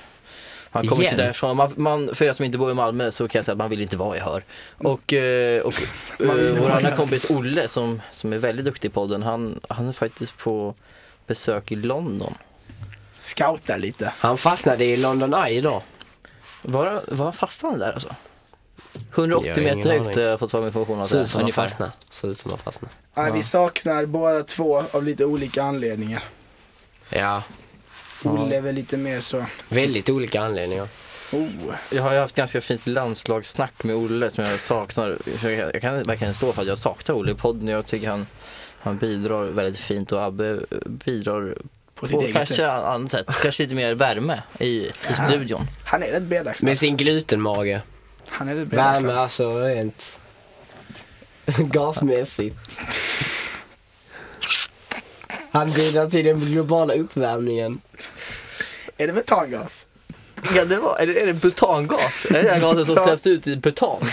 [SPEAKER 4] Han kommer
[SPEAKER 3] Igen?
[SPEAKER 4] inte därifrån. Man, man, för er som inte bor i Malmö så kan jag säga att man vill inte vara i hör. Och, eh, och eh,
[SPEAKER 2] Man vill inte
[SPEAKER 4] vår
[SPEAKER 2] vara i
[SPEAKER 4] andra
[SPEAKER 2] hör.
[SPEAKER 4] kompis Olle som, som är väldigt duktig i podden, han, han är faktiskt på besök i London.
[SPEAKER 2] Scoutar lite.
[SPEAKER 3] Han fastnade i London Eye idag.
[SPEAKER 4] Var, var fastnade han där alltså? 180
[SPEAKER 3] Jag har ingen
[SPEAKER 4] meter högt
[SPEAKER 3] aning.
[SPEAKER 4] har jag fått fram information att
[SPEAKER 3] Såg
[SPEAKER 4] det
[SPEAKER 3] ut
[SPEAKER 4] är
[SPEAKER 3] som han
[SPEAKER 4] ungefär.
[SPEAKER 3] fastnade. Såg ut som han fastnade.
[SPEAKER 2] Nej,
[SPEAKER 4] Ja.
[SPEAKER 2] Vi saknar båda två av lite olika anledningar.
[SPEAKER 3] Ja,
[SPEAKER 2] Olle är väl lite mer så,
[SPEAKER 3] väldigt olika anledningar.
[SPEAKER 2] oh,
[SPEAKER 4] Jag har ju haft ganska fint landslagssnack med Olle som jag saknar. Jag, jag kan verkligen stå för att jag saknar Olle i podden. Jag tycker han, han bidrar väldigt fint och Abbe eh, bidrar
[SPEAKER 2] på sitt
[SPEAKER 4] på
[SPEAKER 2] eget
[SPEAKER 4] kanske
[SPEAKER 2] sätt.
[SPEAKER 4] annat sätt. Kanske lite mer värme i, i studion.
[SPEAKER 2] Han är rätt bredaxlad.
[SPEAKER 3] Med sin glutenmage.
[SPEAKER 2] Han är rätt
[SPEAKER 3] Värme
[SPEAKER 2] bredaxlad.
[SPEAKER 3] alltså rent gasmässigt. Han bidrar till den globala uppvärmningen.
[SPEAKER 2] Är det metangas?
[SPEAKER 4] Ja, det var, är, det, är det butangas? Är det den gasen som släpps ut i Butan?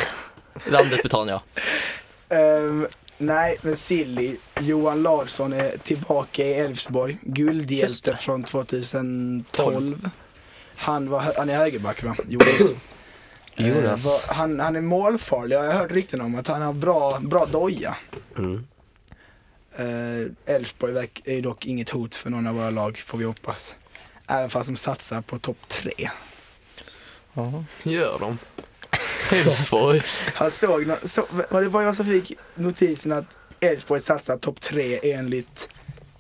[SPEAKER 4] Landet Butan ja.
[SPEAKER 2] Ehm, nej, men Silly. Johan Larsson är tillbaka i Elfsborg.
[SPEAKER 4] Just
[SPEAKER 2] Guldhjälte
[SPEAKER 4] det.
[SPEAKER 2] från 2012. Han, var, hö- han är högerback va? Jonas. Ehm,
[SPEAKER 3] Jonas.
[SPEAKER 2] var- han, han är målfarlig. Jag har hört rykten om att han har bra, bra doja.
[SPEAKER 3] Mm.
[SPEAKER 2] Eh, Elfsborg verk- är dock inget hot för någon av våra lag, får vi hoppas. Även fast de satsar på topp tre.
[SPEAKER 5] Gör de? Elfsborg.
[SPEAKER 2] Han såg, nå- så, var det bara jag som fick notisen att Elfsborg satsar topp tre enligt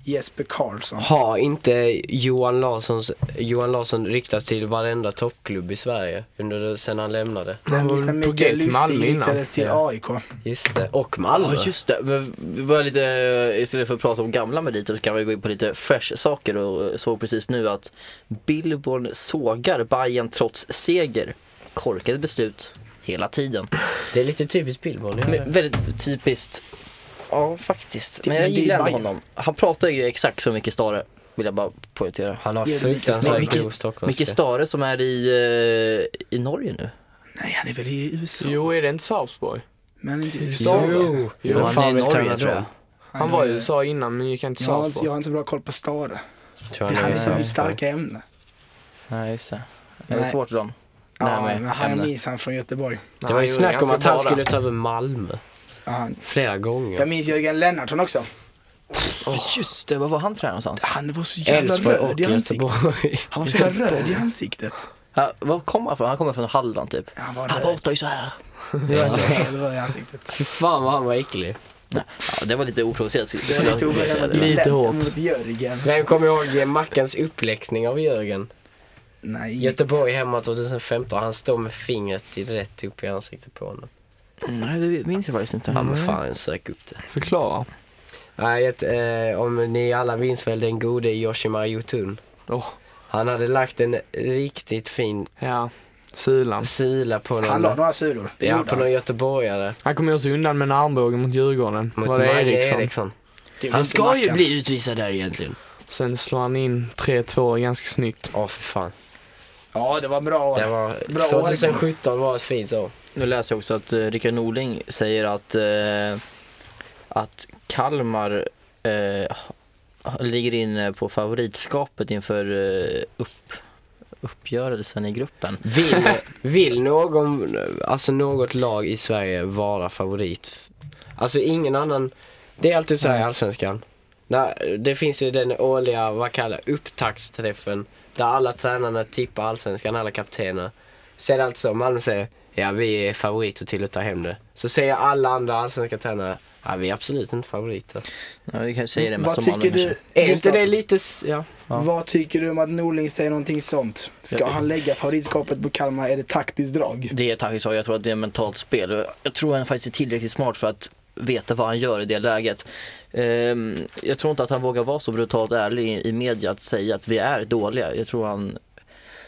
[SPEAKER 2] Jesper Karlsson?
[SPEAKER 3] Har inte Johan, Larssons, Johan Larsson riktats till varenda toppklubb i Sverige under, sen han lämnade?
[SPEAKER 2] Den
[SPEAKER 5] Han var
[SPEAKER 2] liksom
[SPEAKER 5] på G
[SPEAKER 2] Mikael
[SPEAKER 5] till Malmö
[SPEAKER 2] Lustig
[SPEAKER 5] innan.
[SPEAKER 2] hittades till
[SPEAKER 3] Ja.
[SPEAKER 2] AIK.
[SPEAKER 3] Just det, och
[SPEAKER 4] Ja
[SPEAKER 3] Malmö.
[SPEAKER 4] just det, men vi var lite, istället för att prata om gamla meriter så kan vi gå in på lite fresh saker och såg precis nu att Billborn sågar Bayern trots seger. Korkade beslut hela tiden.
[SPEAKER 3] Det är lite typiskt Billborn. ja.
[SPEAKER 4] Men väldigt typiskt. Ja faktiskt, men
[SPEAKER 2] Men
[SPEAKER 4] jag
[SPEAKER 2] det är
[SPEAKER 4] gillar ändå
[SPEAKER 2] Bayern.
[SPEAKER 4] honom. Han pratar ju exakt som Micke Stare, vill jag bara poängtera.
[SPEAKER 3] Han har
[SPEAKER 2] Ja, det är
[SPEAKER 3] fruktansvärt
[SPEAKER 2] lite-
[SPEAKER 3] grov
[SPEAKER 4] Micke
[SPEAKER 3] stockholmska.
[SPEAKER 4] Stare som är i, eh, i Norge nu.
[SPEAKER 2] Nej, han är väl i USA?
[SPEAKER 5] Jo, är det inte Sarpsborg?
[SPEAKER 2] Men inte i USA.
[SPEAKER 3] Jo,
[SPEAKER 5] Jo,
[SPEAKER 4] han
[SPEAKER 5] fan
[SPEAKER 4] är i
[SPEAKER 5] vet jag
[SPEAKER 4] Norge
[SPEAKER 5] inte.
[SPEAKER 4] tror jag.
[SPEAKER 5] Han var i USA innan men gick inte till
[SPEAKER 2] Jag har, inte, jag
[SPEAKER 5] Sarpsborg.
[SPEAKER 2] har inte så bra koll på Stare.
[SPEAKER 3] tror
[SPEAKER 2] Det
[SPEAKER 3] han
[SPEAKER 2] här
[SPEAKER 3] är
[SPEAKER 2] är
[SPEAKER 3] i
[SPEAKER 2] så mitt
[SPEAKER 3] Sarpsborg.
[SPEAKER 2] starka ämne.
[SPEAKER 4] Nej just det. Det är
[SPEAKER 2] Nej.
[SPEAKER 4] svårt för dem.
[SPEAKER 2] Ja,
[SPEAKER 4] Nej,
[SPEAKER 2] men han
[SPEAKER 4] ämne.
[SPEAKER 2] minns han från Göteborg.
[SPEAKER 5] Nej,
[SPEAKER 3] Det var ju
[SPEAKER 5] han
[SPEAKER 3] snack om
[SPEAKER 5] gjorde
[SPEAKER 3] att han
[SPEAKER 5] ganska
[SPEAKER 3] skulle ta över Malmö
[SPEAKER 2] Ja, han-
[SPEAKER 3] flera gånger.
[SPEAKER 2] Jag minns Jörgen Lennartsson också.
[SPEAKER 4] Just det, var var han tränare någonstans?
[SPEAKER 2] Han var så jävla
[SPEAKER 3] Elfsborg
[SPEAKER 2] röd
[SPEAKER 3] och
[SPEAKER 2] i ansiktet.
[SPEAKER 3] Göteborg.
[SPEAKER 2] Han var så jävla röd i ansiktet.
[SPEAKER 4] Ja, var kommer han från? Han kommer från Halland typ.
[SPEAKER 2] Han var
[SPEAKER 4] Han
[SPEAKER 2] röd.
[SPEAKER 4] pratar ju så här.
[SPEAKER 2] Han var helt röd i ansiktet.
[SPEAKER 3] Fy fan vad han var äcklig.
[SPEAKER 4] Ja, det var lite oprovocerat.
[SPEAKER 2] Det var lite obestämt.
[SPEAKER 5] Lite
[SPEAKER 2] Lätt
[SPEAKER 5] hårt.
[SPEAKER 2] Mot Jörgen.
[SPEAKER 3] Vem kommer ihåg eh, Mackans uppläxning av Jörgen?
[SPEAKER 2] Nej.
[SPEAKER 3] Göteborg hemma 2015, han står med fingret i- rätt upp i ansiktet på honom.
[SPEAKER 4] Nej, det minns jag faktiskt inte.
[SPEAKER 3] Ja men fan, sök upp det.
[SPEAKER 5] Förklara.
[SPEAKER 3] Nej, jag vet, eh, om ni alla minns väl den gode Yoshimar Jotun?
[SPEAKER 5] Åh,
[SPEAKER 3] Han hade lagt en riktigt fin
[SPEAKER 5] ja. Sylan.
[SPEAKER 3] sila på någon,
[SPEAKER 2] Han la några sulor. Det
[SPEAKER 3] ja,
[SPEAKER 2] gjorde
[SPEAKER 3] på
[SPEAKER 2] han.
[SPEAKER 3] någon göteborgare.
[SPEAKER 5] Han kom ju sig undan med en armbåge mot Djurgården.
[SPEAKER 3] Mot
[SPEAKER 5] var det
[SPEAKER 3] Magne
[SPEAKER 5] Eriksson?
[SPEAKER 3] Eriksson.
[SPEAKER 2] Det
[SPEAKER 3] Han
[SPEAKER 2] visste
[SPEAKER 3] ska ju
[SPEAKER 2] Mackan.
[SPEAKER 3] bli utvisad där egentligen.
[SPEAKER 5] Sen slår han in 3-2 ganska snyggt.
[SPEAKER 3] Ja, för fan.
[SPEAKER 2] Ja, det var bra år.
[SPEAKER 3] Det var,
[SPEAKER 2] Bra år.
[SPEAKER 3] 2017 var ett fint år.
[SPEAKER 4] Nu läser jag också att eh, Rickard Norling säger att, eh, att Kalmar eh, ligger inne på favoritskapet inför eh, upp, uppgörelsen i gruppen.
[SPEAKER 3] Vill, vill någon, alltså något lag i Sverige vara favorit? Alltså ingen annan, det är alltid så här i Allsvenskan. När, det finns ju den årliga, vad kallar upptaktsträffen där alla tränarna tippar Allsvenskan, alla kaptener. Så är det alltid så, Malmö säger ja vi är favoriter till att ta hem det. Så säger alla andra allsvenska tränare, ja vi är absolut inte favoriter.
[SPEAKER 4] Ja, vi kanske säger det mest
[SPEAKER 2] Vad
[SPEAKER 4] om Malmö
[SPEAKER 2] tycker
[SPEAKER 4] kanske.
[SPEAKER 2] du?
[SPEAKER 3] Är inte
[SPEAKER 2] Gustav,
[SPEAKER 3] det lite, s- ja.
[SPEAKER 4] Ja.
[SPEAKER 2] Vad tycker du om att Norling säger någonting sånt? Ska
[SPEAKER 4] Jag-
[SPEAKER 2] han lägga favoritskapet på Kalmar? Är det taktiskt drag?
[SPEAKER 4] Det är taktiskt jag tror att det är ett mentalt spel. Jag tror han faktiskt är tillräckligt smart för att veta vad han gör i det läget. Ehm, jag tror inte att han vågar vara så brutalt ärlig i, i media att säga att vi är dåliga. Jag tror han...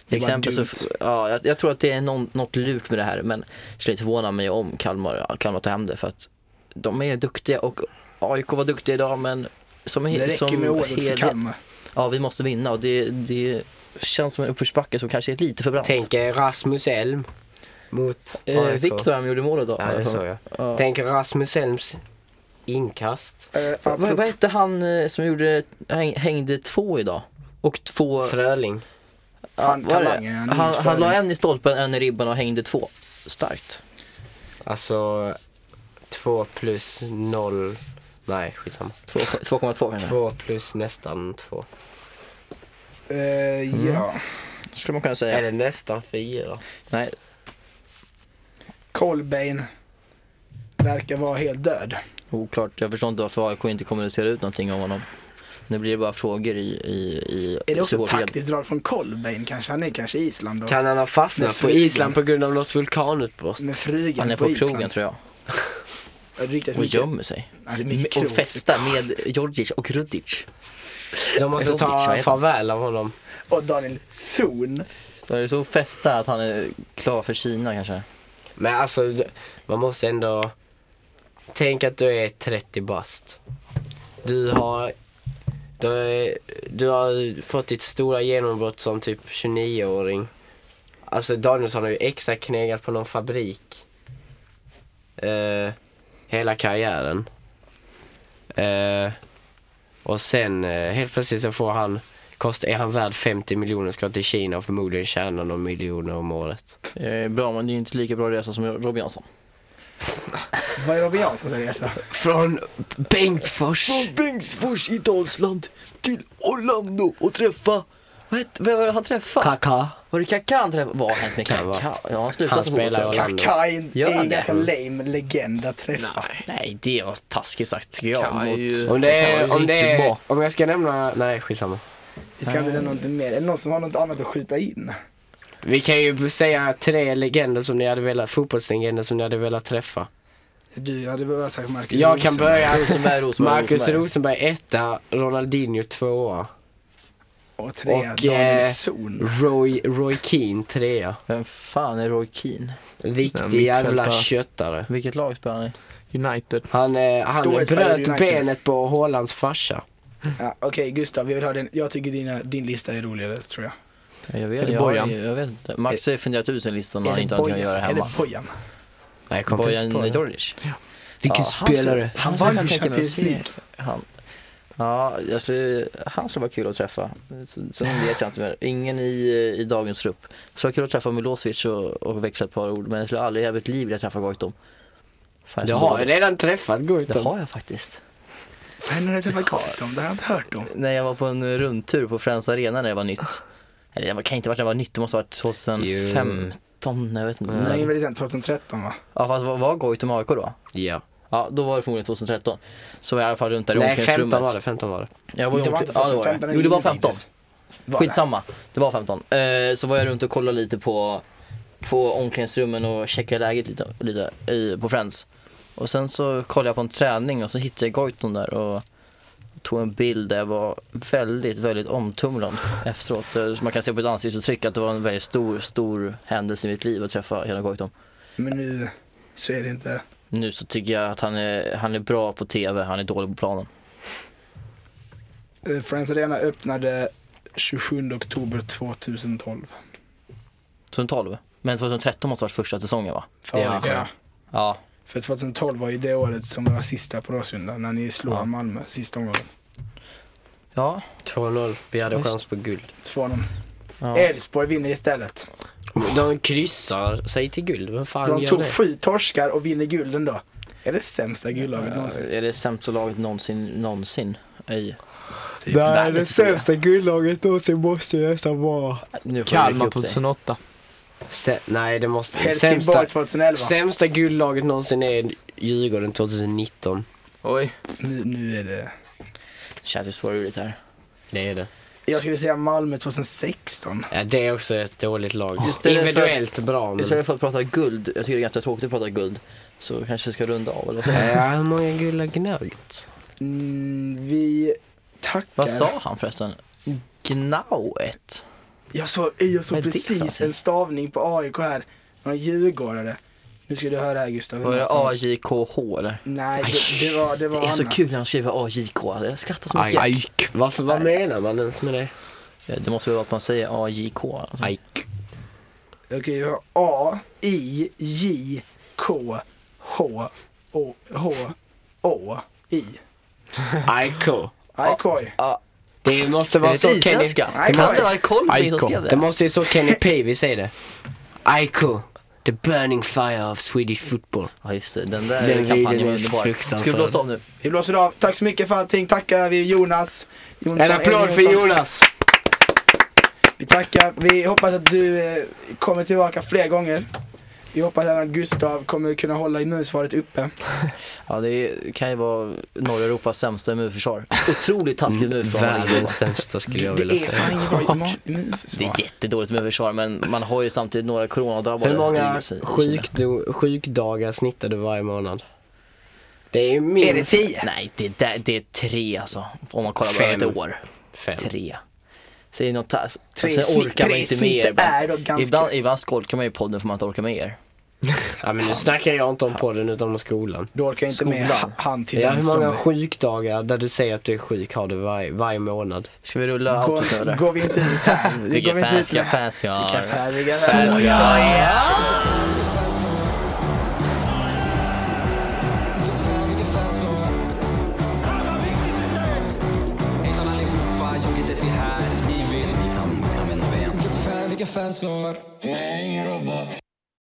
[SPEAKER 2] Det
[SPEAKER 4] Till
[SPEAKER 2] var
[SPEAKER 4] exempel så,
[SPEAKER 2] dumt.
[SPEAKER 4] ja, jag, jag tror att det är någon, något lurt med det här men det skulle inte förvåna mig om Kalmar, ja, Kalmar tar hem det för att de är duktiga och AIK var duktiga idag men som, he-
[SPEAKER 2] Det räcker
[SPEAKER 4] som
[SPEAKER 2] med året för Kalmar.
[SPEAKER 4] Ja, vi måste vinna och det, det känns som en uppförsbacke som kanske är lite för brant.
[SPEAKER 3] Tänk er Rasmus Elm mot
[SPEAKER 4] Eh,
[SPEAKER 3] AIK.
[SPEAKER 4] Viktor han gjorde mål idag.
[SPEAKER 3] Ja, det såg jag.
[SPEAKER 4] Ja.
[SPEAKER 3] Tänk Rasmus Elms inkast.
[SPEAKER 2] Eh,
[SPEAKER 4] Vad,
[SPEAKER 2] apropå-
[SPEAKER 4] vad hette han eh, som gjorde, häng, hängde två idag? Och två...
[SPEAKER 3] Fröling.
[SPEAKER 4] ja,
[SPEAKER 2] han-
[SPEAKER 4] vad är det?
[SPEAKER 2] talangen, han
[SPEAKER 4] han, han la
[SPEAKER 2] utförde.
[SPEAKER 4] en i stolpen, en i ribban och hängde två. Starkt.
[SPEAKER 3] Alltså 2 plus 0. Nej, skitsamma.
[SPEAKER 4] Två- 2,2 kanske.
[SPEAKER 3] 2 plus nästan 2.
[SPEAKER 2] eh, ja.
[SPEAKER 4] Skulle man kunna säga.
[SPEAKER 3] Eller nästan 4.
[SPEAKER 4] Nej,
[SPEAKER 2] Colbain verkar vara helt död.
[SPEAKER 4] oklart. Jag förstår inte varför AIK inte kommunicerar ut någonting om honom. Nu blir det bara frågor i... i, i
[SPEAKER 2] Är det också ett
[SPEAKER 4] supporterled.
[SPEAKER 2] taktiskt drag från Colbain kanske? Han är kanske i Island då?
[SPEAKER 3] Kan han ha
[SPEAKER 2] Men
[SPEAKER 3] fastnat på
[SPEAKER 2] flygen.
[SPEAKER 3] Island på grund av något vulkanutbrott?
[SPEAKER 2] Med frugan
[SPEAKER 4] Han är på krogen tror jag.
[SPEAKER 2] jag. Riktigt
[SPEAKER 4] Och
[SPEAKER 2] mycket.
[SPEAKER 4] gömmer sig.
[SPEAKER 2] Ja, det är mycket
[SPEAKER 4] Och
[SPEAKER 2] krog.
[SPEAKER 4] festar med Djordjic och Rudic.
[SPEAKER 3] De måste
[SPEAKER 4] Rovic, vad
[SPEAKER 3] ta
[SPEAKER 4] heter
[SPEAKER 3] farväl av honom.
[SPEAKER 2] Och Daniel Zon.
[SPEAKER 4] Då är det så festa att han är klar för Kina kanske.
[SPEAKER 3] Men alltså, d- man måste ändå... Tänk att du är 30 bast. Du har... Du, är, du har fått ditt stora genombrott som typ 29-åring. Alltså Danielsson har ju extra knegat på någon fabrik. Eh, hela karriären. Eh, och sen eh, helt plötsligt så får han, kost, är han värd 50 miljoner, ska till Kina och förmodligen tjäna några miljoner om året.
[SPEAKER 4] Det är Eh, bra men det är ju inte lika bra resa som Robin Jansson.
[SPEAKER 2] Vad är Robin Janssons resa?
[SPEAKER 3] Från Bengtsfors.
[SPEAKER 4] Bengtsfors i Dalsland till Orlando och träffa vad hette, vem var det han träffade?
[SPEAKER 3] Kaka.
[SPEAKER 4] var det Kaká han träffade? Vad har hänt med
[SPEAKER 3] Kan vara.
[SPEAKER 4] Kaká? Ja, han
[SPEAKER 3] Han
[SPEAKER 4] slutade som
[SPEAKER 3] spelar i
[SPEAKER 4] fotbollsspelare.
[SPEAKER 3] Orlando.
[SPEAKER 2] Kakai
[SPEAKER 4] Gör
[SPEAKER 2] är
[SPEAKER 4] han
[SPEAKER 2] en
[SPEAKER 4] det?
[SPEAKER 2] ganska lame legend att träffa.
[SPEAKER 4] Nej, det var taskigt sagt tycker jag.
[SPEAKER 5] Kaká är
[SPEAKER 4] mot-
[SPEAKER 5] ju-
[SPEAKER 3] Om det är, om det
[SPEAKER 5] Riktigt
[SPEAKER 3] är,
[SPEAKER 5] bra.
[SPEAKER 3] om jag ska nämna, nej skitsamma.
[SPEAKER 2] Vi ska inte nämna någonting mer. Är det någon som har något annat att skjuta in?
[SPEAKER 3] Vi kan ju säga tre legender som ni hade velat, fotbollslegender som ni hade velat träffa.
[SPEAKER 2] Du hade behövt sagt Marcus
[SPEAKER 3] Jag kan
[SPEAKER 2] Olsson.
[SPEAKER 3] börja.
[SPEAKER 4] Rosenberg, Rosenberg,
[SPEAKER 3] Marcus Rosenberg etta, Ronaldinho tvåa,
[SPEAKER 2] Och tre,
[SPEAKER 3] Och,
[SPEAKER 2] Daniel
[SPEAKER 3] eh,
[SPEAKER 2] Zon.
[SPEAKER 3] Roy, Roy Keane trea.
[SPEAKER 4] Vem fan är Roy Keane?
[SPEAKER 5] Ja,
[SPEAKER 3] Riktig
[SPEAKER 5] mittfältare.
[SPEAKER 3] jävla köttare.
[SPEAKER 4] Vilket lag spelar han i?
[SPEAKER 5] United.
[SPEAKER 3] Han, eh, han
[SPEAKER 2] Storhetsperioden i
[SPEAKER 3] bröt
[SPEAKER 2] United.
[SPEAKER 3] benet på Haalands farsa.
[SPEAKER 2] Ja, Okej Gustav, vi vill ha din. jag tycker dina, din lista är roligare tror jag.
[SPEAKER 4] Jag
[SPEAKER 5] Är
[SPEAKER 4] vet,
[SPEAKER 5] det
[SPEAKER 4] jag, jag,
[SPEAKER 5] Bojan?
[SPEAKER 4] jag vet inte. Max har ju funderat ut sin lista när
[SPEAKER 2] är
[SPEAKER 4] han
[SPEAKER 2] det
[SPEAKER 4] inte har något att
[SPEAKER 2] Bojan?
[SPEAKER 4] göra
[SPEAKER 2] Är
[SPEAKER 4] hemma.
[SPEAKER 2] det Bojan?
[SPEAKER 3] Nej, jag kom precis på
[SPEAKER 4] Bojan
[SPEAKER 3] det.
[SPEAKER 4] Djordjic.
[SPEAKER 3] Vilken
[SPEAKER 4] Ja, han
[SPEAKER 3] spelare.
[SPEAKER 4] skulle-
[SPEAKER 2] Han vann
[SPEAKER 4] kan
[SPEAKER 2] ju
[SPEAKER 4] tänka mig att
[SPEAKER 2] Champions
[SPEAKER 4] se
[SPEAKER 2] League.
[SPEAKER 4] Han. Ja, jag skulle, han skulle vara kul att träffa. Så- Sen vet jag inte mer. Ingen i, i dagens trupp. Så det var kul att träffa Milosevic och, och växla ett par ord. Men jag skulle aldrig i mitt liv vilja träffa Goitom. Fan, jag
[SPEAKER 3] Du
[SPEAKER 4] är så
[SPEAKER 3] har ju
[SPEAKER 4] dålig.
[SPEAKER 3] redan träffat
[SPEAKER 4] det
[SPEAKER 3] Goitom.
[SPEAKER 4] har jag faktiskt.
[SPEAKER 2] Fan, har du träffat Gotham? Det har jag inte hört om.
[SPEAKER 4] När jag var på en rundtur på Friends Arena när jag var nytt. Eller jag kan inte ha varit när jag var nytt, det måste ha varit 2015. Jag vet inte.
[SPEAKER 2] Mm. Nej, men det är 2013 va?
[SPEAKER 4] Ja, fast var, var Goitom AIK då?
[SPEAKER 3] Ja.
[SPEAKER 4] Ja, då var det förmodligen 2013. Så var jag i alla fall runt där i
[SPEAKER 3] Nej, 15
[SPEAKER 4] omklädningsrummet.
[SPEAKER 3] var det, 15 var det.
[SPEAKER 4] Jag var i
[SPEAKER 2] Det var
[SPEAKER 4] omkläd-
[SPEAKER 2] inte
[SPEAKER 4] ja,
[SPEAKER 2] 15,
[SPEAKER 4] det var det.
[SPEAKER 2] 15
[SPEAKER 4] Jo, det var
[SPEAKER 2] innan
[SPEAKER 4] 15.
[SPEAKER 2] hittills. Var det?
[SPEAKER 4] Skitsamma, det var 15. Eh, så var jag runt och kollade lite på, på omklädningsrummen och checkade läget lite, lite i, på Friends. Och sen så kollade jag på en träning och så hittade jag Goitom där och tog en bild där jag var väldigt, väldigt omtumlad efteråt. Eh, Som man kan se på ett ansiktsuttryck att det var en väldigt stor, stor händelse i mitt liv att träffa hela Goitom.
[SPEAKER 2] Men nu så är det inte.
[SPEAKER 4] Nu så tycker jag att han är, han är bra på TV, han är dålig på planen.
[SPEAKER 2] Eh, Friends Arena öppnade 27 oktober 2012.
[SPEAKER 4] 2012? Men 2013 måste ha varit första säsongen va?
[SPEAKER 2] För,
[SPEAKER 4] Ja.
[SPEAKER 2] AIK.
[SPEAKER 5] Ja.
[SPEAKER 4] Ja,
[SPEAKER 2] för 2012 var ju det året som var sista på Råsunda när ni slog
[SPEAKER 4] Ja.
[SPEAKER 2] Malmö sista omgången.
[SPEAKER 4] ja.
[SPEAKER 3] 2-0, vi hade chans på guld.
[SPEAKER 2] 2-0.
[SPEAKER 4] ja.
[SPEAKER 2] Elfsborg vinner istället.
[SPEAKER 3] De kryssar sig till guld, vem fan
[SPEAKER 2] De
[SPEAKER 3] gör
[SPEAKER 2] tog
[SPEAKER 3] det?
[SPEAKER 2] sju torskar och vinner gulden då. Är det sämsta guldlaget någonsin?
[SPEAKER 4] Är det sämsta laget någonsin, någonsin? Ej.
[SPEAKER 2] Typ.
[SPEAKER 5] Det här är
[SPEAKER 4] Världens
[SPEAKER 5] det sämsta guldlaget någonsin måste ju nästan vara.
[SPEAKER 4] Nu får jag rycka
[SPEAKER 5] Kalmar
[SPEAKER 4] upp dig.
[SPEAKER 5] 2008.
[SPEAKER 3] Se, nej, det måste... Sämsta,
[SPEAKER 2] Helsingborg 2011.
[SPEAKER 3] sämsta guldlaget någonsin är Djurgården 2019.
[SPEAKER 5] Oj.
[SPEAKER 2] Nu, nu är det...
[SPEAKER 4] Känns ju spårurigt här.
[SPEAKER 3] Det är det.
[SPEAKER 2] Jag skulle säga Malmö 2016.
[SPEAKER 3] Ja, det är också ett dåligt lag.
[SPEAKER 4] Just det,
[SPEAKER 3] Individuellt bra, men...
[SPEAKER 4] Istället för att prata guld, jag tycker det är ganska tråkigt att prata guld, så kanske vi ska runda av eller vad säger du?
[SPEAKER 3] Ja, hur många guld har Gnagt?
[SPEAKER 2] Mm, vi tackar.
[SPEAKER 4] Vad sa han förresten? Gnauet?
[SPEAKER 2] Jag såg, jag såg
[SPEAKER 4] Vad är det för
[SPEAKER 2] precis
[SPEAKER 4] någonting?
[SPEAKER 2] en stavning på AIK här. Någon djurgårdare. Nu ska du höra här Gustav.
[SPEAKER 4] Var det
[SPEAKER 2] Nästa-
[SPEAKER 4] AJKH eller?
[SPEAKER 2] Nej, det, det var, Mm, det var
[SPEAKER 4] Det är så
[SPEAKER 2] annat.
[SPEAKER 4] kul när han skriver AJK, jag skrattar så mycket. Eh,
[SPEAKER 5] Ajk.
[SPEAKER 3] Varför, vad menar man ens med det?
[SPEAKER 4] Det måste väl vara att man säger AJK. Alltså.
[SPEAKER 3] Ajk.
[SPEAKER 2] Okej, vi har A, I, J, K, H, O, H, Å, I.
[SPEAKER 3] Ajko.
[SPEAKER 2] Ajkoj.
[SPEAKER 3] Det måste
[SPEAKER 4] Är
[SPEAKER 3] vara
[SPEAKER 4] det
[SPEAKER 3] så
[SPEAKER 4] så
[SPEAKER 3] Kenny...
[SPEAKER 4] isländska?
[SPEAKER 2] Nej,
[SPEAKER 4] Jag har inte
[SPEAKER 2] Kenny-
[SPEAKER 4] varit koll på vem som
[SPEAKER 5] Aiko.
[SPEAKER 4] skrev
[SPEAKER 3] Det
[SPEAKER 4] det.
[SPEAKER 3] måste ju så Kenny Pavey säger det. Aiko. The burning fire of Swedish football.
[SPEAKER 4] Ja just det, den där
[SPEAKER 3] Den
[SPEAKER 4] kampanjen
[SPEAKER 3] videon
[SPEAKER 4] var
[SPEAKER 3] är så
[SPEAKER 4] underbar. Ska vi
[SPEAKER 3] fruktansvärd.
[SPEAKER 4] blåsa av nu?
[SPEAKER 2] Vi blåser av. Tack så mycket för allting. Tackar vi Jonas. Jonsson,
[SPEAKER 4] Alltså,
[SPEAKER 3] En applåd
[SPEAKER 2] Elin
[SPEAKER 3] för
[SPEAKER 2] Jonsson.
[SPEAKER 3] Jonas!
[SPEAKER 2] Vi tackar. Vi hoppas att du eh, kommer tillbaka fler gånger. Vi hoppas även att Gustav kommer kunna hålla immunsvaret uppe.
[SPEAKER 4] Ja, det kan ju vara norra Europas sämsta immunförsvar. Otroligt taskigt immunförsvar. man har i Europa.
[SPEAKER 3] Mm, Världens sämsta skulle jag
[SPEAKER 2] det
[SPEAKER 3] vilja
[SPEAKER 2] är
[SPEAKER 3] säga.
[SPEAKER 2] fan inget bra immu-
[SPEAKER 4] Det
[SPEAKER 2] immunförsvar.
[SPEAKER 4] är jättedåligt immunförsvar, men man har ju samtidigt några coronadrabbade.
[SPEAKER 3] Hur många
[SPEAKER 4] i sig- i Kina.
[SPEAKER 3] sjukdo- sjukdagar snittar du varje månad? Det är ju
[SPEAKER 2] Är det
[SPEAKER 3] minst
[SPEAKER 2] tio?
[SPEAKER 4] Nej, det, är där, det är tre alltså. Om man kollar
[SPEAKER 3] Fem.
[SPEAKER 4] över ett år.
[SPEAKER 3] fem.
[SPEAKER 4] Tre. Så det är något tas-
[SPEAKER 2] Tre,
[SPEAKER 4] Sen
[SPEAKER 2] snitt,
[SPEAKER 4] orkar man
[SPEAKER 2] tre
[SPEAKER 4] inte med
[SPEAKER 2] snitt
[SPEAKER 4] er. ibland.
[SPEAKER 2] är då ganska...
[SPEAKER 4] Ibland, ibland skolkar man ju i podden för man inte orkar med er.
[SPEAKER 3] Ja men nu snackar jag inte om podden utan om skolan.
[SPEAKER 2] Du orkar inte med
[SPEAKER 4] Skolan.
[SPEAKER 2] ha- hand till
[SPEAKER 3] Ja, hur många
[SPEAKER 2] landståndet.
[SPEAKER 3] sjukdagar där du säger att du är sjuk har du varje, varje månad?
[SPEAKER 4] Ska vi rulla outot nu
[SPEAKER 2] Går,
[SPEAKER 4] eller?
[SPEAKER 2] går vi inte ut här? Det går vi
[SPEAKER 4] Vilka
[SPEAKER 2] inte
[SPEAKER 4] fans,
[SPEAKER 2] ut
[SPEAKER 4] vilka
[SPEAKER 2] med.
[SPEAKER 4] fans vi
[SPEAKER 2] Vilka
[SPEAKER 4] har.
[SPEAKER 2] fans, vilka fans.
[SPEAKER 1] Hejsan allihopa, jag heter det här. Ni vet, ni kan, kan vem. Vilket fan, vilka fans vi har.